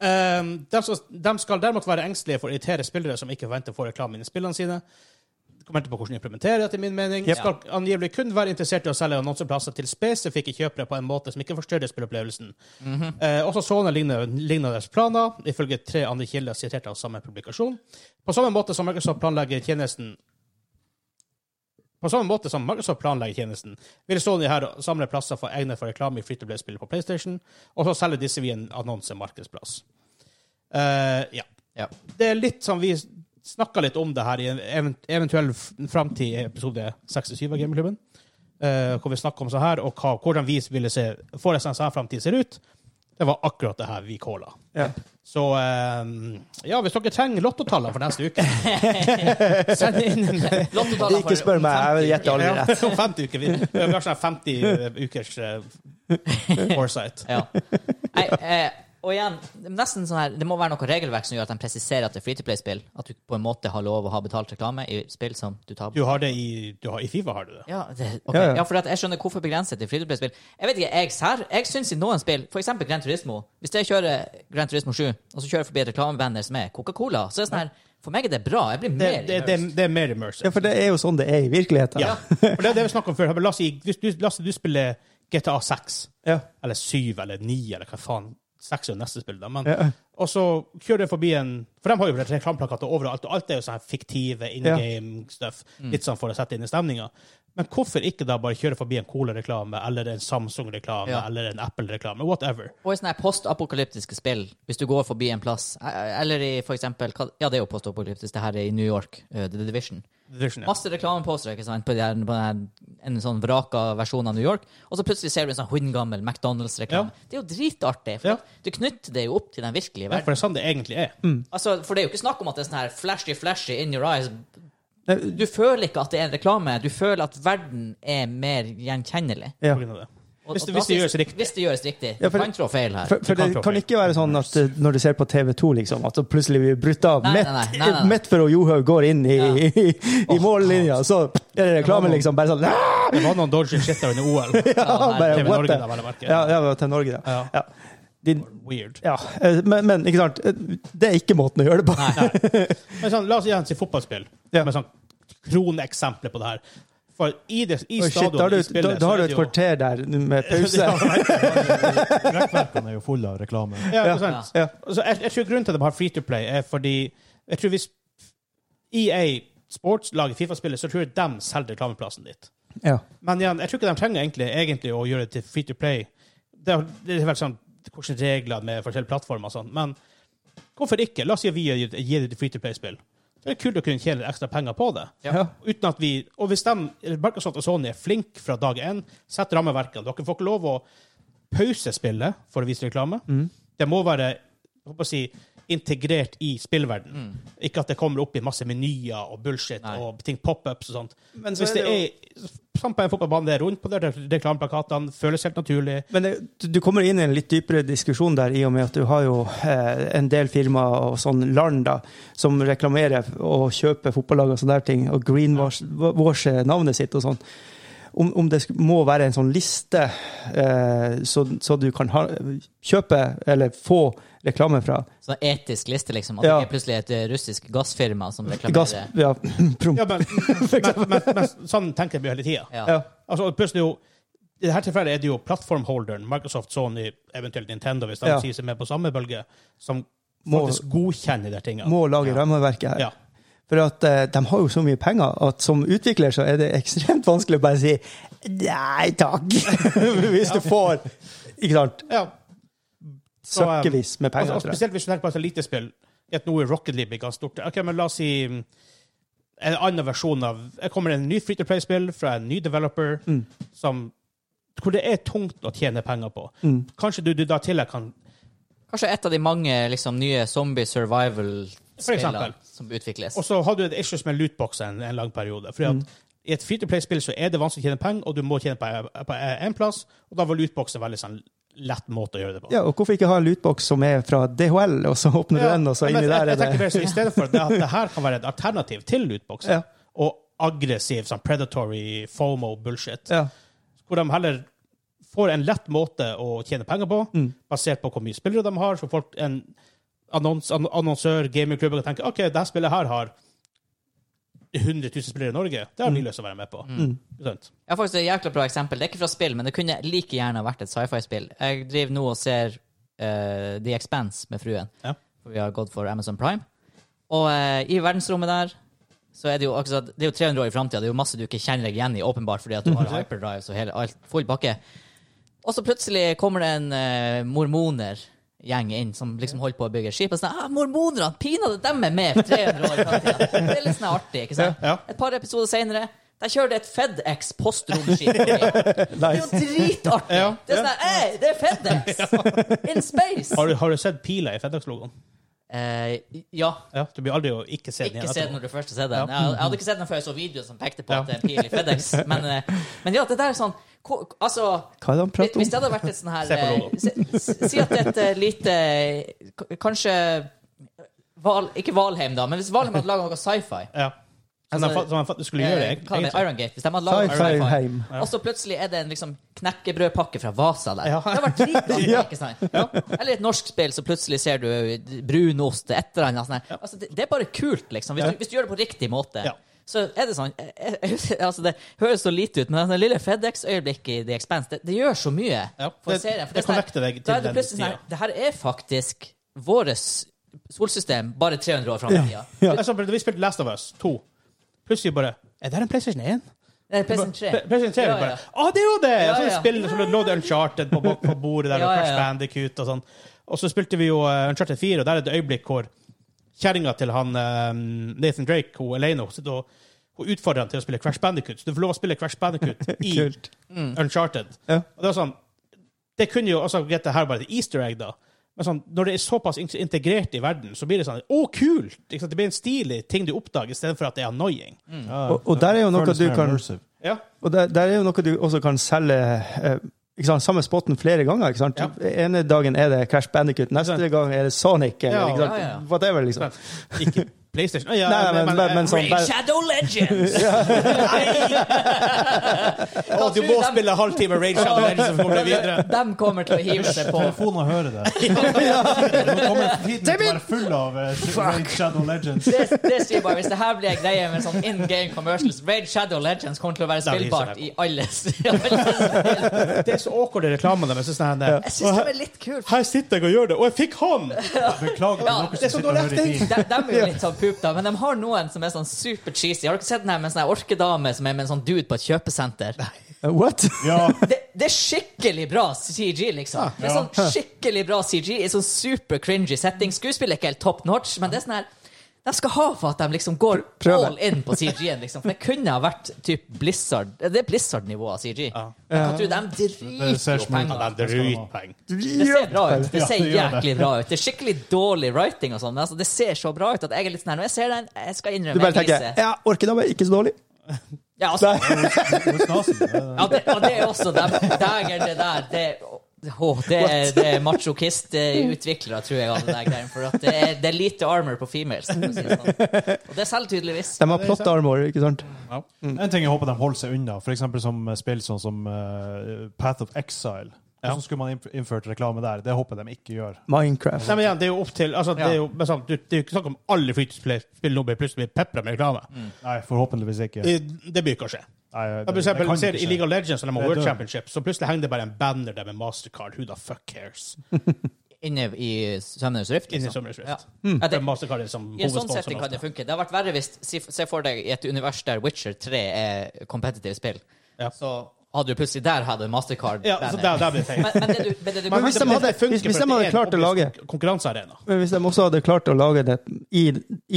[SPEAKER 2] Ehm, de, skal, de skal derimot være engstelige for å irritere spillere som ikke forventer å få reklame innen spillene sine. Det Kommer an på hvordan de implementerer, etter min mening. Skal angivelig kun være interessert i å selge annonseplasser til spesifikke kjøpere på en måte som ikke forstyrrer spilleopplevelsen. Eh, også Sony ligner, ligner deres planer, ifølge tre andre kilder sitert av samme publikasjon. På samme måte som Microsoft planlegger tjenesten på samme måte som Microsoft planlegger tjenesten, vil Sony her samle plasser for egne for reklame i free-to-play-spill på PlayStation, og så selge disse via en annonsemarkedsplass. Eh, ja.
[SPEAKER 1] Ja.
[SPEAKER 2] Det er litt som vi snakka litt om det her i en event eventuell framtid i episode 67 av Gameklubben, eh, hvor vi snakker om sånn her, og hva, hvordan vi ville se for oss en framtid ser ut. Det var akkurat det her vi calla.
[SPEAKER 3] Ja.
[SPEAKER 2] Så eh, ja, hvis dere trenger lottotallene for neste uke Send inn en
[SPEAKER 1] Lottotallene
[SPEAKER 3] Ikke
[SPEAKER 1] for-
[SPEAKER 3] spør meg, jeg vil gjette aldri
[SPEAKER 2] Ja,
[SPEAKER 3] rett.
[SPEAKER 2] (laughs) om 50 uker. Vi, vi har sånn 50 ukers uh, foresight.
[SPEAKER 1] Ja. Nei, eh, og igjen, nesten sånn her, det må være noe regelverk som gjør at de presiserer at det er free-to-play-spill. At du på en måte har lov å ha betalt reklame i spill som du tar
[SPEAKER 2] Du har det i, du har, i Fifa, har du det?
[SPEAKER 1] Ja, det, ok.
[SPEAKER 3] Ja, ja.
[SPEAKER 1] ja, for at jeg skjønner hvorfor begrense til free-to-play-spill. Jeg vet ikke, jeg sær, jeg syns i noen spill, for eksempel Gran Turismo Hvis jeg kjører Gran Turismo 7, og så kjører jeg forbi et reklamebanner som er Coca-Cola, så er det sånn her For meg er det bra. Jeg blir
[SPEAKER 2] Det,
[SPEAKER 1] mer
[SPEAKER 2] det, det, det er mer immersive.
[SPEAKER 3] Ja, for det er jo sånn det er i virkeligheten.
[SPEAKER 2] Ja. For det er det vi snakket om før. Men La oss si hvis du, la oss si du spiller GTA 6,
[SPEAKER 3] Ja.
[SPEAKER 2] eller 7, eller 9, eller hva faen. 6 er jo neste spill, da. Men,
[SPEAKER 3] Ja.
[SPEAKER 2] Og så kjører du forbi en For de har jo reklameplakater overalt, og alt er jo sånn her fiktive in
[SPEAKER 3] Ja.
[SPEAKER 2] game-stuff. Litt sånn for å sette inn i stemninga. Men hvorfor ikke da bare kjøre forbi en Cola-reklame, eller en Samsung-reklame,
[SPEAKER 1] Ja.
[SPEAKER 2] eller en Apple-reklame? Whatever.
[SPEAKER 1] Og i sånne her postapokalyptiske spill, hvis du går forbi en plass, eh, eller i for eksempel hva- Ja, det er jo postapokalyptisk, det her er i New York, eh, The Division.
[SPEAKER 2] Division, ja.
[SPEAKER 1] Masse reklameposter ikke sant, på, de her, på den her, en sånn vraka versjon av New York. Og så plutselig ser du en sånn hundgammel McDonald's-reklame. Det er jo dritartig. For
[SPEAKER 2] Ja.
[SPEAKER 1] at du knytter det jo opp til den virkelige
[SPEAKER 2] Ja, for
[SPEAKER 1] verden.
[SPEAKER 2] det er sånn det egentlig er.
[SPEAKER 3] Mm.
[SPEAKER 1] Altså, for det er jo ikke snakk om at det er sånn her flashy, flashy, in your eyes.
[SPEAKER 3] Nei,
[SPEAKER 1] Du føler ikke at det er en reklame. Du føler at verden er mer gjenkjennelig.
[SPEAKER 3] Ja.
[SPEAKER 2] På grunn av det.
[SPEAKER 1] Og-
[SPEAKER 2] Hvis det-
[SPEAKER 1] og da
[SPEAKER 2] hvis det
[SPEAKER 1] syns-
[SPEAKER 2] gjøres riktig.
[SPEAKER 1] Hvis det gjøres riktig.
[SPEAKER 3] Ja,
[SPEAKER 1] Du
[SPEAKER 3] for-
[SPEAKER 1] kan trå feil her.
[SPEAKER 3] For, for
[SPEAKER 2] Du kan
[SPEAKER 3] det
[SPEAKER 2] prøve.
[SPEAKER 3] kan ikke være sånn at eh, når du ser på TV2, liksom, at så plutselig blir brutt av
[SPEAKER 1] Nei, nei,
[SPEAKER 3] midt
[SPEAKER 1] nei, nei, nei.
[SPEAKER 3] midt før Johaug går inn i,
[SPEAKER 1] Ja.
[SPEAKER 3] (laughs) i, i mållinja, så er det reklame, liksom. Bare sånn (laughs) "Ah!"
[SPEAKER 2] Det var noen dodgy shit der under OL.
[SPEAKER 3] (laughs)
[SPEAKER 2] ja,
[SPEAKER 3] bare,
[SPEAKER 2] TV
[SPEAKER 3] what
[SPEAKER 2] Norge,
[SPEAKER 3] the?
[SPEAKER 2] da, vel å merke.
[SPEAKER 3] Ja, ja, til Norge, da.
[SPEAKER 2] Ja.
[SPEAKER 3] Ja. De,
[SPEAKER 2] Weird.
[SPEAKER 3] ja. eh, Men, men ikke sant, eh, det er ikke måten å gjøre det på.
[SPEAKER 2] Men sånn, la oss igjen si fotballspill,
[SPEAKER 3] Ja.
[SPEAKER 2] med sånn kroneksempler på det her. For i, det, i
[SPEAKER 3] Oi, shit,
[SPEAKER 2] stadion
[SPEAKER 3] da har
[SPEAKER 2] i
[SPEAKER 3] du,
[SPEAKER 2] spillet,
[SPEAKER 3] da,
[SPEAKER 2] så
[SPEAKER 3] da har
[SPEAKER 2] er
[SPEAKER 3] du
[SPEAKER 2] det
[SPEAKER 3] et
[SPEAKER 2] jo-
[SPEAKER 3] kvarter der (laughs) med pause.
[SPEAKER 2] Ja,
[SPEAKER 4] Rekkverkene er jo fulle av reklame.
[SPEAKER 1] Mm.
[SPEAKER 2] Ja, ikke sant?
[SPEAKER 3] Ja.
[SPEAKER 2] Så jeg, jeg tror grunnen til at de har free to play, er fordi jeg tror hvis EA Sports lager Fifa-spillet, så tror jeg de selger reklameplassen ditt.
[SPEAKER 3] Ja.
[SPEAKER 2] Men igjen, jeg tror ikke de trenger egentlig, egentlig å gjøre det til free to play. Det er, det er vel sånn hvilke regler med forskjellige plattformer og sånn, men hvorfor ikke? La oss si at vi gir gir det til free to play-spill. Det er kult å kunne tjene litt ekstra penger på det.
[SPEAKER 3] Ja.
[SPEAKER 2] Uten at vi, og hvis de, Microsoft og Sony er flinke fra dag én, sett rammeverket. Dere får ikke lov å pause spillet for å vise reklame.
[SPEAKER 3] Mm.
[SPEAKER 2] Det må være jeg håper å si, integrert i spillverden. Ikke at det kommer opp i masse menyer og bullshit
[SPEAKER 1] Mm. Nei.
[SPEAKER 2] og ting pop-ups og sånt.
[SPEAKER 3] Men så
[SPEAKER 2] Hvis
[SPEAKER 3] er
[SPEAKER 2] det
[SPEAKER 3] det jo-
[SPEAKER 2] er sånn på en fotballbane, det er rundt på de reklameplakatene, føles helt
[SPEAKER 3] (laughs)
[SPEAKER 2] naturlig.
[SPEAKER 3] Men det, du- du kommer inn i en litt dypere diskusjon der, i og med at du har jo eh, en del firmaer og sånn land da, som reklamerer og kjøper fotballag og sånne der ting, og greenwasher navnet sitt og sånn. Om, om det sk- må være en sånn liste eh, så, så du kan ha, kjøpe eller få reklame fra
[SPEAKER 1] Sånn etisk liste, liksom. At
[SPEAKER 3] Ja.
[SPEAKER 1] det ikke er plutselig et eh, russisk gassfirma som reklamerer.
[SPEAKER 3] gass... Ja, (clears throat) prom,
[SPEAKER 2] Ja, men, men, men, men sånn tenker vi hele tida.
[SPEAKER 1] Ja.
[SPEAKER 3] ja.
[SPEAKER 2] Altså, plutselig jo I dette tilfellet er det jo plattformholderen, Microsoft, Sony, eventuelt Nintendo, hvis de
[SPEAKER 3] Ja.
[SPEAKER 2] sier seg med på samme bølge, som
[SPEAKER 3] Må-
[SPEAKER 2] faktisk godkjenner de tingene.
[SPEAKER 3] Må lage
[SPEAKER 2] ja.
[SPEAKER 3] rammeverket her.
[SPEAKER 2] Ja.
[SPEAKER 3] For at eh, de har jo så mye penger at som utvikler så er det ekstremt vanskelig å bare si (laughs) nei takk, hvis du får ikke sant,
[SPEAKER 2] ja. Så, eh,
[SPEAKER 3] Søkkevis med penger.
[SPEAKER 2] Altså, og
[SPEAKER 3] tror jeg.
[SPEAKER 2] spesielt hvis du tenker på et lite spill. At nå er Rocket League ganske stort. Ok, men la oss si mm, en annen versjon av Jeg kommer en ny Free to Play-spill fra en ny developer
[SPEAKER 3] Mm.
[SPEAKER 2] som hvor det er tungt å tjene penger på.
[SPEAKER 3] Mm.
[SPEAKER 2] Kanskje du, du da til jeg kan
[SPEAKER 1] Kanskje et av de mange liksom, nye zombie
[SPEAKER 2] For
[SPEAKER 1] survival-spillene
[SPEAKER 2] eksempel.
[SPEAKER 1] som utvikles.
[SPEAKER 2] Og så har du et issues med lootboxer en, en lang periode. Fordi at
[SPEAKER 3] Mm.
[SPEAKER 2] I et free to play-spill så er det vanskelig å tjene penger, og du må tjene på én plass. Og da var lootboxer en veldig sånn, lett måte å gjøre det på.
[SPEAKER 3] Ja, og hvorfor ikke ha en lootbox som er fra DHL, og så åpner du
[SPEAKER 2] Ja,
[SPEAKER 3] den, og så
[SPEAKER 2] men jeg-
[SPEAKER 3] inni der
[SPEAKER 2] jeg
[SPEAKER 3] er
[SPEAKER 2] tenker
[SPEAKER 3] det
[SPEAKER 2] bare så I stedet for det at det her kan være et alternativ til lootboxer,
[SPEAKER 3] (laughs) Ja.
[SPEAKER 2] og aggressiv sånn predatory FOMO-bullshit,
[SPEAKER 3] ja.
[SPEAKER 2] hvor de heller får en lett måte å tjene penger på, basert på hvor mye spillere de har, så folk, en annons, ann- annonsør, gamingklubber kan tenke OK, det her spillet her har 100 000 spillere i Norge. Det har vi lyst til å være med på. Ikke sant?
[SPEAKER 1] Jeg har faktisk et jækla bra eksempel. Det er ikke fra spill, men det kunne like gjerne vært et sci-fi-spill. Jeg driver nå og ser eh, The Expanse med fruen.
[SPEAKER 2] Ja.
[SPEAKER 1] For vi har gått for Amazon Prime. Og eh, i verdensrommet der så er det jo, altså, det er jo 300 år i framtida. Det er jo masse du ikke kjenner deg igjen i, åpenbart, fordi
[SPEAKER 2] (laughs)
[SPEAKER 1] at du har hyperdrives og hele, alt, full pakke. Og så plutselig kommer det en eh, mormonergjeng inn som liksom holder på å bygge et skip. Og sånn, ah, mormonerne, pinadø, dem er med! 300 år i fremtiden.
[SPEAKER 2] (laughs)
[SPEAKER 1] Det er litt sånn artig, ikke sant?
[SPEAKER 2] Ja, ja.
[SPEAKER 1] Et par episoder senere, der kjører det et FedEx postromskip. forbi. Det er jo dritartig!
[SPEAKER 2] Ja,
[SPEAKER 1] Det er sånn, her, «Ei, det er
[SPEAKER 2] (laughs)
[SPEAKER 1] FedEx! In space!
[SPEAKER 2] Har, du- har du sett pila i FedEx-logoen?
[SPEAKER 1] Eh, ja.
[SPEAKER 2] Ja. Du blir aldri å ikke se den
[SPEAKER 1] Ikke
[SPEAKER 2] igjen.
[SPEAKER 1] se den
[SPEAKER 2] etterpå.
[SPEAKER 1] når du først ser den.
[SPEAKER 2] Ja.
[SPEAKER 1] Jeg, jeg hadde ikke sett den før jeg så videoen som pekte på
[SPEAKER 2] Ja.
[SPEAKER 1] at det er en pil i
[SPEAKER 2] (laughs)
[SPEAKER 1] FedEx. Men, eh, men ja, det der er sånn ko- Altså
[SPEAKER 3] Hva er det
[SPEAKER 1] Hvis
[SPEAKER 3] han prater
[SPEAKER 1] hvis det
[SPEAKER 3] om?
[SPEAKER 1] hadde vært et sånn her
[SPEAKER 2] Se på
[SPEAKER 1] eh,
[SPEAKER 2] logoen.
[SPEAKER 1] se- s- Si at det er et eh, lite k- Kanskje eh, Val, Ikke Valheim, da, men hvis Valheim hadde laga noe sci-fi
[SPEAKER 2] Ja. Som
[SPEAKER 1] Altså,
[SPEAKER 2] de fa- som de fa- skulle gjøre,
[SPEAKER 1] eh, Hva med
[SPEAKER 2] egentlig.
[SPEAKER 1] Iron Gate? Hvis de hadde laget
[SPEAKER 3] Sci-fi
[SPEAKER 1] Iron Gate,
[SPEAKER 3] heim.
[SPEAKER 1] og så plutselig er det en liksom knekkebrødpakke fra Vasa der.
[SPEAKER 2] Ja.
[SPEAKER 1] Det hadde vært
[SPEAKER 3] (laughs)
[SPEAKER 1] dritartig,
[SPEAKER 3] Ja.
[SPEAKER 1] ikke sant? Eller et norsk spill, så plutselig ser du eh, brunost, et eller annet sånt. der. Altså, det, det er bare kult, liksom. Hvis du, hvis du gjør det på riktig måte.
[SPEAKER 2] Ja.
[SPEAKER 1] Så er det sånn eh, eh, (laughs) altså Det høres så lite ut, men det lille FedEx-øyeblikket i The Expense, det, det gjør så mye
[SPEAKER 2] Ja.
[SPEAKER 1] for
[SPEAKER 2] Det-
[SPEAKER 1] serien. For
[SPEAKER 2] det
[SPEAKER 1] er sånn her-
[SPEAKER 2] connecter deg til
[SPEAKER 1] da er det
[SPEAKER 2] den
[SPEAKER 1] plutselig sånn her,
[SPEAKER 2] tida.
[SPEAKER 1] Det her er faktisk vårt solsystem bare 300 år fram i tida.
[SPEAKER 2] Ja. Altså, vi spilte Last of Us 2. Plutselig bare Er det her en PlayStation 1?
[SPEAKER 1] Det er PlayStation 3.
[SPEAKER 2] Pre- PlayStation 3
[SPEAKER 1] Ja, ja.
[SPEAKER 2] bare, Å, det er jo det!
[SPEAKER 1] Ja,
[SPEAKER 2] Og så
[SPEAKER 1] ja.
[SPEAKER 2] spiller så lå det Uncharted på, bak- på bordet der,
[SPEAKER 1] Ja,
[SPEAKER 2] og
[SPEAKER 1] ja,
[SPEAKER 2] Crash
[SPEAKER 1] ja.
[SPEAKER 2] Bandicoot og sånn. Og så spilte vi jo eh, Uncharted 4, og der er det et øyeblikk hvor kjerringa til han eh, Nathan Drake, hun Elena, hun sitter og hun utfordrer han til å spille Crash Bandicoot. Så du får lov å spille Crash
[SPEAKER 3] (laughs)
[SPEAKER 2] Bandicoot i
[SPEAKER 3] Kult.
[SPEAKER 1] Mm.
[SPEAKER 2] Uncharted.
[SPEAKER 3] Ja.
[SPEAKER 2] Og det var sånn Det kunne jo også dette her bare et easter egg, da. Men sånn, når det er såpass in- integrert i verden, så blir det sånn Å, kult! Ikke sant? Det blir en stilig ting du oppdager, istedenfor at det er annoying.
[SPEAKER 1] Mm.
[SPEAKER 3] Og, og der er jo noe du kan
[SPEAKER 2] Ja.
[SPEAKER 3] Og der, der er jo noe du også kan selge eh, ikke sant, samme spotten flere ganger. ikke sant?
[SPEAKER 2] Ja.
[SPEAKER 3] ene dagen er det Crash Bandicoot, neste
[SPEAKER 2] Ja.
[SPEAKER 3] gang er det Sonic. Eller,
[SPEAKER 2] Ja,
[SPEAKER 3] ikke sant?
[SPEAKER 1] ja, ja.
[SPEAKER 3] Whatever, liksom.
[SPEAKER 2] Ikke PlayStation. Å, ja,
[SPEAKER 3] Nei, men- men- men sånn-
[SPEAKER 1] Raid Shadow Legends! Nei!
[SPEAKER 2] Å, du må spille halvtime Rage Shadow Legends for å komme deg videre.
[SPEAKER 1] De kommer til å hive seg
[SPEAKER 2] (laughs)
[SPEAKER 1] på.
[SPEAKER 4] Telefonen og høre det. Nå kommer tiden til å være full av eh, Raid Shadow Legends.
[SPEAKER 1] Det, det sier bare, Hvis det her blir en greie med sånn in game commercials Raid Shadow Legends kommer til å være
[SPEAKER 2] Da hiver
[SPEAKER 1] spillbart i
[SPEAKER 2] jeg
[SPEAKER 1] alle (laughs) i alle-
[SPEAKER 2] Det er så awkward i reklamen deres. det er sånn her,
[SPEAKER 1] Jeg syns det er litt kult.
[SPEAKER 2] Her sitter jeg og gjør det, og jeg fikk han!
[SPEAKER 4] Beklager til
[SPEAKER 1] Ja,
[SPEAKER 4] dere
[SPEAKER 2] det er
[SPEAKER 4] som
[SPEAKER 2] så
[SPEAKER 4] sitter og
[SPEAKER 2] dårlig
[SPEAKER 4] hører i bil.
[SPEAKER 1] De, de er jo litt sånn poop, da, men de har noen som er sånn super cheesy. Har dere sett den her med en sånn her orkedame som er med en sånn dude på et kjøpesenter?
[SPEAKER 3] Eh, What?
[SPEAKER 4] Ja,
[SPEAKER 1] det, det er skikkelig bra CG, liksom. Det er sånn skikkelig bra CG i sånn super cringy setting. Skuespillet er ikke helt top notch, men det er sånn her de skal ha for at de liksom går
[SPEAKER 3] Prøve.
[SPEAKER 1] all in på CG-en. Liksom. For det kunne ha vært typ Blizzard Det er Blizzard-nivå av CG. Jeg kan tro de driter
[SPEAKER 4] Det ser
[SPEAKER 1] jo
[SPEAKER 4] smooth
[SPEAKER 1] penger.
[SPEAKER 2] Det er dritpeng.
[SPEAKER 1] Det ser bra ut. Det
[SPEAKER 4] Ja,
[SPEAKER 1] ser
[SPEAKER 4] det gjør det.
[SPEAKER 1] jæklig bra ut. Det er skikkelig dårlig writing og sånn, men altså, det ser så bra ut at jeg er litt sånn her Når jeg ser den, jeg skal
[SPEAKER 3] Du
[SPEAKER 1] innrømme
[SPEAKER 3] bare
[SPEAKER 1] jeg
[SPEAKER 3] tenker
[SPEAKER 1] gliser.
[SPEAKER 3] ja, orkedame, ikke så dårlig.
[SPEAKER 1] Ja, altså,
[SPEAKER 4] det er snasen. Det er-
[SPEAKER 1] Ja, det, og det er også dem. Dæger, det der. Det, åh, det er, det er machokist-utviklere, tror jeg. av det der greien, For at det, er, det er lite armor på females. for å si det sånn. Og det selger tydeligvis.
[SPEAKER 3] (laughs) De har plot armor, ikke sant?
[SPEAKER 2] Mm.
[SPEAKER 4] En ting jeg håper de holder seg unna, f.eks. som eh, spill sånn som eh, Path of Exile. Hvordan skulle man innf- innført reklame der? Det håper jeg de ikke gjør.
[SPEAKER 3] Minecraft.
[SPEAKER 2] Nei, men igjen, det er jo opp til altså, Det er jo men sånn, du- det er jo ikke snakk om alle fritidsspill nå blir plutselig pepra med reklame.
[SPEAKER 4] Nei, forhåpentligvis ikke.
[SPEAKER 2] Eh, Det blir ikke å skje.
[SPEAKER 4] Nei, det,
[SPEAKER 2] Ja, for
[SPEAKER 4] det
[SPEAKER 2] eksempel,
[SPEAKER 4] kan
[SPEAKER 2] vi ser
[SPEAKER 4] ikke
[SPEAKER 2] I
[SPEAKER 4] skje.
[SPEAKER 2] League of Legends og de har
[SPEAKER 4] Det er
[SPEAKER 2] World
[SPEAKER 4] død.
[SPEAKER 2] Championship, så plutselig henger det bare en banner der med Mastercard. Who the fuck cares?
[SPEAKER 1] Inne i Sømmenes Rift.
[SPEAKER 2] Inni
[SPEAKER 1] Liksom.
[SPEAKER 2] Summer's Rift.
[SPEAKER 1] Ja. Ja,
[SPEAKER 2] Det
[SPEAKER 1] det,
[SPEAKER 2] er Mastercard er som
[SPEAKER 1] I en sånn setting kan
[SPEAKER 2] hovedsponsoren.
[SPEAKER 1] det funke. Det har vært verre hvis si- Se for deg i et univers der Witcher 3 er competitive spill.
[SPEAKER 2] Ja.
[SPEAKER 1] Så hadde jo plutselig der hadde Mastercard
[SPEAKER 2] Ja, så der, der blir det feil.
[SPEAKER 1] Men, men det du, men det du
[SPEAKER 2] Men
[SPEAKER 3] hvis
[SPEAKER 2] det-
[SPEAKER 3] de hadde-
[SPEAKER 2] det funker,
[SPEAKER 3] hvis- hvis
[SPEAKER 2] for
[SPEAKER 3] de hadde
[SPEAKER 2] det er en
[SPEAKER 3] klart å lage-
[SPEAKER 2] obvious Konkurransearena.
[SPEAKER 3] Men hvis de også hadde klart å lage det i,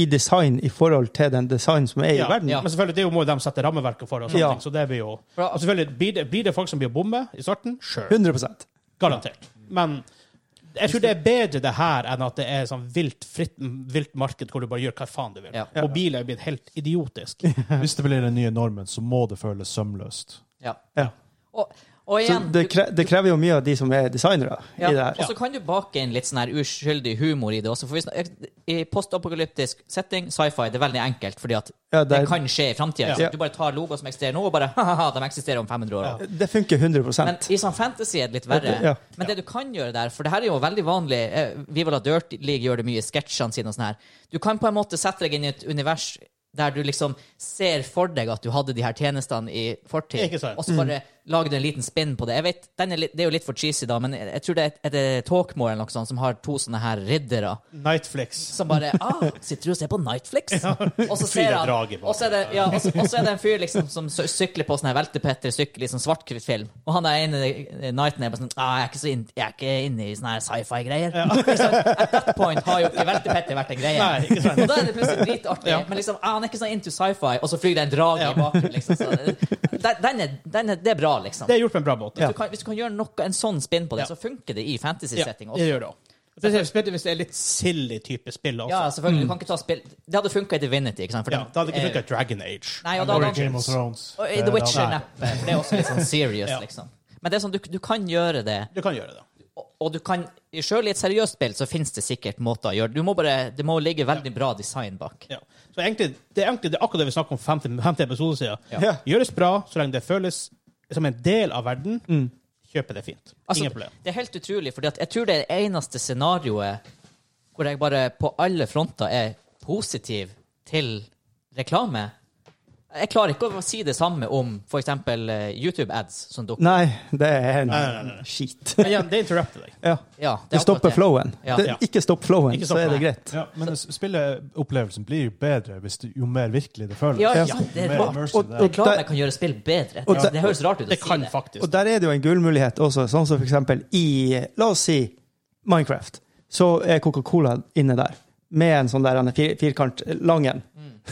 [SPEAKER 3] i design i forhold til den design som er i
[SPEAKER 2] Ja,
[SPEAKER 3] verden
[SPEAKER 1] ja.
[SPEAKER 2] Men selvfølgelig, det er jo må jo de sette rammeverket for. og sånne
[SPEAKER 3] Ja.
[SPEAKER 2] ting, så det blir jo...
[SPEAKER 1] Bra.
[SPEAKER 2] Og selvfølgelig, blir det, blir det folk som blir bombe i starten? Sure.
[SPEAKER 3] 100
[SPEAKER 2] Garantert. Men jeg tror det er bedre det her enn at det er sånn vilt, fritt, vilt marked hvor du bare gjør hva faen du vil.
[SPEAKER 1] Ja.
[SPEAKER 2] Og biler er blitt helt idiotisk.
[SPEAKER 4] Hvis det blir den nye normen, så må det føles sømløst.
[SPEAKER 1] ja.
[SPEAKER 3] Ja.
[SPEAKER 1] og, og
[SPEAKER 3] Så
[SPEAKER 1] igjen
[SPEAKER 3] det,
[SPEAKER 1] du-
[SPEAKER 3] kre, det krever jo mye av de som er designere
[SPEAKER 1] Ja.
[SPEAKER 3] i det her.
[SPEAKER 1] Og så kan du bake inn litt sånn her uskyldig humor i det også. For hvis, I postapokalyptisk setting, sci-fi, det er veldig enkelt, fordi at
[SPEAKER 3] Ja,
[SPEAKER 1] det
[SPEAKER 3] det,
[SPEAKER 1] kan skje i framtida.
[SPEAKER 2] Ja.
[SPEAKER 1] Du bare tar logoer som eksisterer nå, og bare (laughs) ha-ha, de eksisterer om 500 år.
[SPEAKER 3] det funker 100
[SPEAKER 1] Men i sånn fantasy er det litt verre.
[SPEAKER 3] Ja.
[SPEAKER 1] Men det du kan gjøre der, for det her er jo veldig vanlig eh, Viva la Dirt League gjør det mye i sketsjene sine og sånn her. Du kan på en måte sette deg inn i et univers der du liksom ser for deg at du hadde de her tjenestene i fortid,
[SPEAKER 2] Ikke sant?
[SPEAKER 1] og så bare lager du en liten spinn på det. Jeg vet, den er litt, Det er jo litt for cheesy, da, men jeg jeg tror det er, er det Talkmore eller noe sånt som har to sånne her riddere
[SPEAKER 2] Nightflix.
[SPEAKER 1] som bare ah, Sitter du og ser på Nightflix?
[SPEAKER 2] (laughs)
[SPEAKER 1] Og så
[SPEAKER 2] Fyr
[SPEAKER 1] ser
[SPEAKER 2] er
[SPEAKER 1] han
[SPEAKER 2] drage bak.
[SPEAKER 1] Og så er det, ja, og så, og så er det en fyr liksom som sy- sykler på sånn her veltepetter-sykkel i sånn svart-hvitt film. Og han der ene eh, Knighten er bare sånn ah, 'Jeg er ikke så inn, jeg er ikke inne i sånne her sci-fi-greier'. Så At that point har jo ikke veltepetter vært en greie.
[SPEAKER 2] Nei, ikke sant.
[SPEAKER 1] Og da er det plutselig dritartig. Men liksom, ah, han er ikke så into sci-fi, og så flyr det en drage i bakgrunnen, liksom. Så, eh, den, den er, den er, det er bra, liksom.
[SPEAKER 2] Det er gjort på en bra måte.
[SPEAKER 1] Hvis, du kan, hvis du kan gjøre noe, en sånn spinn på det,
[SPEAKER 2] Ja.
[SPEAKER 1] så funker det i
[SPEAKER 2] Ja,
[SPEAKER 1] fantasy-setting
[SPEAKER 2] det
[SPEAKER 1] også.
[SPEAKER 2] gjør det også. Spesielt hvis det er litt silly type spill også.
[SPEAKER 1] Ja, selvfølgelig. Du kan ikke ta spill Det hadde funka i Divinity. ikke sant? For
[SPEAKER 2] Altså, mm. Ja,
[SPEAKER 1] den
[SPEAKER 2] da hadde ikke
[SPEAKER 1] er-
[SPEAKER 2] funket Dragon Age.
[SPEAKER 1] Nei, og da
[SPEAKER 4] Eller
[SPEAKER 1] hadde
[SPEAKER 4] Game
[SPEAKER 1] han
[SPEAKER 4] of Thrones. Eh,
[SPEAKER 1] og i
[SPEAKER 4] Det
[SPEAKER 1] The
[SPEAKER 4] er
[SPEAKER 1] Witcher,
[SPEAKER 4] da-
[SPEAKER 1] neppe. For det er også litt sånn serious,
[SPEAKER 2] (laughs) Ja.
[SPEAKER 1] liksom. Men det er sånn, du, du kan gjøre det,
[SPEAKER 2] Du kan gjøre det.
[SPEAKER 1] og, og du kan Sjøl i et seriøst spill så finnes det sikkert måter å gjøre det Du må bare Det må ligge veldig bra design bak.
[SPEAKER 2] Ja. Så egentlig, det er egentlig det er akkurat det vi snakket om 50, 50 episoder siden.
[SPEAKER 3] Ja.
[SPEAKER 2] Gjøres bra så lenge det føles som en del av verden. Kjøper det fint.
[SPEAKER 1] Altså,
[SPEAKER 2] Ingen problem.
[SPEAKER 1] det er helt utrolig, for jeg tror det er det eneste scenarioet hvor jeg bare på alle fronter er positiv til reklame. Jeg klarer ikke å si det samme om f.eks. YouTube-ads som dukker
[SPEAKER 3] Nei, det er en
[SPEAKER 2] nei, nei, nei.
[SPEAKER 3] (laughs) skit.
[SPEAKER 2] Men igjen, det interrupter deg.
[SPEAKER 3] Ja.
[SPEAKER 1] Ja, det er
[SPEAKER 3] Det stopper
[SPEAKER 1] akkurat det.
[SPEAKER 3] flowen.
[SPEAKER 1] Ja.
[SPEAKER 3] Det, ikke stopp flowen,
[SPEAKER 2] Ikke
[SPEAKER 3] så
[SPEAKER 2] stopp,
[SPEAKER 3] er det
[SPEAKER 2] nei.
[SPEAKER 3] greit.
[SPEAKER 4] Ja, men s- spilleopplevelsen blir jo bedre hvis du, jo mer virkelig det føles.
[SPEAKER 1] Ja,
[SPEAKER 3] Ja.
[SPEAKER 1] ja, det er
[SPEAKER 4] Mer
[SPEAKER 1] rart.
[SPEAKER 4] immersive det er.
[SPEAKER 3] og-
[SPEAKER 1] Reklame
[SPEAKER 3] der-
[SPEAKER 1] kan gjøre spill bedre.
[SPEAKER 3] og
[SPEAKER 1] Ja,
[SPEAKER 3] der-
[SPEAKER 1] det høres rart ut å
[SPEAKER 2] Det
[SPEAKER 1] si
[SPEAKER 2] kan
[SPEAKER 1] det.
[SPEAKER 2] faktisk.
[SPEAKER 3] Og der er det jo en gullmulighet også, sånn som for eksempel i, la oss si, Minecraft. Så er Coca-Cola inne der, med en sånn der han er fir, firkant lang en. (laughs)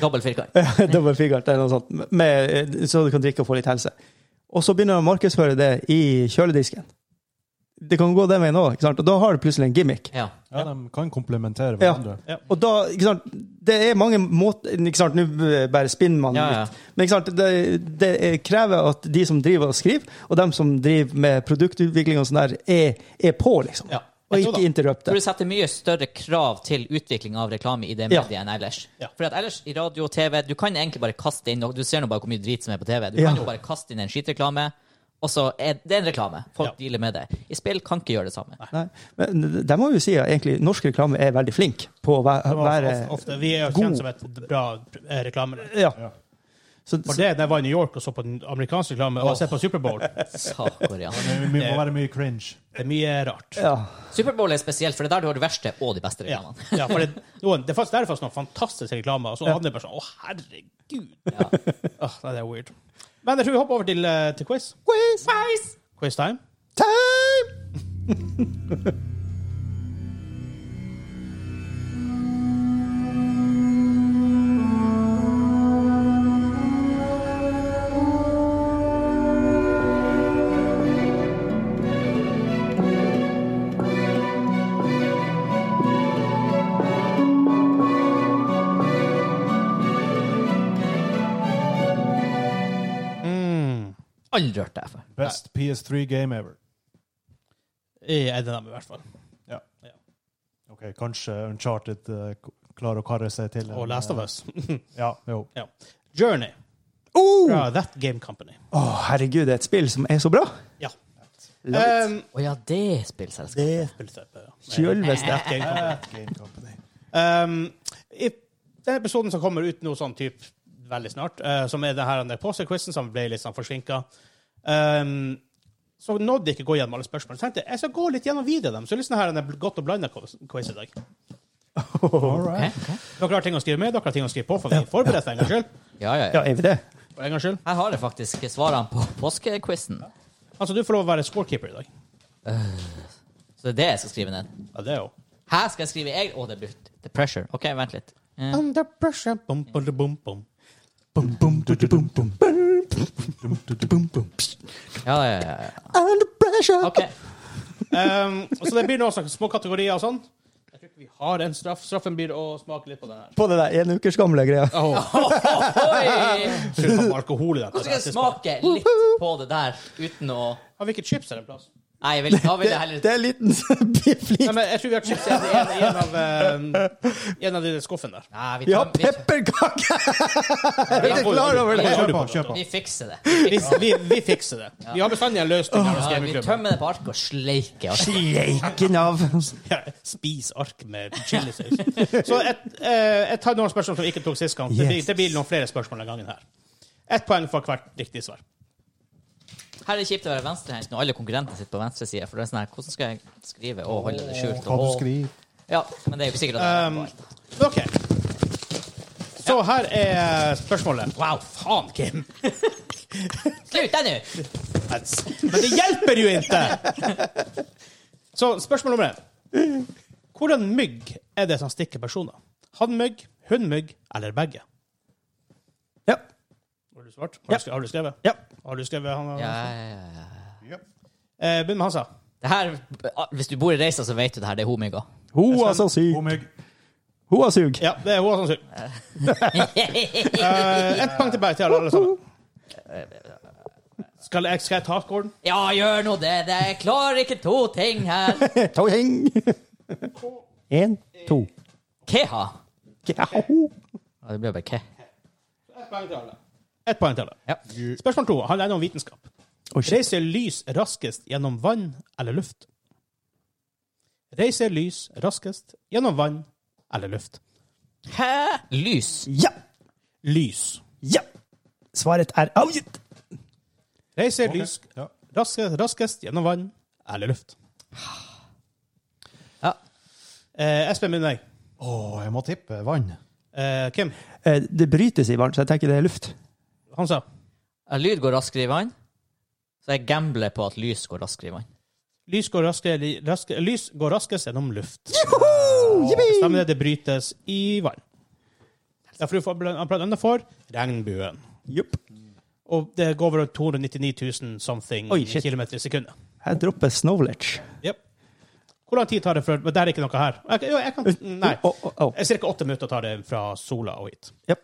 [SPEAKER 1] Dobbel firkant.
[SPEAKER 3] Dobbel firkant eller noe sånt, med, eh, så du kan drikke og få litt helse. Og så begynner de å markedsføre det i kjøledisken. Det kan gå den veien òg, og da har du plutselig en gimmick.
[SPEAKER 1] Ja.
[SPEAKER 4] Ja, de kan komplementere
[SPEAKER 3] Ja.
[SPEAKER 4] hverandre.
[SPEAKER 3] Og da, ikke sant, det er mange måter ikke sant, Nå bare spinner man
[SPEAKER 1] Ja, ja.
[SPEAKER 3] litt. Men ikke sant, det, det er- krever at de som driver og skriver, og dem som driver med produktutvikling og sånn der, er, er på, liksom.
[SPEAKER 2] Ja.
[SPEAKER 3] Og
[SPEAKER 2] Jeg tror
[SPEAKER 3] ikke
[SPEAKER 2] da.
[SPEAKER 1] Jeg tror
[SPEAKER 3] interrupte.
[SPEAKER 1] det setter mye større krav til utvikling av reklame i det
[SPEAKER 3] Ja.
[SPEAKER 1] mediet enn ellers.
[SPEAKER 2] Ja.
[SPEAKER 1] For at ellers, i radio og TV, du kan egentlig bare kaste inn noe. Du ser nå bare hvor mye drit som er på TV. Du
[SPEAKER 3] Ja.
[SPEAKER 1] kan jo bare kaste inn en skitreklame, og så er det en reklame. Folk
[SPEAKER 2] Ja.
[SPEAKER 1] dealer med det. I spill kan ikke gjøre det samme.
[SPEAKER 3] Nei. Men det må jo si at egentlig norsk reklame er veldig flink på å væ- være
[SPEAKER 2] Ofte, ofte, vi er jo
[SPEAKER 3] God.
[SPEAKER 2] kjent som et bra eh, reklamelag.
[SPEAKER 3] Ja.
[SPEAKER 4] Ja.
[SPEAKER 3] Så,
[SPEAKER 2] For
[SPEAKER 3] så,
[SPEAKER 2] det, da jeg var i New York og så på den amerikanske reklame og
[SPEAKER 1] Åh.
[SPEAKER 2] så på Superbowl, det
[SPEAKER 1] Saker, ja.
[SPEAKER 4] Det må være mye cringe.
[SPEAKER 2] er mye rart.
[SPEAKER 3] ja.
[SPEAKER 1] Superbowl er spesielt, for det er der du har det verste og de beste
[SPEAKER 2] Ja.
[SPEAKER 1] reklamene.
[SPEAKER 2] ja for
[SPEAKER 1] (laughs)
[SPEAKER 2] det, noen, det er faktisk derfor noen fantastiske reklamer, og så handler det bare sånn Å, herregud!
[SPEAKER 1] Ja.
[SPEAKER 2] Åh, nei, det er weird. Men jeg tror vi hopper over til, eh, til quiz.
[SPEAKER 3] Quiz!
[SPEAKER 2] Quiz time.
[SPEAKER 3] Time!
[SPEAKER 1] Aldri hørt det før.
[SPEAKER 4] Best PS3 game ever.
[SPEAKER 2] I Edinburgh, i hvert fall.
[SPEAKER 4] Ja.
[SPEAKER 2] Ja.
[SPEAKER 4] OK, kanskje Uncharted eh, k- klarer å karre seg til en,
[SPEAKER 2] Og Last of
[SPEAKER 4] eh, (laughs)
[SPEAKER 2] Us.
[SPEAKER 4] Ja, jo.
[SPEAKER 2] ja. Journey
[SPEAKER 3] Oh!
[SPEAKER 2] fra That Game Company.
[SPEAKER 3] Å, herregud, det er et spill som er så bra!
[SPEAKER 2] Ja.
[SPEAKER 3] Love it.
[SPEAKER 2] Um,
[SPEAKER 1] Å ja, det er spillselskap.
[SPEAKER 2] det spilte jeg på.
[SPEAKER 3] Sjølveste.
[SPEAKER 2] That Game Company.
[SPEAKER 4] That Game Company.
[SPEAKER 2] Um, I den episoden som kommer ut nå sånn typ veldig snart, eh, som er den her den påskequizen som ble litt sånn forsinka, um, så nådde jeg ikke gå gjennom alle spørsmål. Så tenkte jeg jeg skal gå litt gjennom videre dem. Så litt sånn her den er godt og blanda quiz i dag.
[SPEAKER 4] All
[SPEAKER 1] Ok,
[SPEAKER 4] right.
[SPEAKER 1] ok.
[SPEAKER 2] Dere har ting å skrive med, dere har ting å skrive på, for vi er forberedt for en gangs skyld.
[SPEAKER 1] Ja, ja, ja.
[SPEAKER 3] Ja, er vi det?
[SPEAKER 2] For en gangs skyld.
[SPEAKER 1] Her har jeg faktisk svarene på påskequizen.
[SPEAKER 2] Altså, du får lov å være scorekeeper i dag.
[SPEAKER 1] Så det er det jeg skal skrive ned.
[SPEAKER 2] Ja, det er jo.
[SPEAKER 1] Her skal jeg skrive egen Å, det blir the pressure. OK, vent litt. Eh,
[SPEAKER 2] Under pressure. Bum, bum, bum, bum.
[SPEAKER 5] Bum, bum, du, du, bum, bum. Bum, bum, du, du, bum, bum. Psst.
[SPEAKER 1] Ja, ja, ja, ja.
[SPEAKER 3] Under pressure!
[SPEAKER 1] OK.
[SPEAKER 2] Um, så det blir noen sånne små kategorier og sånn. Jeg tror ikke vi har en straff. Straffen blir å smake litt på den her.
[SPEAKER 3] På det der en ukers gamle greia.
[SPEAKER 1] Oi!
[SPEAKER 2] Skyld på alkohol i dette.
[SPEAKER 1] Nå skal jeg
[SPEAKER 2] siste.
[SPEAKER 1] smake litt på det der uten å
[SPEAKER 2] Altså, Har vi ikke chips her en plass?
[SPEAKER 1] Nei, jeg vil, da vil jeg
[SPEAKER 3] Det,
[SPEAKER 1] heller
[SPEAKER 3] det er en liten (laughs) bifflik.
[SPEAKER 2] Nei, men jeg tror vi har chips i en, i en av, eh, en av de der skuffen der.
[SPEAKER 1] Nei, vi,
[SPEAKER 3] Vi har
[SPEAKER 1] tar, vi,
[SPEAKER 3] pepperkake! Er
[SPEAKER 2] Ja,
[SPEAKER 3] dere klar over det?
[SPEAKER 4] Kjør på, kjør på.
[SPEAKER 1] vi fikser det.
[SPEAKER 2] Vi, vi, vi fikser det. Vi har bestandig en løsning her hos
[SPEAKER 1] Ja, vi
[SPEAKER 2] gamingklubben.
[SPEAKER 1] tømmer det på arket og sleiker. arket.
[SPEAKER 3] Sleiken av
[SPEAKER 2] Ja, Spis ark med chilisaus. Så et, eh, jeg tar noen spørsmål som vi ikke tok sist gang. Det blir,
[SPEAKER 3] Yes.
[SPEAKER 2] det blir noen flere spørsmål denne gangen her. Ett poeng for hvert riktig svar.
[SPEAKER 1] Her er det kjipt å være venstrehendt når alle konkurrentene sitter på venstre side. For det er sånn her, hvordan skal jeg skrive og holde det skjult?
[SPEAKER 4] Hva du
[SPEAKER 1] Og,
[SPEAKER 4] skriver.
[SPEAKER 1] ja, men det er jo ikke sikkert at
[SPEAKER 2] Um,
[SPEAKER 1] jeg er på alt.
[SPEAKER 2] OK. Så her er spørsmålet. Wow, faen, Kim!
[SPEAKER 1] Slutt deg nå!
[SPEAKER 2] Men det hjelper jo (laughs) ikke! Så spørsmål nummer én. Hvordan mygg er det som stikker personer? Hannmygg, hunnmygg eller begge?
[SPEAKER 3] Ja.
[SPEAKER 2] Har du svart?
[SPEAKER 3] Ja.
[SPEAKER 2] Har du, har du skrevet?
[SPEAKER 3] Ja.
[SPEAKER 2] Har du skrevet han?
[SPEAKER 1] Ja, ja, ja, ja.
[SPEAKER 4] Ja.
[SPEAKER 2] Eh, Begynn med Hansa.
[SPEAKER 1] Det her, hvis du bor i Reisa, så vet du det her. Det er homiga.
[SPEAKER 3] Hun er så syk.
[SPEAKER 4] Omygg.
[SPEAKER 3] Hun er syk.
[SPEAKER 2] Ja, det er hun som sier. Eh, Ett poeng til begge til alle, alle sammen. Skal jeg, skal jeg ta skåren?
[SPEAKER 1] Ja, gjør nå det! det jeg klarer ikke to ting her.
[SPEAKER 3] To heng. (laughs) En, to.
[SPEAKER 1] Keha.
[SPEAKER 3] Ja.
[SPEAKER 1] Ja, det blir bare ke.
[SPEAKER 2] Ett poeng til alle. Ett poeng til alle.
[SPEAKER 1] Ja.
[SPEAKER 2] Spørsmål to handler om vitenskap.
[SPEAKER 3] Oi, shit.
[SPEAKER 2] Reiser lys raskest gjennom vann eller luft? Reiser lys raskest gjennom vann eller luft?
[SPEAKER 1] Hæ? Lys.
[SPEAKER 3] Ja.
[SPEAKER 2] Lys.
[SPEAKER 3] Ja. Svaret er avgitt.
[SPEAKER 2] Reiser
[SPEAKER 4] Ok.
[SPEAKER 2] lys
[SPEAKER 4] Ja.
[SPEAKER 2] raskest, raskest gjennom vann eller luft?
[SPEAKER 1] Ja.
[SPEAKER 2] Eh, Espen begynner med deg.
[SPEAKER 4] Å, jeg må tippe vann.
[SPEAKER 2] Eh, Kim,
[SPEAKER 3] Eh, Det brytes i vann, så jeg tenker det er luft.
[SPEAKER 2] han sa
[SPEAKER 1] Ja, Lyd går raskere i vann. Så jeg gambler på at lys går raskere i vann.
[SPEAKER 2] lys går, raskere, li- raske, lys går raskest gjennom luft.
[SPEAKER 3] Jippi!
[SPEAKER 2] Stemmer det, det brytes i vann. Derfor du får blant blant annet får regnbuen.
[SPEAKER 3] Jupp.
[SPEAKER 2] Og det går over 299 000 something
[SPEAKER 3] Oi, shit.
[SPEAKER 2] kilometer i sekundet.
[SPEAKER 3] Her dropper knowledge.
[SPEAKER 2] Yep. Hvor lang tid tar det før Men det er ikke noe her. Jeg, kan- jo, jeg kan, nei.
[SPEAKER 3] Å, å, å.
[SPEAKER 2] Cirka åtte minutter tar det fra sola og hit.
[SPEAKER 3] Japp.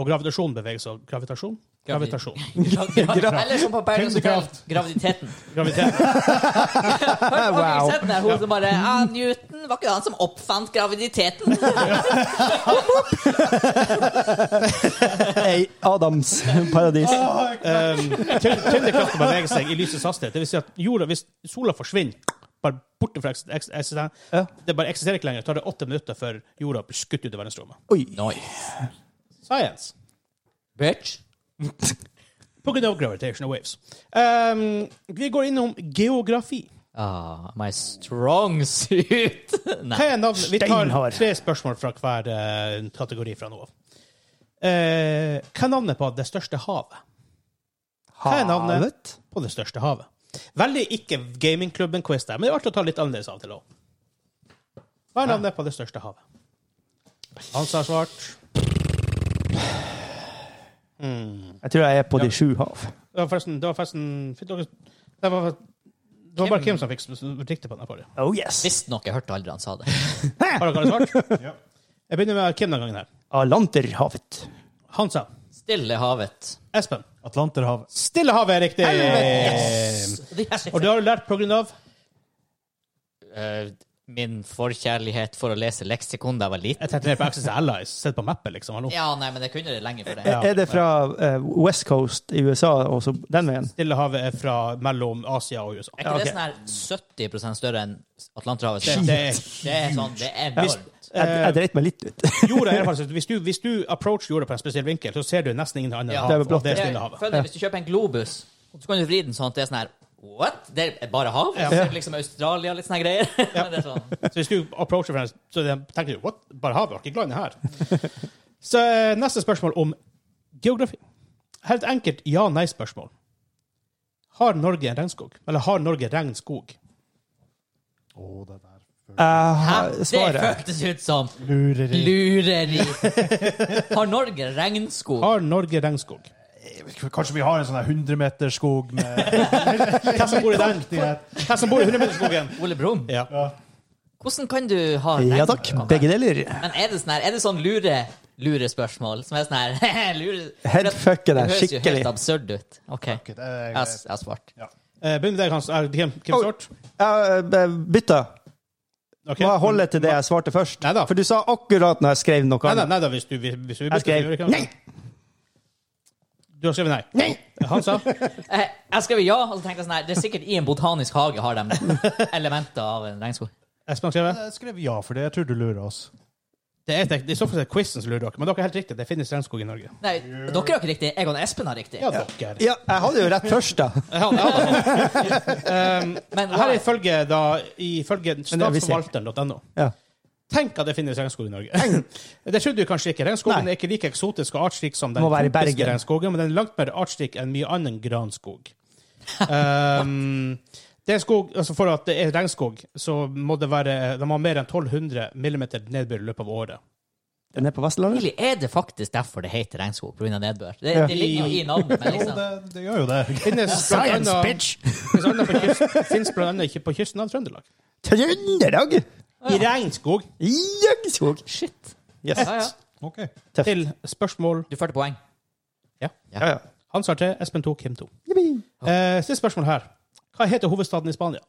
[SPEAKER 2] Og gravitasjon beveger seg. Gravitasjon? Gravitasjon.
[SPEAKER 1] Eller som på Paradise Hotel, graviditeten.
[SPEAKER 2] Gravitet.
[SPEAKER 1] Har du
[SPEAKER 3] Wow.
[SPEAKER 1] ikke sett den der hun som bare ja, Newton, var ikke det han som oppfant graviditeten?
[SPEAKER 3] Hey, Adams paradis.
[SPEAKER 2] Tyngdekraften beveger seg i lysets hastighet. Det vil si at jorda, hvis sola forsvinner bare borte fra eks- eks- eksisten-
[SPEAKER 3] Ja.
[SPEAKER 2] Det bare eksisterer ikke lenger. tar det åtte minutter før jorda blir skutt ut i verdensrommet.
[SPEAKER 3] Oi.
[SPEAKER 2] Science.
[SPEAKER 1] Bitch.
[SPEAKER 2] På grunn av gravitational waves. Um, vi går innom geografi.
[SPEAKER 1] Ah, my strong suit. (laughs) Nei.
[SPEAKER 2] Hva er navnet? Vi tar
[SPEAKER 3] Steinhard.
[SPEAKER 2] tre spørsmål fra hver eh, kategori fra nå av. Eh, hva er navnet på det største havet? Hva er navnet?
[SPEAKER 3] Havet?
[SPEAKER 2] På det største havet. Veldig ikke gamingklubben-quiz der, men det er artig å ta litt annerledes av og til òg. Hva er navnet på det største havet? Hans har svart.
[SPEAKER 3] Jeg tror jeg er på de sju hav.
[SPEAKER 2] Det var forresten Det var forresten fikk dere- Det var, det var bare Kim som fikk s- s- riktig på den. her forrige.
[SPEAKER 3] Oh yes.
[SPEAKER 1] Visstnok, jeg hørte aldri han sa det.
[SPEAKER 2] Har dere alle svart?
[SPEAKER 4] Ja.
[SPEAKER 2] Jeg begynner med Kim denne gangen. her.
[SPEAKER 3] Atlanterhavet.
[SPEAKER 2] Hansa.
[SPEAKER 1] Stille havet.
[SPEAKER 2] Espen.
[SPEAKER 4] Atlanterhav.
[SPEAKER 2] Stillehavet er riktig! Og det har du lært på grunn av
[SPEAKER 1] Eh, Min forkjærlighet for å lese leksikon da jeg var liten.
[SPEAKER 2] Jeg tenkte mer på Access Allies. Sett på mappet, liksom. Hallo.
[SPEAKER 1] Ja, nei, men jeg kunne det lenge før det.
[SPEAKER 2] Ja.
[SPEAKER 3] Er det fra eh, West Coast i USA og så den veien?
[SPEAKER 2] Stillehavet er fra mellom Asia og USA.
[SPEAKER 1] Er ikke det
[SPEAKER 3] ok.
[SPEAKER 1] sånn her 70 større enn Atlanterhavet?
[SPEAKER 2] Det, det er,
[SPEAKER 1] Det er sånn, det er enormt.
[SPEAKER 3] Jeg, jeg dreit meg litt ut. (laughs)
[SPEAKER 2] jorda er faktisk, hvis, du, hvis du approacher jorda på en spesiell vinkel, så ser du nesten ingen annen
[SPEAKER 1] Ja.
[SPEAKER 2] hav.
[SPEAKER 1] Det er
[SPEAKER 3] blått.
[SPEAKER 2] og det er
[SPEAKER 1] Jeg
[SPEAKER 2] Stillehavet.
[SPEAKER 1] føler, Hvis du kjøper en globus, så kan du vri den sånn at det er sånn her What? Det er bare hav?
[SPEAKER 2] Ja.
[SPEAKER 1] Så er det liksom Australia og litt sånne greier. Men (laughs) det er sånn.
[SPEAKER 2] Så hvis du approacher fra en, så tenker du What? Bare havet? Ikke landet her? Så eh, neste spørsmål om geografi. helt enkelt ja-nei-spørsmål. Har Norge en regnskog? Eller har Norge regnskog?
[SPEAKER 4] Å, det der.
[SPEAKER 3] Jeg har
[SPEAKER 1] Hæ? Det
[SPEAKER 3] svaret.
[SPEAKER 1] føltes ut som
[SPEAKER 4] Lureri.
[SPEAKER 1] lureri. (laughs) Har Norge regnskog?
[SPEAKER 2] Har Norge regnskog?
[SPEAKER 4] Kanskje Eh, vi har en sånn her 100 meter skog med
[SPEAKER 2] Hvem som bor i den?
[SPEAKER 4] riktighet?
[SPEAKER 2] Hvem som bor i 100-meterskogen?
[SPEAKER 1] Ole Brumm,
[SPEAKER 2] Ja.
[SPEAKER 1] hvordan kan du ha
[SPEAKER 3] Ja takk.
[SPEAKER 1] regnskog?
[SPEAKER 3] Begge deler.
[SPEAKER 1] Men er det sånn her, er det sånn lure lure spørsmål? Som er sånn her (laughs) lure, Det
[SPEAKER 3] Headfucker det
[SPEAKER 1] høres jo
[SPEAKER 3] skikkelig.
[SPEAKER 1] helt absurd ut. OK.
[SPEAKER 4] Ok,
[SPEAKER 1] Jeg
[SPEAKER 4] det er
[SPEAKER 1] har
[SPEAKER 4] greit.
[SPEAKER 1] jeg har svart.
[SPEAKER 2] Eh, Begynn med deg, Hans. Er det Kim, Kim Sort?
[SPEAKER 3] Jeg eh, bytta.
[SPEAKER 2] Ok.
[SPEAKER 3] Må jeg holde til det jeg svarte først?
[SPEAKER 2] Neida.
[SPEAKER 3] For du sa akkurat når jeg skrev noe
[SPEAKER 2] Nei da,
[SPEAKER 3] annet.
[SPEAKER 2] nei da, hvis du hvis hvis du bytter,
[SPEAKER 3] Jeg skrev
[SPEAKER 2] så gjør vi ikke det.
[SPEAKER 3] nei.
[SPEAKER 2] Du har skrevet nei? Nei! Han sa
[SPEAKER 1] Jeg, Eh, jeg skrev ja, og så tenkte jeg sånn her Det er sikkert i en botanisk hage har de (laughs) elementer av en regnskog.
[SPEAKER 2] Espen har skrevet.
[SPEAKER 4] Jeg skrev ja for det. Jeg tror du lurer oss.
[SPEAKER 2] Det er, tek- I så fall er det quizen som lurer dere, men dere er helt riktig. Det finnes regnskog i Norge.
[SPEAKER 1] Nei, dere har ikke riktig. Jeg og Espen har riktig.
[SPEAKER 2] Ja, dere.
[SPEAKER 3] Ja, jeg hadde jo rett først, da.
[SPEAKER 2] Ja, ja, da. um,
[SPEAKER 1] Men
[SPEAKER 2] her er
[SPEAKER 1] why?
[SPEAKER 2] ifølge, da, ifølge
[SPEAKER 3] det vi ser.
[SPEAKER 2] statsforvalteren.no.
[SPEAKER 3] (laughs) Ja.
[SPEAKER 2] Tenk at det finnes regnskog i Norge. (laughs) Det trodde du kanskje ikke. Regnskogen
[SPEAKER 3] Nei.
[SPEAKER 2] er ikke like eksotisk og artsrik som den
[SPEAKER 3] Må være i
[SPEAKER 2] tropiske
[SPEAKER 3] Bergen.
[SPEAKER 2] regnskogen, men den er langt mer artsrik enn mye annen
[SPEAKER 3] (laughs)
[SPEAKER 2] granskog. Um, det er skog, altså For at det er regnskog, så må det være de har mer enn 1200 millimeter nedbør i løpet av året.
[SPEAKER 3] Den er på Vestlandet.
[SPEAKER 1] Egentlig er det faktisk derfor det heter regnskog, pga. nedbør. Det,
[SPEAKER 3] Ja.
[SPEAKER 1] det ligger jo i navnet, men
[SPEAKER 4] Jo,
[SPEAKER 1] liksom
[SPEAKER 4] det, det gjør jo det.
[SPEAKER 3] (laughs)
[SPEAKER 2] Finnes blant
[SPEAKER 3] Science,
[SPEAKER 2] annet-
[SPEAKER 3] bitch!
[SPEAKER 2] (laughs) finnes annet på kysten- finnes blant annet ikke på kysten av Trøndelag.
[SPEAKER 3] Trøndelag!
[SPEAKER 2] I regnskog.
[SPEAKER 3] Jøgskog!
[SPEAKER 1] Shit.
[SPEAKER 3] Yes.
[SPEAKER 1] Ja, ja.
[SPEAKER 4] Ok.
[SPEAKER 2] Til spørsmål
[SPEAKER 1] Du førte poeng.
[SPEAKER 3] Ja, ja.
[SPEAKER 2] Hans har tre, Espen to, Kim to.
[SPEAKER 3] Jippi.
[SPEAKER 2] Eh, siste spørsmål her. Hva heter hovedstaden i Spania?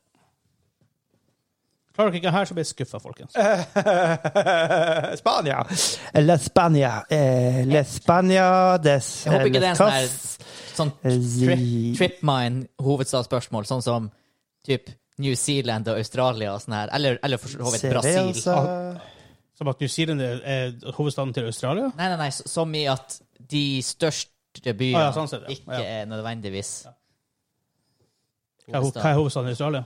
[SPEAKER 2] Klarer dere ikke her, så blir jeg skuffa, folkens.
[SPEAKER 3] (laughs) Spania. La Spania. Eh, La Spania des
[SPEAKER 1] Jeg håper ikke det er en sånn her
[SPEAKER 3] Las
[SPEAKER 1] sånn tri
[SPEAKER 3] Zi-
[SPEAKER 1] tripmine-hovedstadsspørsmål, sånn som typ New Zealand og Australia og sånn her, eller, eller for så vidt Brasil.
[SPEAKER 2] altså.
[SPEAKER 3] Cerveza.
[SPEAKER 2] Som at New Zealand er er hovedstaden til Australia?
[SPEAKER 1] Nei, nei, nei, s- som i at de største byene
[SPEAKER 2] Ah, ja, sånn sett, ja.
[SPEAKER 1] ikke er nødvendigvis
[SPEAKER 2] Hva er, ho- hva er hovedstaden i Australia?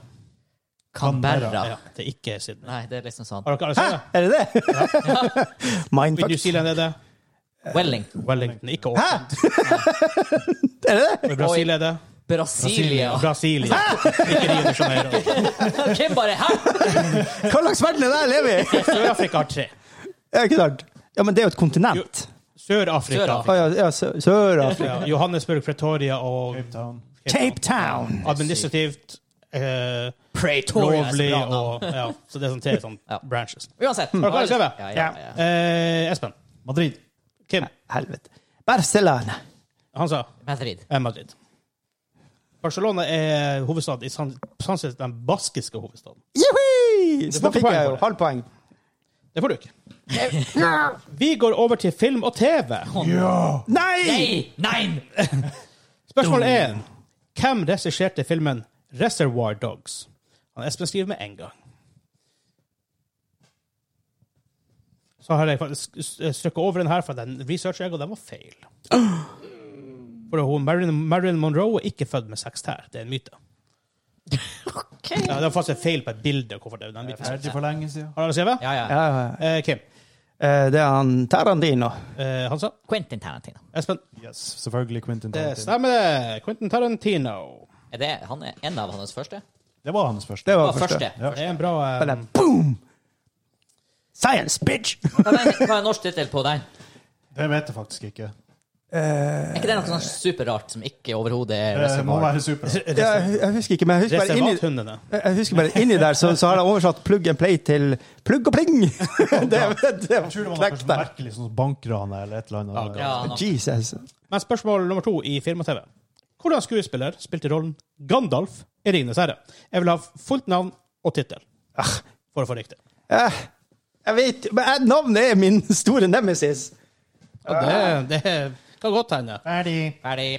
[SPEAKER 1] Canberra.
[SPEAKER 2] Ja, det er ikke Sydney.
[SPEAKER 1] Nei, det er liksom sånn.
[SPEAKER 2] Har dere alle sett det?
[SPEAKER 3] Er det det? (laughs)
[SPEAKER 2] I New
[SPEAKER 3] Mindfuck.
[SPEAKER 2] Zealand er det.
[SPEAKER 1] Wellington.
[SPEAKER 2] Wellington, ikke Auckland.
[SPEAKER 3] Er det det?
[SPEAKER 2] Og I Brasil er det.
[SPEAKER 1] Brasilia.
[SPEAKER 2] Brasilia. Ikke Rio de Janeiro.
[SPEAKER 1] Hvem bare Hæ?!
[SPEAKER 3] Hva slags verden er det jeg lever i?
[SPEAKER 2] Sør-Afrika har tre.
[SPEAKER 3] Ja, ikke sant? Ja, men det er jo et kontinent.
[SPEAKER 2] Sør-Afrika.
[SPEAKER 3] Å, ja, ja, Sø- Sør-Afrika.
[SPEAKER 2] Ja, Johannesburg, Pretoria og
[SPEAKER 4] Cape Town.
[SPEAKER 3] Cape Town!
[SPEAKER 2] administrativt eh,
[SPEAKER 1] Pretoria er så
[SPEAKER 2] lovlig
[SPEAKER 1] bra navn.
[SPEAKER 2] og ja, Så det er sånn tre sånn
[SPEAKER 1] (laughs) Ja.
[SPEAKER 2] branches.
[SPEAKER 1] Uansett.
[SPEAKER 2] Har dere skrevet?
[SPEAKER 1] Ja, ja, ja.
[SPEAKER 2] Eh, Espen.
[SPEAKER 4] Madrid.
[SPEAKER 2] Kim.
[SPEAKER 3] Helvete. Barcelona.
[SPEAKER 2] Han sa
[SPEAKER 1] Madrid.
[SPEAKER 2] eh, Madrid. Barcelona er hovedstad i san- sannsynligvis den baskiske hovedstaden.
[SPEAKER 3] Juhu!
[SPEAKER 2] Det
[SPEAKER 3] Så
[SPEAKER 2] var
[SPEAKER 3] da
[SPEAKER 2] ikke poeng
[SPEAKER 3] fikk jeg
[SPEAKER 2] for
[SPEAKER 3] jo
[SPEAKER 2] det.
[SPEAKER 3] halvt poeng.
[SPEAKER 2] Det får du ikke. (laughs) Vi går over til film og TV.
[SPEAKER 3] Nei!
[SPEAKER 1] Nei! Nei!
[SPEAKER 2] Spørsmål én. Hvem regisserte filmen Reservoir Dogs? Han Espen skriver med en gang. Så har jeg faktisk strøkket over den her, for den researcher jeg, og den var feil. For hun, Marilyn, Marilyn Monroe er ikke født med seks tær. Det er en myte. Ja, det var faktisk en feil på et bilde. Hvorfor det, den myten.
[SPEAKER 4] Ferdig for lenge siden.
[SPEAKER 2] Har dere skrevet?
[SPEAKER 1] Ja, ja.
[SPEAKER 3] Ja, ja.
[SPEAKER 2] Eh, Kim.
[SPEAKER 3] Eh, Det er han Tarandino.
[SPEAKER 2] Eh, Hansa.
[SPEAKER 1] Quentin Tarantino.
[SPEAKER 2] Espen.
[SPEAKER 4] Yes, selvfølgelig Quentin
[SPEAKER 2] Det
[SPEAKER 4] Tarantino.
[SPEAKER 2] stemmer, det. Quentin Tarantino.
[SPEAKER 1] Er det han er en av hans første?
[SPEAKER 4] Det var hans første.
[SPEAKER 3] Det
[SPEAKER 1] Det
[SPEAKER 3] var
[SPEAKER 1] var første.
[SPEAKER 3] første.
[SPEAKER 2] Det er en bra eh,
[SPEAKER 3] Eller boom! Science, bitch!
[SPEAKER 1] Hva er den- hva er norsk tittel på den?
[SPEAKER 4] Det vet jeg faktisk ikke.
[SPEAKER 1] Er ikke det noe sånn superrart som ikke overhodet er
[SPEAKER 4] Det må
[SPEAKER 1] reservoir?
[SPEAKER 4] være
[SPEAKER 2] (laughs)
[SPEAKER 4] super.
[SPEAKER 3] (laughs) Ja, jeg, jeg husker ikke, men jeg husker bare inni,
[SPEAKER 2] reservathundene.
[SPEAKER 3] jeg- jeg husker bare inni der, så, så har jeg oversatt plug and play til plugg og pling! (laughs) det det
[SPEAKER 4] Jeg tror det var noe
[SPEAKER 3] knekk
[SPEAKER 4] sånn
[SPEAKER 3] der.
[SPEAKER 4] merkelig sånn bankran eller et eller annet.
[SPEAKER 1] Ja, nå.
[SPEAKER 3] Jesus.
[SPEAKER 2] Men spørsmål nummer to i film og TV. Hvordan skuespiller spilte rollen Gandalf i Ringenes herre? Jeg vil ha fullt navn og tittel. For å få riktig.
[SPEAKER 3] Eh, jeg vet men jeg- Navnet er min store nemesis.
[SPEAKER 2] Det, det kan godt hende.
[SPEAKER 4] Ferdig.
[SPEAKER 1] Ferdig.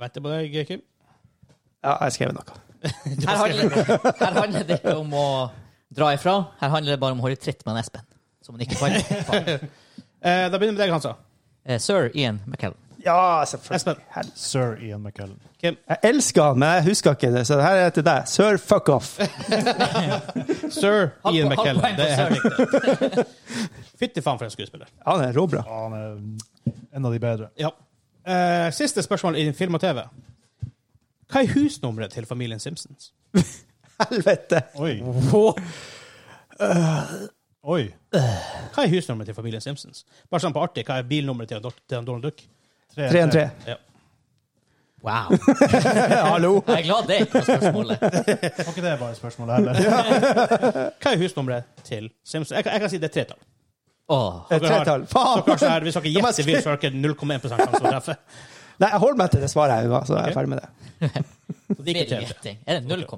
[SPEAKER 2] Venter på deg, Kim.
[SPEAKER 3] Ja, jeg skrev noe.
[SPEAKER 1] Her handler, her handler det ikke om å dra ifra. Her handler det bare om å holde tritt med en Espen. Som han ikke fant.
[SPEAKER 2] Eh, da begynner vi med deg, Hansa.
[SPEAKER 1] Eh, Sir Ian McKellen.
[SPEAKER 3] Ja, selvfølgelig.
[SPEAKER 2] Espen.
[SPEAKER 3] Hel-
[SPEAKER 4] Sir Ian McKellen.
[SPEAKER 2] Kim.
[SPEAKER 3] Jeg elsker han, men jeg husker ikke det, så det her er til deg. Sir, fuck off.
[SPEAKER 2] Sir
[SPEAKER 1] Halv-
[SPEAKER 2] Ian
[SPEAKER 1] halv
[SPEAKER 2] McKellen.
[SPEAKER 1] poeng
[SPEAKER 2] Det
[SPEAKER 1] for
[SPEAKER 2] er helt riktig. Fytti faen for en skuespiller.
[SPEAKER 3] Han er råbra.
[SPEAKER 4] Han er en av de bedre.
[SPEAKER 2] Ja. Eh, siste spørsmål i film og TV. Hva er husnummeret til familien Simpsons?
[SPEAKER 3] Helvete!
[SPEAKER 4] Oi. Oi.
[SPEAKER 2] Hva er husnummeret til familien Simpsons? Bare sånn på artig, hva er bilnummeret til, Dor- til Donald Duck?
[SPEAKER 3] 3-1-3.
[SPEAKER 2] Ja.
[SPEAKER 1] Wow.
[SPEAKER 3] Hallo!
[SPEAKER 1] Jeg er glad det ikke var spørsmålet.
[SPEAKER 4] Var ikke det bare spørsmålet
[SPEAKER 3] (laughs)
[SPEAKER 4] heller?
[SPEAKER 2] Hva er husnummeret til Simpsons? Jeg, kan- jeg kan si det er tretall.
[SPEAKER 1] Åh.
[SPEAKER 3] Et tretall.
[SPEAKER 2] Så kanskje
[SPEAKER 3] Faen!
[SPEAKER 2] her, hvis dere
[SPEAKER 3] må
[SPEAKER 2] gjetter, vil dere ikke 0,1 sjanse for å treffe.
[SPEAKER 3] Nei, jeg holder meg til det svaret jeg ga, så er jeg ferdig med det.
[SPEAKER 2] Så det er ikke
[SPEAKER 1] Mer
[SPEAKER 2] tretall.
[SPEAKER 1] gjetting. Er det 0,1 på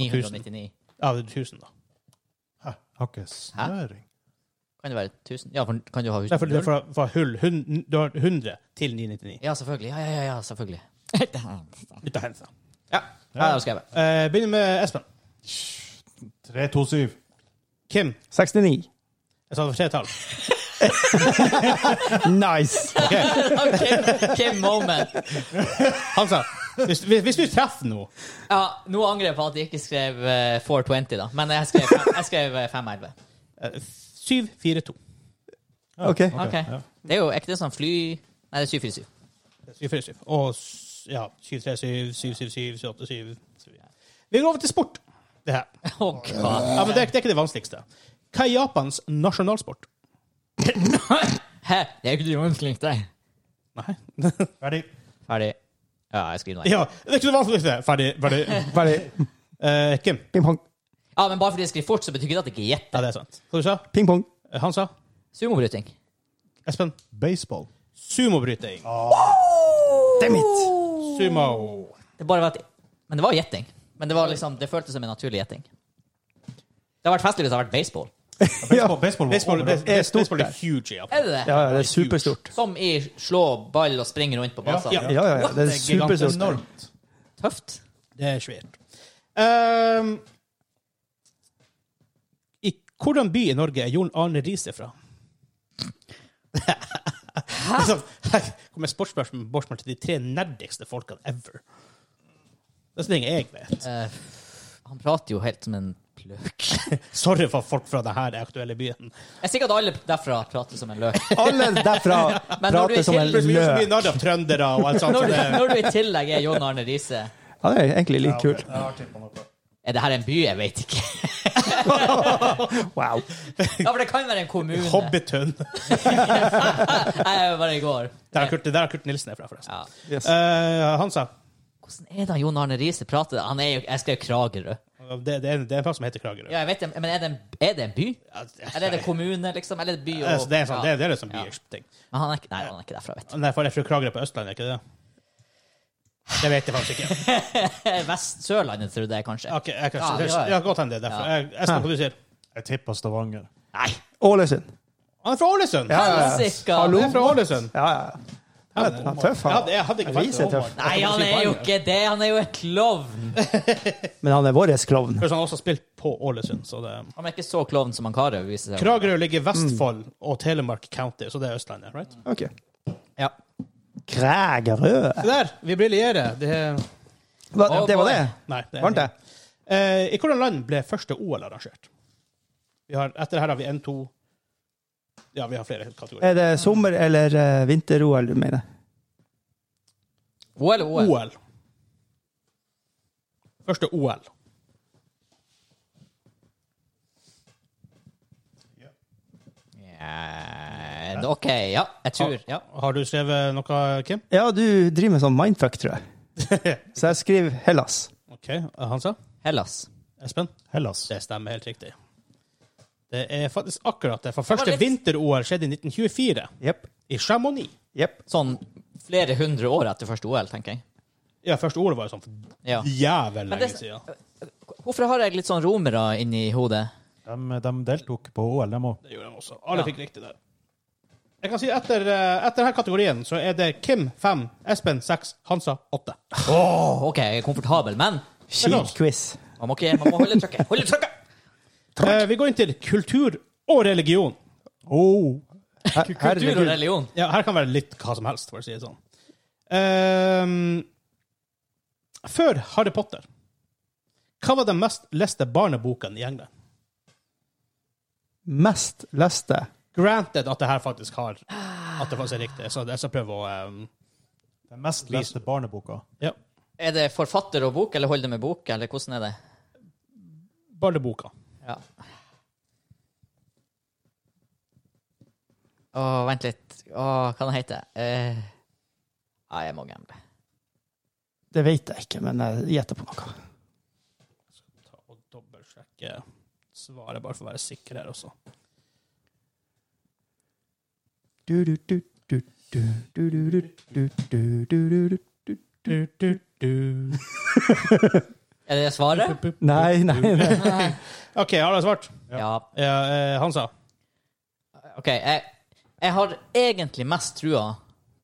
[SPEAKER 1] 999?
[SPEAKER 2] Ja, det er 1000, da.
[SPEAKER 4] Hæ? Har ikke snøring.
[SPEAKER 1] Kan det være 1000? Ja, for kan du ha hus
[SPEAKER 2] Derfor, det er fra, fra hull hun- du har 100 til 999.
[SPEAKER 1] Ja, selvfølgelig. Ja, ja, ja, ja
[SPEAKER 2] (laughs)
[SPEAKER 1] selvfølgelig.
[SPEAKER 2] Ut av hendene.
[SPEAKER 1] ja. ja, det har jeg skrevet.
[SPEAKER 2] (laughs) Eh, begynner med Espen.
[SPEAKER 4] 327.
[SPEAKER 2] Kim.
[SPEAKER 3] 69.
[SPEAKER 2] Jeg sa det var tre tall.
[SPEAKER 3] Nice!
[SPEAKER 1] Kim, Kim moment.
[SPEAKER 2] Han sa hvis, hvis, hvis du treffer noe
[SPEAKER 1] Ja, nå angrer jeg på at jeg ikke skrev eh, 420, da. Men jeg skrev, fem- jeg skrev eh, 511.
[SPEAKER 2] 742
[SPEAKER 3] OK.
[SPEAKER 1] Ok. Det er jo er ikke det sånn fly... Nei, det er 747.
[SPEAKER 2] 747 og s- ja, 737, 777, 787 Vi går over til sport. Det her.
[SPEAKER 1] (laughs) Å, god.
[SPEAKER 2] Ja, men det, er- det er ikke det vanskeligste. Hva er Japans nasjonalsport?
[SPEAKER 1] Hæ? Det er jo ikke du omslink, det.
[SPEAKER 2] Nei.
[SPEAKER 4] Ferdig.
[SPEAKER 1] Ferdig. Ja, jeg skriver noe.
[SPEAKER 2] Ja, det er ikke det vanskeligste. Ferdig. ferdig.
[SPEAKER 3] Ferdig.
[SPEAKER 2] Eh, Kim.
[SPEAKER 3] Ping-pong.
[SPEAKER 1] Ja, men bare fordi jeg skriver fort, så betyr ikke det at jeg ikke gjetter.
[SPEAKER 2] Ja, det er sant. Hva du sa Eh,
[SPEAKER 3] Ping-pong.
[SPEAKER 2] Han sa?
[SPEAKER 1] Sumobryting.
[SPEAKER 2] Espen?
[SPEAKER 4] Baseball.
[SPEAKER 2] Sumobryting.
[SPEAKER 3] Ah, Det er mitt.
[SPEAKER 2] Sumo.
[SPEAKER 1] Det bare var at... Men det var gjetting. Men det var liksom... Det føltes som en naturlig gjetting. Det har vært festlig hvis det har vært baseball.
[SPEAKER 3] Ja.
[SPEAKER 4] Baseball, baseball,
[SPEAKER 2] Baseball,
[SPEAKER 4] var
[SPEAKER 2] bas-
[SPEAKER 4] overalt.
[SPEAKER 3] er stort
[SPEAKER 2] baseball er
[SPEAKER 3] der.
[SPEAKER 2] huge i Japan.
[SPEAKER 1] Er det det?
[SPEAKER 3] Ja, ja, det er superstort.
[SPEAKER 1] Som i slå ball og springe rundt på basen.
[SPEAKER 2] Ja,
[SPEAKER 3] Ja, ja, ja. Det er superstort.
[SPEAKER 4] Enormt.
[SPEAKER 1] Tøft.
[SPEAKER 2] Det er svært. Ehm, I hvordan by i Norge er Jon Arne Riise fra? (laughs) Hæ? Altså, Her kommer sportsspørsmål spørsmål til de tre nerdigste folkene ever. Det er sånne ting jeg vet.
[SPEAKER 1] Eh, han prater jo helt som en løk.
[SPEAKER 2] Sorry for folk fra denne aktuelle byen.
[SPEAKER 1] Jeg er sikker at alle derfra prater som en
[SPEAKER 2] (laughs)
[SPEAKER 1] løk.
[SPEAKER 3] Alle derfra
[SPEAKER 1] (laughs) Men når du er
[SPEAKER 3] prater som en
[SPEAKER 1] helt-
[SPEAKER 2] Vi gjør så mye
[SPEAKER 3] løk.
[SPEAKER 2] narr av trøndere og alt sånt.
[SPEAKER 1] Når
[SPEAKER 2] så
[SPEAKER 1] du,
[SPEAKER 2] det-
[SPEAKER 1] når du i tillegg er John Arne Riise
[SPEAKER 3] Ja, det er egentlig
[SPEAKER 4] Ja,
[SPEAKER 3] litt
[SPEAKER 4] ok.
[SPEAKER 3] kult.
[SPEAKER 4] Jeg har tippet noe.
[SPEAKER 1] Er det her en by? Jeg vet
[SPEAKER 2] (laughs)
[SPEAKER 1] ikke.
[SPEAKER 3] Wow.
[SPEAKER 1] Ja, for det kan være en kommune.
[SPEAKER 2] Hobbithund.
[SPEAKER 1] (laughs) Jeg var der i går.
[SPEAKER 2] Der er Kurt, der er Kurt Nilsen er fra, forresten.
[SPEAKER 1] Ja.
[SPEAKER 3] Yes.
[SPEAKER 2] Eh, han sa
[SPEAKER 1] Hvordan er det John Arne Riise prater? Han er jo, jeg skrev Kragerø.
[SPEAKER 2] det, det, er en, det er en plass som heter Kragerø.
[SPEAKER 1] Ja, jeg vet det, men er det, en, er det en by? Eller er det kommune, liksom? Eller er det by
[SPEAKER 2] Det er,
[SPEAKER 1] og
[SPEAKER 2] det er, sånn, det
[SPEAKER 1] ja.
[SPEAKER 2] er, det er liksom
[SPEAKER 1] Ja.
[SPEAKER 2] byting.
[SPEAKER 1] Men han er ikke, Nei, han er ikke derfra, vet du.
[SPEAKER 2] Nei, for det er fra Kragerø på Østlandet, er ikke det? Det vet jeg
[SPEAKER 1] (laughs)
[SPEAKER 2] faktisk ikke.
[SPEAKER 1] Eh, Vest Sørlandet, trodde jeg kanskje.
[SPEAKER 2] Ok, jeg kan
[SPEAKER 1] Ja, vi
[SPEAKER 2] ja,
[SPEAKER 1] har-
[SPEAKER 2] ja, godt hende det er derfor.
[SPEAKER 1] Ja.
[SPEAKER 2] Jeg- Espen, hva du sier
[SPEAKER 4] Jeg tipper Stavanger.
[SPEAKER 1] Nei!
[SPEAKER 3] Ålesund.
[SPEAKER 2] Han er fra Ålesund!
[SPEAKER 3] Ja, ja, ja.
[SPEAKER 1] Helsika!
[SPEAKER 2] Han er fra Ålesund!
[SPEAKER 3] Ja, ja. Han er- han er tøff,
[SPEAKER 2] Ja,
[SPEAKER 3] han.
[SPEAKER 2] det, jeg hadde ikke
[SPEAKER 3] Han viser
[SPEAKER 2] falt det over.
[SPEAKER 3] tøff.
[SPEAKER 1] Nei, han er jo ikke det! Han er jo en klovn!
[SPEAKER 3] Men han er vår klovn.
[SPEAKER 2] Først, han har sånn også spilt på Ålesund, så det
[SPEAKER 1] Han er ikke så klovn som han Karev viser seg.
[SPEAKER 2] Kragerø ligger i Vestfold og Telemark County, så det er Østlandet, right?
[SPEAKER 3] Ok.
[SPEAKER 1] Ja.
[SPEAKER 3] Krægerød.
[SPEAKER 2] Se der! Vi briljerer. Det er
[SPEAKER 3] Hva- Det var det?
[SPEAKER 2] Nei. Det er
[SPEAKER 3] Varmt, det?
[SPEAKER 2] Eh, I hvilket land ble første OL arrangert? Vi har, etter her har vi en, to Ja, vi har flere kategorier.
[SPEAKER 3] Er det sommer- eller eh, vinter-OL du mener?
[SPEAKER 1] OL og OL.
[SPEAKER 2] OL. Første OL.
[SPEAKER 1] Ja, OK, ja. Jeg tror ja.
[SPEAKER 2] Har du skrevet noe, Kim?
[SPEAKER 3] Ja, du driver med sånn mindfuck, tror jeg. Så jeg skriver Hellas.
[SPEAKER 2] OK, Hansa?
[SPEAKER 1] Hellas.
[SPEAKER 2] Espen?
[SPEAKER 4] Hellas.
[SPEAKER 2] Det stemmer helt riktig. Det er faktisk akkurat det. For første
[SPEAKER 1] litt-
[SPEAKER 2] vinter-OL skjedde i 1924
[SPEAKER 3] Jepp.
[SPEAKER 2] i Chamonix.
[SPEAKER 3] Jepp.
[SPEAKER 1] Sånn flere hundre år etter første OL, tenker jeg.
[SPEAKER 2] Ja, første OL var jo sånn for
[SPEAKER 1] Ja.
[SPEAKER 2] jævlig
[SPEAKER 1] Men det-
[SPEAKER 2] lenge siden.
[SPEAKER 1] Hvorfor har jeg litt sånn romere inni hodet?
[SPEAKER 4] De, de deltok på OL, de òg.
[SPEAKER 2] Det gjorde de også. Alle
[SPEAKER 1] Ja.
[SPEAKER 2] fikk riktig der. Jeg kan si etter, eh, etter denne kategorien så er det Kim 5, Espen 6, Hansa 8.
[SPEAKER 1] Åh, OK, jeg er komfortabel, men
[SPEAKER 3] Kjip quiz.
[SPEAKER 1] man må, ikke, man må holde trykket. Holde trykket!
[SPEAKER 2] Eh, vi går inn til kultur og religion.
[SPEAKER 4] Oh.
[SPEAKER 3] Her-
[SPEAKER 1] Kultur og
[SPEAKER 3] Herregud.
[SPEAKER 1] religion.
[SPEAKER 2] Ja, her kan være litt hva som helst, for å si det sånn. Ehm, før Harry Potter, hva var den mest leste barneboken i England?
[SPEAKER 3] Mest leste.
[SPEAKER 2] Granted at det her faktisk har at det faktisk er riktig. Så jeg skal prøve å eh,
[SPEAKER 4] Den mest leste barneboka.
[SPEAKER 2] Ja.
[SPEAKER 1] Er det forfatter og bok, eller holder det med bok, eller hvordan er det?
[SPEAKER 2] Barneboka.
[SPEAKER 1] Ja. Å, vent litt. Å, hva den heter det? Eh, nei, jeg må gamble.
[SPEAKER 3] Det vet jeg ikke, men jeg gjetter på noe.
[SPEAKER 2] Ta og dobbeltsjekke svaret, bare for å være sikker her også.
[SPEAKER 3] Du, du, du, du, du, du, du, du, du, du, du, du, du.
[SPEAKER 1] Er det svaret?
[SPEAKER 3] Nei, nei, nei.
[SPEAKER 2] OK, har dere svart?
[SPEAKER 1] Ja.
[SPEAKER 2] Eh, eh, Hansa?
[SPEAKER 1] OK. Jeg, jeg har egentlig mest trua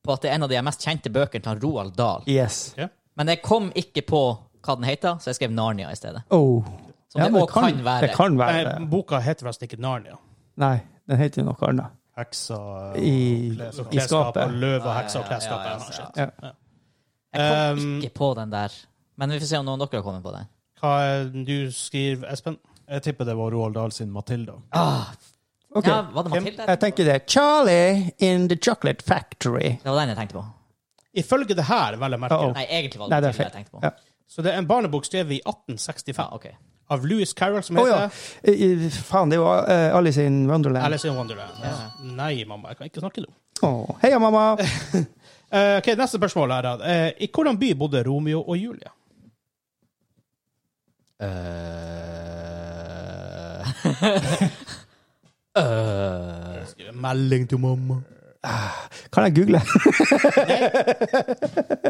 [SPEAKER 1] på at det er en av de mest kjente bøkene til Roald Dahl.
[SPEAKER 3] Yes.
[SPEAKER 1] Men jeg kom ikke på hva den heter, så jeg skrev Narnia i stedet.
[SPEAKER 3] Oh.
[SPEAKER 1] Som det
[SPEAKER 3] men
[SPEAKER 1] også kan, være.
[SPEAKER 3] Det kan være.
[SPEAKER 2] Nei, boka heter forresten ikke Narnia.
[SPEAKER 3] Nei, den heter jo noe annet.
[SPEAKER 4] Heksa eh,
[SPEAKER 3] I-
[SPEAKER 4] klesskap.
[SPEAKER 3] i- skapet.
[SPEAKER 2] og Løv og heksa og
[SPEAKER 1] Ja, ja, ja,
[SPEAKER 2] klesskapet.
[SPEAKER 1] ja,
[SPEAKER 2] eller noe
[SPEAKER 1] ja,
[SPEAKER 2] sånt.
[SPEAKER 3] ja.
[SPEAKER 1] Jeg kom
[SPEAKER 3] Ehm.
[SPEAKER 2] Um,
[SPEAKER 1] ikke på den der. Men vi får se om noen av dere har kommet på den.
[SPEAKER 2] Hva er det du skriver, Espen?
[SPEAKER 4] Jeg tipper det var Roald Dahl sin Matilda.
[SPEAKER 1] Ah,
[SPEAKER 3] Ok,
[SPEAKER 1] ja, var det Matilda?
[SPEAKER 3] jeg tenker det. Charlie in the Chocolate Factory.
[SPEAKER 1] Det var den jeg tenkte på.
[SPEAKER 2] Ifølge det her, vel å merke.
[SPEAKER 3] Uh-oh.
[SPEAKER 1] Nei, egentlig var det
[SPEAKER 3] Nei, det er
[SPEAKER 1] Matilda
[SPEAKER 3] feil.
[SPEAKER 1] jeg tenkte på.
[SPEAKER 3] Ja.
[SPEAKER 2] Så det er en barnebok skrevet i
[SPEAKER 1] Ja,
[SPEAKER 2] 1865
[SPEAKER 1] ok.
[SPEAKER 2] av Louis Carroll, som
[SPEAKER 3] Å
[SPEAKER 2] heter
[SPEAKER 3] ja. I- i- Faen, det er jo eh, Alice in Wonderland.
[SPEAKER 2] Alice in Wonderland. Nei, mamma, jeg kan ikke snakke nå.
[SPEAKER 3] Å, Heia, (laughs) mamma!
[SPEAKER 2] Eh, ok, Neste spørsmål er da. eh, I hvordan by bodde Romeo og Julie?
[SPEAKER 1] Eh. (laughs) Øh.
[SPEAKER 2] Skriver Melding til mamma.
[SPEAKER 3] Kan jeg
[SPEAKER 2] I
[SPEAKER 3] google?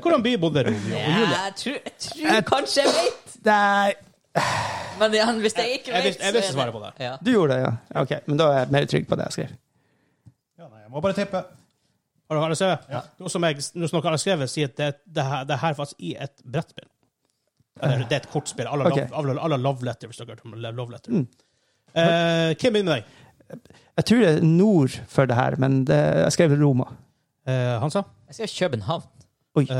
[SPEAKER 2] hvordan by bodde Romeo og Julie?
[SPEAKER 1] Jeg tror, jeg tror kanskje jeg vet,
[SPEAKER 3] (laughs) Nei.
[SPEAKER 1] men igjen, hvis jeg ikke
[SPEAKER 2] Jeg
[SPEAKER 1] vet,
[SPEAKER 2] visste- jeg
[SPEAKER 1] så er
[SPEAKER 2] visste svaret på det.
[SPEAKER 1] Ja.
[SPEAKER 3] Du gjorde det, ja. Ok, men da er jeg mer trygg på det jeg skrev.
[SPEAKER 4] Ja, nei, jeg må bare tippe.
[SPEAKER 2] Har du, har du skrevet? Noe som jeg noe som dere har skrevet, sier at det, det, her, det her faktisk i et brettspill. Eller det er et kortspill. Alle
[SPEAKER 3] Ok.
[SPEAKER 2] love, alle- alle love letter, hvis dere har hørt om love letter.
[SPEAKER 4] Mm.
[SPEAKER 2] Eh, hvem begynner med deg?
[SPEAKER 3] Jeg tror det er nord for det her, men det, jeg skrev Roma.
[SPEAKER 2] Eh, Hansa?
[SPEAKER 1] Jeg skal i København.
[SPEAKER 2] Eh, det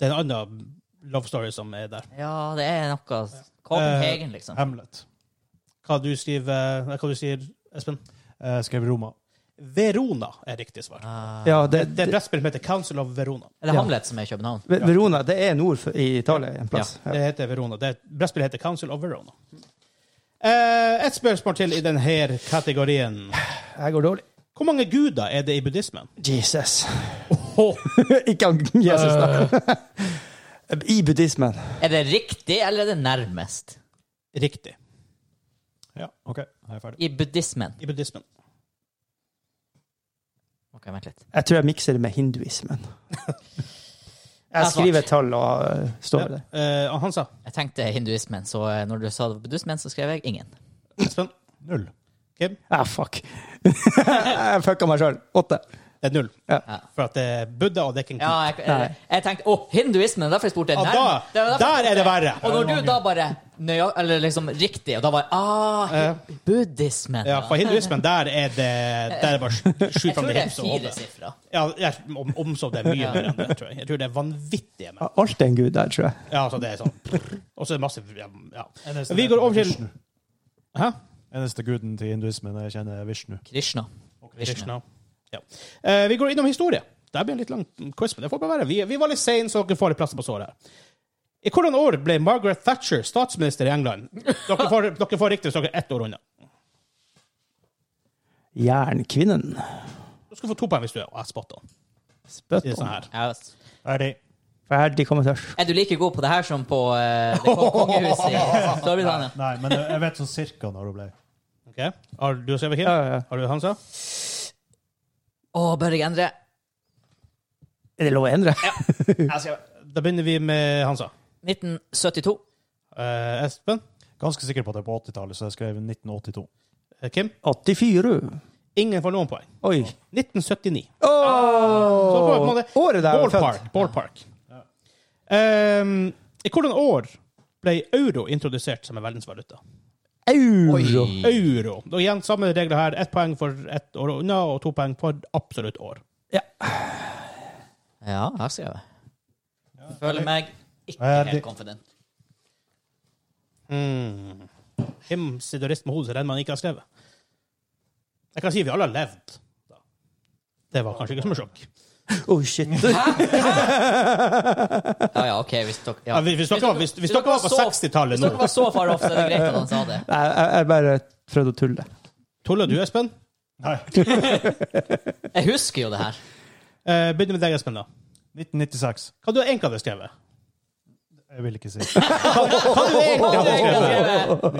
[SPEAKER 2] er en annen love story som er der.
[SPEAKER 1] Ja, det er noe
[SPEAKER 2] Eh,
[SPEAKER 1] Copenhagen, liksom.
[SPEAKER 4] Hamlet.
[SPEAKER 2] Hva du skriver, eh, hva du sier, Espen?
[SPEAKER 4] Jeg Eh, skrev Roma.
[SPEAKER 2] Verona er riktig svar.
[SPEAKER 1] Ah.
[SPEAKER 3] Ja, det,
[SPEAKER 2] Det er et brettspill som heter Council of Verona.
[SPEAKER 1] Er det Hamlet som er i København?
[SPEAKER 3] Ve- Verona, det er nord for, i Italia en plass. Ja.
[SPEAKER 2] Det heter Verona. Det er et brettspill som heter Council of Verona. Eh, et spørsmål til i denne kategorien.
[SPEAKER 3] Jeg går dårlig.
[SPEAKER 2] Hvor mange guder er det i buddhismen?
[SPEAKER 3] Jesus. (laughs) Ikke han Jesus, da. (laughs) I buddhismen.
[SPEAKER 1] Er det riktig, eller er det nærmest?
[SPEAKER 2] Riktig.
[SPEAKER 4] Ja, OK. Jeg er ferdig.
[SPEAKER 1] I buddhismen.
[SPEAKER 2] I buddhismen.
[SPEAKER 1] Ok, vent litt.
[SPEAKER 3] Jeg tror jeg mikser det med (laughs) hinduismen.
[SPEAKER 1] er
[SPEAKER 3] Jeg
[SPEAKER 1] svart.
[SPEAKER 3] skriver tall og øh, står ved det.
[SPEAKER 2] Eh, Hansa.
[SPEAKER 1] Jeg tenkte hinduismen, så eh, når du sa det var buddhismen, så skrev jeg ingen.
[SPEAKER 2] Espen.
[SPEAKER 4] Null.
[SPEAKER 2] Kim.
[SPEAKER 3] Ah, fuck. (laughs) jeg fucka meg sjøl. Åtte.
[SPEAKER 2] Det er null.
[SPEAKER 1] Ja.
[SPEAKER 2] For at det er Buddha, og det er ikke en
[SPEAKER 1] Ja,
[SPEAKER 2] gud.
[SPEAKER 1] jeg, jeg, jeg tenkte Å, hinduismen! Derfor jeg spurte.
[SPEAKER 2] Ja,
[SPEAKER 1] Nærm-
[SPEAKER 2] da-
[SPEAKER 1] Det var derfor jeg
[SPEAKER 2] der er det verre.
[SPEAKER 1] Og når du da bare nøya, Eller liksom riktig, og da var jeg Ah, hi- buddhismen!
[SPEAKER 2] Eh. Ja, for hinduismen, der er det Der er det bare
[SPEAKER 1] Jeg
[SPEAKER 2] skyt
[SPEAKER 1] tror
[SPEAKER 2] om det
[SPEAKER 1] det er
[SPEAKER 2] hips og
[SPEAKER 1] fire
[SPEAKER 2] hode.
[SPEAKER 1] sifre.
[SPEAKER 2] Ja, jeg, om, om så det er mye mer enn det, tror jeg. Jeg tror det er vanvittige mer.
[SPEAKER 3] Alt er en gud der, tror jeg.
[SPEAKER 2] Ja, altså, det er sånn Og så er det masse ja, ja.
[SPEAKER 4] Eneste
[SPEAKER 2] Vi
[SPEAKER 4] det- sånn
[SPEAKER 2] går over til
[SPEAKER 4] Vishnu.
[SPEAKER 2] Hæ?
[SPEAKER 4] Eneste guden til hinduismen jeg kjenner, er Vishnu.
[SPEAKER 1] Krishna.
[SPEAKER 2] Krishna. Ja. Eh, vi går innom historie. Det blir en litt lang quiz, men det får bare være. Vi, vi var litt sene, så dere får litt plass på såret. her. I hvilket år ble Margaret Thatcher statsminister i England? Dere får, dere får riktig, så dere er ett år unna.
[SPEAKER 3] Jernkvinnen.
[SPEAKER 2] Du skal få to poeng hvis du er spot on.
[SPEAKER 3] Spøtt
[SPEAKER 2] I sånn
[SPEAKER 3] om.
[SPEAKER 2] her.
[SPEAKER 1] Ja, ass.
[SPEAKER 4] Ferdig.
[SPEAKER 3] Ferdig kommentar.
[SPEAKER 1] er du like god på det her som på eh, det kon- kongehuset i Storbritannia?
[SPEAKER 4] Nei, men jeg vet sånn cirka når hun ble.
[SPEAKER 2] Ok. Har du skrevet, Kim?
[SPEAKER 3] Ja, ja, ja.
[SPEAKER 2] Har du Hansa?
[SPEAKER 1] Å, bør jeg endre?
[SPEAKER 3] Er det lov å endre?
[SPEAKER 2] Da begynner vi med Hansa.
[SPEAKER 1] 1972.
[SPEAKER 2] Eh, Espen?
[SPEAKER 4] Ganske sikker på at det er på 80-tallet, så jeg skrev 1982.
[SPEAKER 2] Eh, Kim?
[SPEAKER 3] 84.
[SPEAKER 2] Ingen får noen poeng.
[SPEAKER 3] Oi.
[SPEAKER 2] 1979. Så på en
[SPEAKER 3] Åh!
[SPEAKER 2] måte-
[SPEAKER 3] Året der var født.
[SPEAKER 2] Ballpark. ballpark. Ehm, I hvilket år ble euro introdusert som en verdensvaluta?
[SPEAKER 3] Euro.
[SPEAKER 1] Mm.
[SPEAKER 2] Euro. Og igjen samme regler her. Ett poeng for ett år unna, og to poeng for absolutt år.
[SPEAKER 1] Ja, her ser jeg. Føler meg ikke
[SPEAKER 4] Ja,
[SPEAKER 1] helt
[SPEAKER 4] det-
[SPEAKER 1] confident.
[SPEAKER 2] Mm. Hvem sitter og rister med hodet så den man ikke har skrevet? Jeg kan si vi alle har levd. Det var kanskje ikke som et sjokk.
[SPEAKER 3] Oh,
[SPEAKER 2] (laughs)
[SPEAKER 3] shit.
[SPEAKER 1] Ja, ja, ok, hvis dere ja.
[SPEAKER 2] Ja, hvis- hvis dere var- hvis- hvis dere var på
[SPEAKER 1] så-
[SPEAKER 2] 60-tallet
[SPEAKER 1] Hvis
[SPEAKER 2] nå.
[SPEAKER 1] dere var så far off, så er det greit at han sa det.
[SPEAKER 3] Jeg, jeg, jeg bare prøvde å tulle.
[SPEAKER 2] Tuller du, Espen?
[SPEAKER 4] Nei.
[SPEAKER 1] Jeg husker jo det her.
[SPEAKER 2] Eh, Begynner med deg, Espen. da.
[SPEAKER 4] 1996.
[SPEAKER 2] Hva du egentlig hadde skrevet?
[SPEAKER 4] Jeg vil ikke si
[SPEAKER 2] Hva du egentlig hadde skrevet?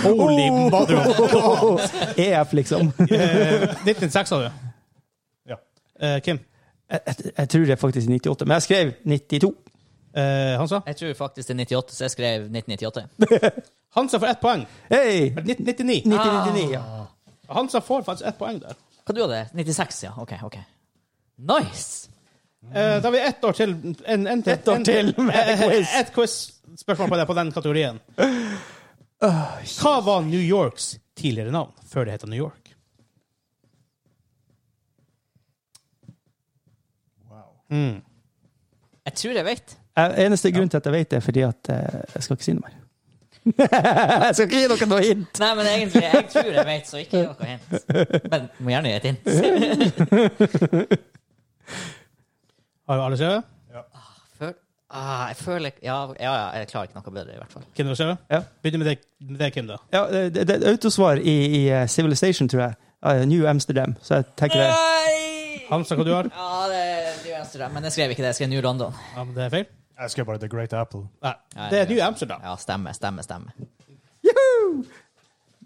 [SPEAKER 4] 1964.
[SPEAKER 2] Holy mother of
[SPEAKER 3] EF,
[SPEAKER 2] (laughs)
[SPEAKER 3] liksom. Jeg,
[SPEAKER 2] Eh, 1906, sa du?
[SPEAKER 4] Ja.
[SPEAKER 2] Eh, Kim?
[SPEAKER 3] jeg, jeg tror det er faktisk 98, men jeg skrev 92.
[SPEAKER 2] Eh, Hansa?
[SPEAKER 1] Jeg tror faktisk det er 98, så jeg skrev 1998.
[SPEAKER 2] Hansa får ett poeng.
[SPEAKER 3] Hei!
[SPEAKER 2] Er det 1999.
[SPEAKER 3] 1999, ja.
[SPEAKER 2] Ah. Hansa får faktisk ett poeng der.
[SPEAKER 1] Hva du hadde? 96, ja. Ok, ok. Nice!
[SPEAKER 2] Eh, da har vi ett år til. En, en til.
[SPEAKER 3] Ett år
[SPEAKER 2] en,
[SPEAKER 3] til med
[SPEAKER 2] eh, eh,
[SPEAKER 3] quiz.
[SPEAKER 2] Et quiz-spørsmål på, det- på den kategorien. Hva var New Yorks tidligere navn før det het New York?
[SPEAKER 4] Wow.
[SPEAKER 2] Mm.
[SPEAKER 1] Jeg tror jeg vet.
[SPEAKER 3] Eh, Eneste grunn til at jeg vet det, er fordi at eh, jeg skal ikke si noe mer. (laughs) jeg skal ikke gi dere noe hint.
[SPEAKER 1] Nei, men egentlig, jeg tror jeg vet, så ikke noe hint. Men må gjerne gi et hint.
[SPEAKER 2] Har alle skrevet?
[SPEAKER 1] Føl ah, jeg føler ja, ja, ja, jeg klarer ikke noe bedre, i hvert fall.
[SPEAKER 2] Kim, du har skrevet?
[SPEAKER 3] Ja.
[SPEAKER 2] Begynner med deg, med deg, Kim, da.
[SPEAKER 3] Ja, det, det, det er autosvar i, i eh, Civilization, tror jeg. Eh, New Amsterdam. Så jeg tenker det.
[SPEAKER 1] Nei!
[SPEAKER 2] Hansa, hva du har?
[SPEAKER 1] Ja, det, det er Amsterdam, men jeg skrev ikke det. Jeg skrev New London.
[SPEAKER 2] Ja, men det er feil.
[SPEAKER 4] Jeg skrev bare The Great Apple.
[SPEAKER 2] Nei,
[SPEAKER 1] Nei,
[SPEAKER 2] det er
[SPEAKER 1] det-
[SPEAKER 2] New Amsterdam.
[SPEAKER 1] Ja, stemme, stemme, stemme.
[SPEAKER 3] Juhu!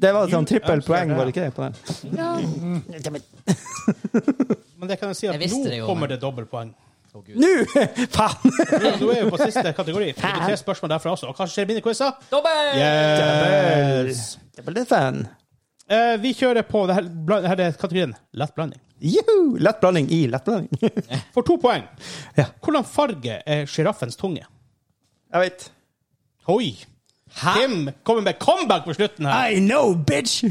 [SPEAKER 3] Det var sånn trippel poeng,
[SPEAKER 4] Amsterdam.
[SPEAKER 3] var det ikke det? på den?
[SPEAKER 2] Men det kan jeg si at
[SPEAKER 1] Jeg visste
[SPEAKER 2] nå
[SPEAKER 1] det jo,
[SPEAKER 2] kommer
[SPEAKER 1] men-
[SPEAKER 2] det dobbeltpoeng.
[SPEAKER 3] Nå! (laughs) Faen!
[SPEAKER 2] Nå er vi på
[SPEAKER 1] (laughs)
[SPEAKER 2] siste kategori. Det er tre spørsmål derfra også. Og hva skjer i mine quizer?
[SPEAKER 1] Dobbel!
[SPEAKER 2] Yes.
[SPEAKER 3] Double fan.
[SPEAKER 2] Eh, vi kjører på det her, bla- det her er kategorien lett blanding.
[SPEAKER 3] Juhu! Lett blanding i lett blanding. (laughs)
[SPEAKER 2] For to poeng.
[SPEAKER 3] Ja.
[SPEAKER 2] Hvordan farge er sjiraffens tunge?
[SPEAKER 3] jeg vet.
[SPEAKER 2] Oi! Kim kommer med comeback på slutten her.
[SPEAKER 3] I know, bitch!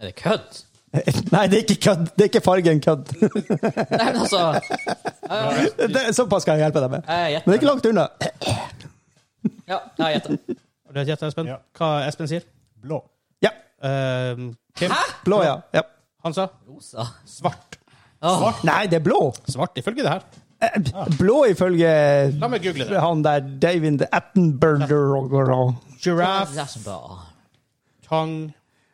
[SPEAKER 1] Er det kødd?
[SPEAKER 3] (laughs) Nei, det er ikke kødd. Det er ikke fargen kødd. (laughs)
[SPEAKER 1] Nei, men altså
[SPEAKER 3] Det, såpass skal jeg hjelpe deg med.
[SPEAKER 1] Jeg
[SPEAKER 3] Men det er ikke
[SPEAKER 1] gjetter.
[SPEAKER 3] langt unna. (clears throat)
[SPEAKER 1] Ja, jeg gjetter.
[SPEAKER 2] Har du gjettet, Espen?
[SPEAKER 4] Ja.
[SPEAKER 2] Hva Espen sier?
[SPEAKER 4] Blå.
[SPEAKER 3] Ja.
[SPEAKER 2] Eh, Kim?
[SPEAKER 3] Blå, ja. ja.
[SPEAKER 2] Han sa
[SPEAKER 1] Rosa.
[SPEAKER 2] svart.
[SPEAKER 1] Åh,
[SPEAKER 3] Nei, det er blå.
[SPEAKER 2] Svart ifølge det her.
[SPEAKER 3] Eh, Blå ifølge
[SPEAKER 2] La meg google det.
[SPEAKER 3] han der David Attenberger.
[SPEAKER 2] Giraff,
[SPEAKER 1] det er så bra.
[SPEAKER 2] tang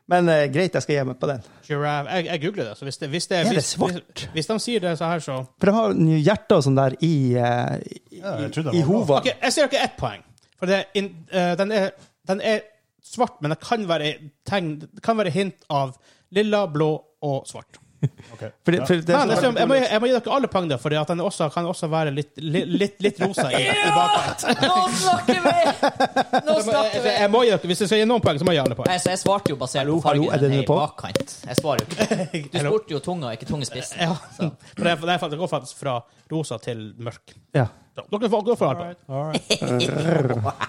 [SPEAKER 3] Men eh, greit, jeg skal gi meg på den.
[SPEAKER 2] Giraffe. Jeg, jeg googler det. så hvis det, hvis det,
[SPEAKER 3] Er det
[SPEAKER 2] hvis,
[SPEAKER 3] svart?
[SPEAKER 2] Hvis, hvis de sier det så her, så
[SPEAKER 3] For de har jo hjerter og sånn der i, eh, i,
[SPEAKER 4] Ja, jeg trodde
[SPEAKER 3] i
[SPEAKER 4] det var blå.
[SPEAKER 3] hova.
[SPEAKER 2] Ok, Jeg sier dere ett poeng. For det er in, eh, den, er, den er svart, men det kan være, tegn, det kan være hint av lilla, blå og svart.
[SPEAKER 4] Ok.
[SPEAKER 3] For det- for det-
[SPEAKER 2] Men jeg,
[SPEAKER 3] sånn-
[SPEAKER 2] jeg, må, jeg må gi dere alle poeng, der, for den er også, kan også være litt, li, litt, litt
[SPEAKER 1] (laughs)
[SPEAKER 2] rosa. I, i bakgrunnen.
[SPEAKER 1] Nå snakker vi! Nå
[SPEAKER 2] jeg,
[SPEAKER 1] snakker vi!
[SPEAKER 2] jeg må gi dere, Hvis jeg skal gi noen poeng, så må jeg gi alle poeng.
[SPEAKER 1] Nei, så jeg svarte jo basert
[SPEAKER 3] Hallo,
[SPEAKER 1] på fargen
[SPEAKER 3] hallo, er
[SPEAKER 1] den
[SPEAKER 3] denne
[SPEAKER 1] er i
[SPEAKER 3] på?
[SPEAKER 1] bakkant. Jeg svarer jo ikke. Du spurte jo tunga, ikke tungespissen.
[SPEAKER 2] Ja. (laughs)
[SPEAKER 1] Så.
[SPEAKER 2] For det, er- det, er- det går faktisk fra rosa til mørk.
[SPEAKER 3] Ja.
[SPEAKER 2] Så, dere får, går for alle poeng.
[SPEAKER 4] All right.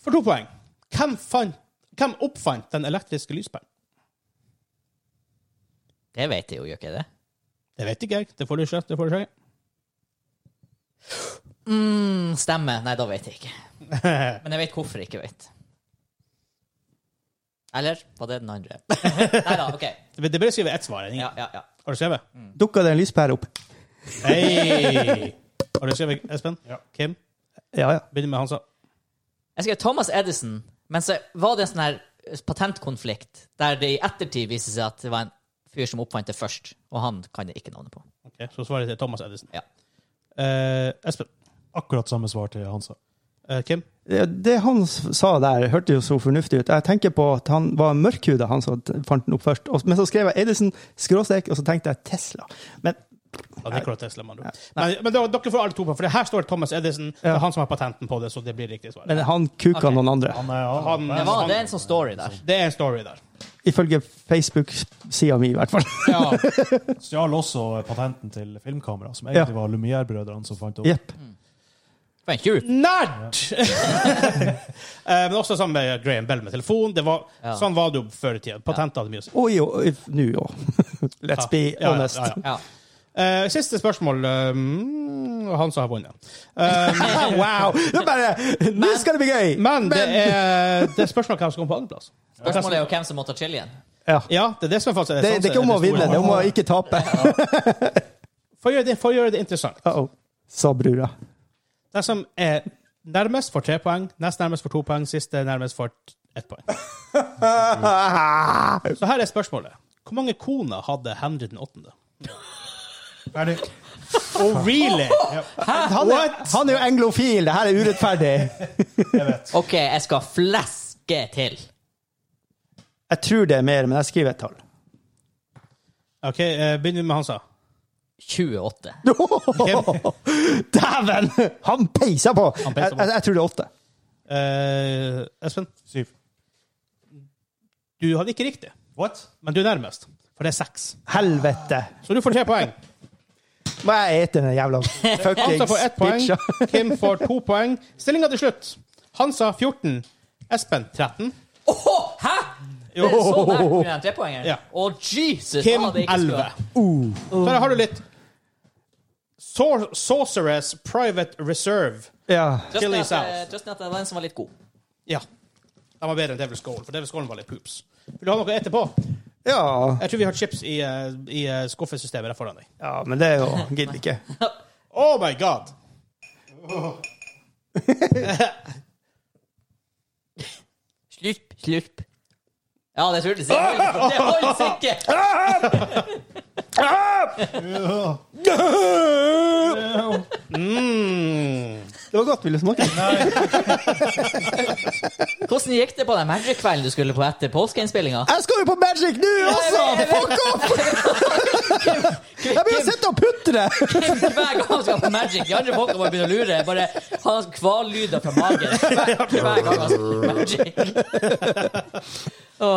[SPEAKER 2] For to poeng. Hvem, fant, hvem oppfant den elektriske lyspæren?
[SPEAKER 1] Det vet jeg jo, gjør ikke jeg det?
[SPEAKER 2] Det vet ikke jeg. Det får du ikke. Det får du ikke.
[SPEAKER 1] Mm, Stemmer. Nei, da vet jeg ikke. Men jeg vet hvorfor jeg ikke vet. Eller var det den andre? (laughs) Nei da, OK.
[SPEAKER 2] Det det blir skrevet ett svar.
[SPEAKER 1] Ja, ja, ja.
[SPEAKER 2] Har du skrevet?
[SPEAKER 3] Dukka det en lyspære opp?
[SPEAKER 2] Hei! Har du skrevet Espen?
[SPEAKER 4] Ja.
[SPEAKER 2] Kim?
[SPEAKER 3] Ja, ja.
[SPEAKER 2] Begynner med Hansa.
[SPEAKER 1] Jeg skrev Thomas Edison, men så var det en sånn her patentkonflikt der det i ettertid viste seg at det var en fyr som oppfant det først, og han kan jeg ikke navnet på.
[SPEAKER 2] Ok, så svaret til Thomas Edison.
[SPEAKER 1] Ja.
[SPEAKER 2] Eh, Espen?
[SPEAKER 4] Akkurat samme svar til Hansa.
[SPEAKER 2] Eh, Kim?
[SPEAKER 3] Det- Det han s- sa der, hørte jo så fornuftig ut. Jeg tenker på at han var mørkhuda, han som t- fant den opp først. Og- Men så skrev jeg Edison, skråstrek, og så tenkte jeg Tesla. Men
[SPEAKER 2] Ja, Nikola Tesla, man. Men, men da, dere får alle to på, for det her står Thomas Edison. Det er han som har patenten på det, så det blir riktig svar.
[SPEAKER 3] men han kuka
[SPEAKER 1] Ok.
[SPEAKER 3] noen andre.
[SPEAKER 4] Han er, han,
[SPEAKER 2] Han-
[SPEAKER 1] Det, var, det er en sånn story der.
[SPEAKER 2] Det er en story der.
[SPEAKER 3] Ifølge Facebook-sida mi, i hvert fall.
[SPEAKER 2] Ja.
[SPEAKER 4] stjal også patenten til filmkamera, som egentlig var Lumière-brødrene som fant det opp.
[SPEAKER 3] Jepp.
[SPEAKER 1] For en tjuv.
[SPEAKER 2] Nerd! (laughs) Eh, men også sammen med Graham Bell med telefon. Det var,
[SPEAKER 1] Ja.
[SPEAKER 2] Sånn var det jo før i tida. Patenter hadde mye å si.
[SPEAKER 3] Oi, oi, nå jo. (laughs) Let's be
[SPEAKER 2] Ja, ja,
[SPEAKER 3] honest. (laughs)
[SPEAKER 2] ja, ja.
[SPEAKER 1] Ja.
[SPEAKER 2] Eh, siste spørmål. eh, mm, han som har vunnet. Eh, (laughs)
[SPEAKER 3] Wow! Det er bare Nå skal det bli gøy!
[SPEAKER 2] men det er, det er spørsmålet om hvem som kommer på andreplass.
[SPEAKER 1] Spørsmålet er jo hvem som må ta chilien.
[SPEAKER 3] Ja.
[SPEAKER 2] Ja, det er det som er faktisk
[SPEAKER 3] Det, det er ikke om å vinne, det er om å ikke tape.
[SPEAKER 2] For å gjøre det, for å gjøre det interessant.
[SPEAKER 3] Uh-oh, sa brura.
[SPEAKER 2] Den som er nærmest, får tre poeng. Nest nærmest får to poeng. Siste nærmest får t- ett (laughs) poeng. Så her er spørsmålet. Hvor mange koner hadde Henry den åttende?
[SPEAKER 4] Ferdig.
[SPEAKER 2] Oh, really?
[SPEAKER 3] Han er, han er jo englofil, det her er urettferdig.
[SPEAKER 1] OK, jeg skal fleske til.
[SPEAKER 3] Jeg tror det er mer, men jeg skriver et tall.
[SPEAKER 2] OK, eh, begynner vi med Hansa.
[SPEAKER 1] 28.
[SPEAKER 3] (laughs) Dæven! Han peiser på!
[SPEAKER 2] peiser
[SPEAKER 3] Jeg,
[SPEAKER 2] på.
[SPEAKER 3] jeg, jeg tror det er åtte.
[SPEAKER 2] Eh, Espen,
[SPEAKER 4] Syv.
[SPEAKER 2] du hadde ikke riktig,
[SPEAKER 4] What?
[SPEAKER 2] men du er nærmest. For det er seks.
[SPEAKER 3] Helvete.
[SPEAKER 2] Så du får tre
[SPEAKER 4] (laughs)
[SPEAKER 2] poeng.
[SPEAKER 3] Må jeg ete den jævla
[SPEAKER 2] Hansa
[SPEAKER 3] fuckings
[SPEAKER 2] får ett poeng.
[SPEAKER 3] bitcha?
[SPEAKER 4] (laughs)
[SPEAKER 2] Kim får to poeng. Stillinga til slutt. Hansa 14. Espen 13.
[SPEAKER 1] Åh, hæ?! Det er så nært med den trepoengeren.
[SPEAKER 2] Ja.
[SPEAKER 1] Å, Jesus!
[SPEAKER 2] Kim
[SPEAKER 1] ah, det er ikke
[SPEAKER 2] 11.
[SPEAKER 1] skummelt.
[SPEAKER 2] Så her har du litt Sor Sorceress Private Reserve.
[SPEAKER 3] (laughs) Ja.
[SPEAKER 1] Just at,
[SPEAKER 2] Chili
[SPEAKER 1] eh,
[SPEAKER 2] sauce.
[SPEAKER 1] Just at det var en som var litt god.
[SPEAKER 2] Ja. De var bedre enn Devil's Goal, for Devil's Goal var litt poops. Vil du ha noe etterpå?
[SPEAKER 3] ja.
[SPEAKER 2] Jeg tror vi har chips i, eh, i eh, skuffesystemet der foran deg.
[SPEAKER 3] Ja, men det er jo Gidder ikke.
[SPEAKER 2] Oh my god!
[SPEAKER 1] Slurp, slurp. Ja, det turte jeg
[SPEAKER 3] Ah!
[SPEAKER 1] ikke. Det holdt ikke!
[SPEAKER 2] Mm.
[SPEAKER 3] Det var godt. Vil du smake?
[SPEAKER 1] Hvordan gikk det på den Magic-kvelden du skulle på etter påskeinnspillinga?
[SPEAKER 3] Jeg skal jo på Magic nå også! Fuck off! (laughs) Jeg blir jo sitte og putre!
[SPEAKER 1] Hver gang han skal på Magic, de andre folka må begynne å lure. Bare ha kvallyder fra
[SPEAKER 3] (laughs)
[SPEAKER 1] magen hver, hver gang han skal på Magic.
[SPEAKER 3] Å,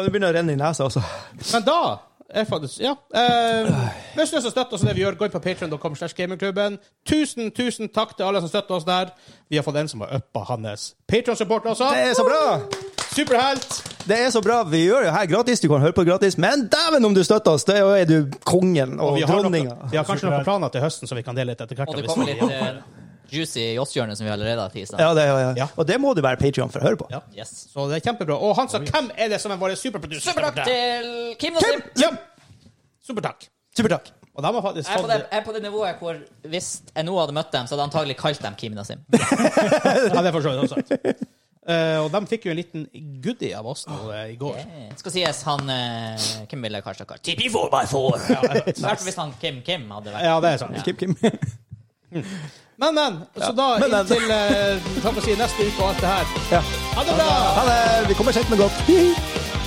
[SPEAKER 3] det begynner å renne i nesa også.
[SPEAKER 2] Men da er faktisk, ja. Eh, hvis du har lyst til å støtte oss i det vi gjør, gå inn på patreon.com slash gamingklubben. Tusen, tusen takk til alle som støtter oss der. Vi har fått en som har uppa hans Patreon-support også.
[SPEAKER 3] Det er så bra!
[SPEAKER 2] Superhelt!
[SPEAKER 3] Det er så bra. Vi gjør det jo her gratis. Du kan høre på det gratis. Men dæven om du støtter oss! Det er jo du kongen og,
[SPEAKER 2] Vi har,
[SPEAKER 3] dronninga.
[SPEAKER 2] noe, vi har kanskje noen planer til høsten som vi kan dele litt etter hvert.
[SPEAKER 1] Og det
[SPEAKER 2] hvis
[SPEAKER 1] kommer
[SPEAKER 2] vi-
[SPEAKER 1] litt eh, juicy i Jåsshjørnet, som vi allerede har tisa.
[SPEAKER 3] Ja, det, ja, ja.
[SPEAKER 2] Ja.
[SPEAKER 3] Og det må du være Patreon for å høre på.
[SPEAKER 2] Ja.
[SPEAKER 1] Yes.
[SPEAKER 2] Så det er kjempebra. Og Hansa, hvem er det som er våre superproducer?
[SPEAKER 1] Supertakk til Kim og
[SPEAKER 3] Kim!
[SPEAKER 1] Sim.
[SPEAKER 2] Ja. Supertakk.
[SPEAKER 3] Supertakk.
[SPEAKER 2] Og de har faktisk
[SPEAKER 1] Jeg er, på
[SPEAKER 2] fått
[SPEAKER 1] det, jeg er på det nivået hvor hvis jeg nå hadde møtt dem, så hadde jeg antagelig kalt dem Kim Nasim.
[SPEAKER 2] Ja, det er for så vidt også sant. Eh, og de fikk jo en liten goodie av oss nå eh, i går.
[SPEAKER 1] Skal sies han eh, Kim ville kanskje ha kalt Tipi I hvert fall hvis han Kim Kim hadde vært
[SPEAKER 2] Ja, det er sant.
[SPEAKER 3] Kim, Kim.
[SPEAKER 2] Men, men. Så da
[SPEAKER 3] men, men.
[SPEAKER 2] inntil eh, hva skal jeg si, neste uke og alt det her.
[SPEAKER 3] (laughs) Ja.
[SPEAKER 2] Ha det bra!
[SPEAKER 3] Ha det! Vi kommer sent, men godt. (laughs) Hihi.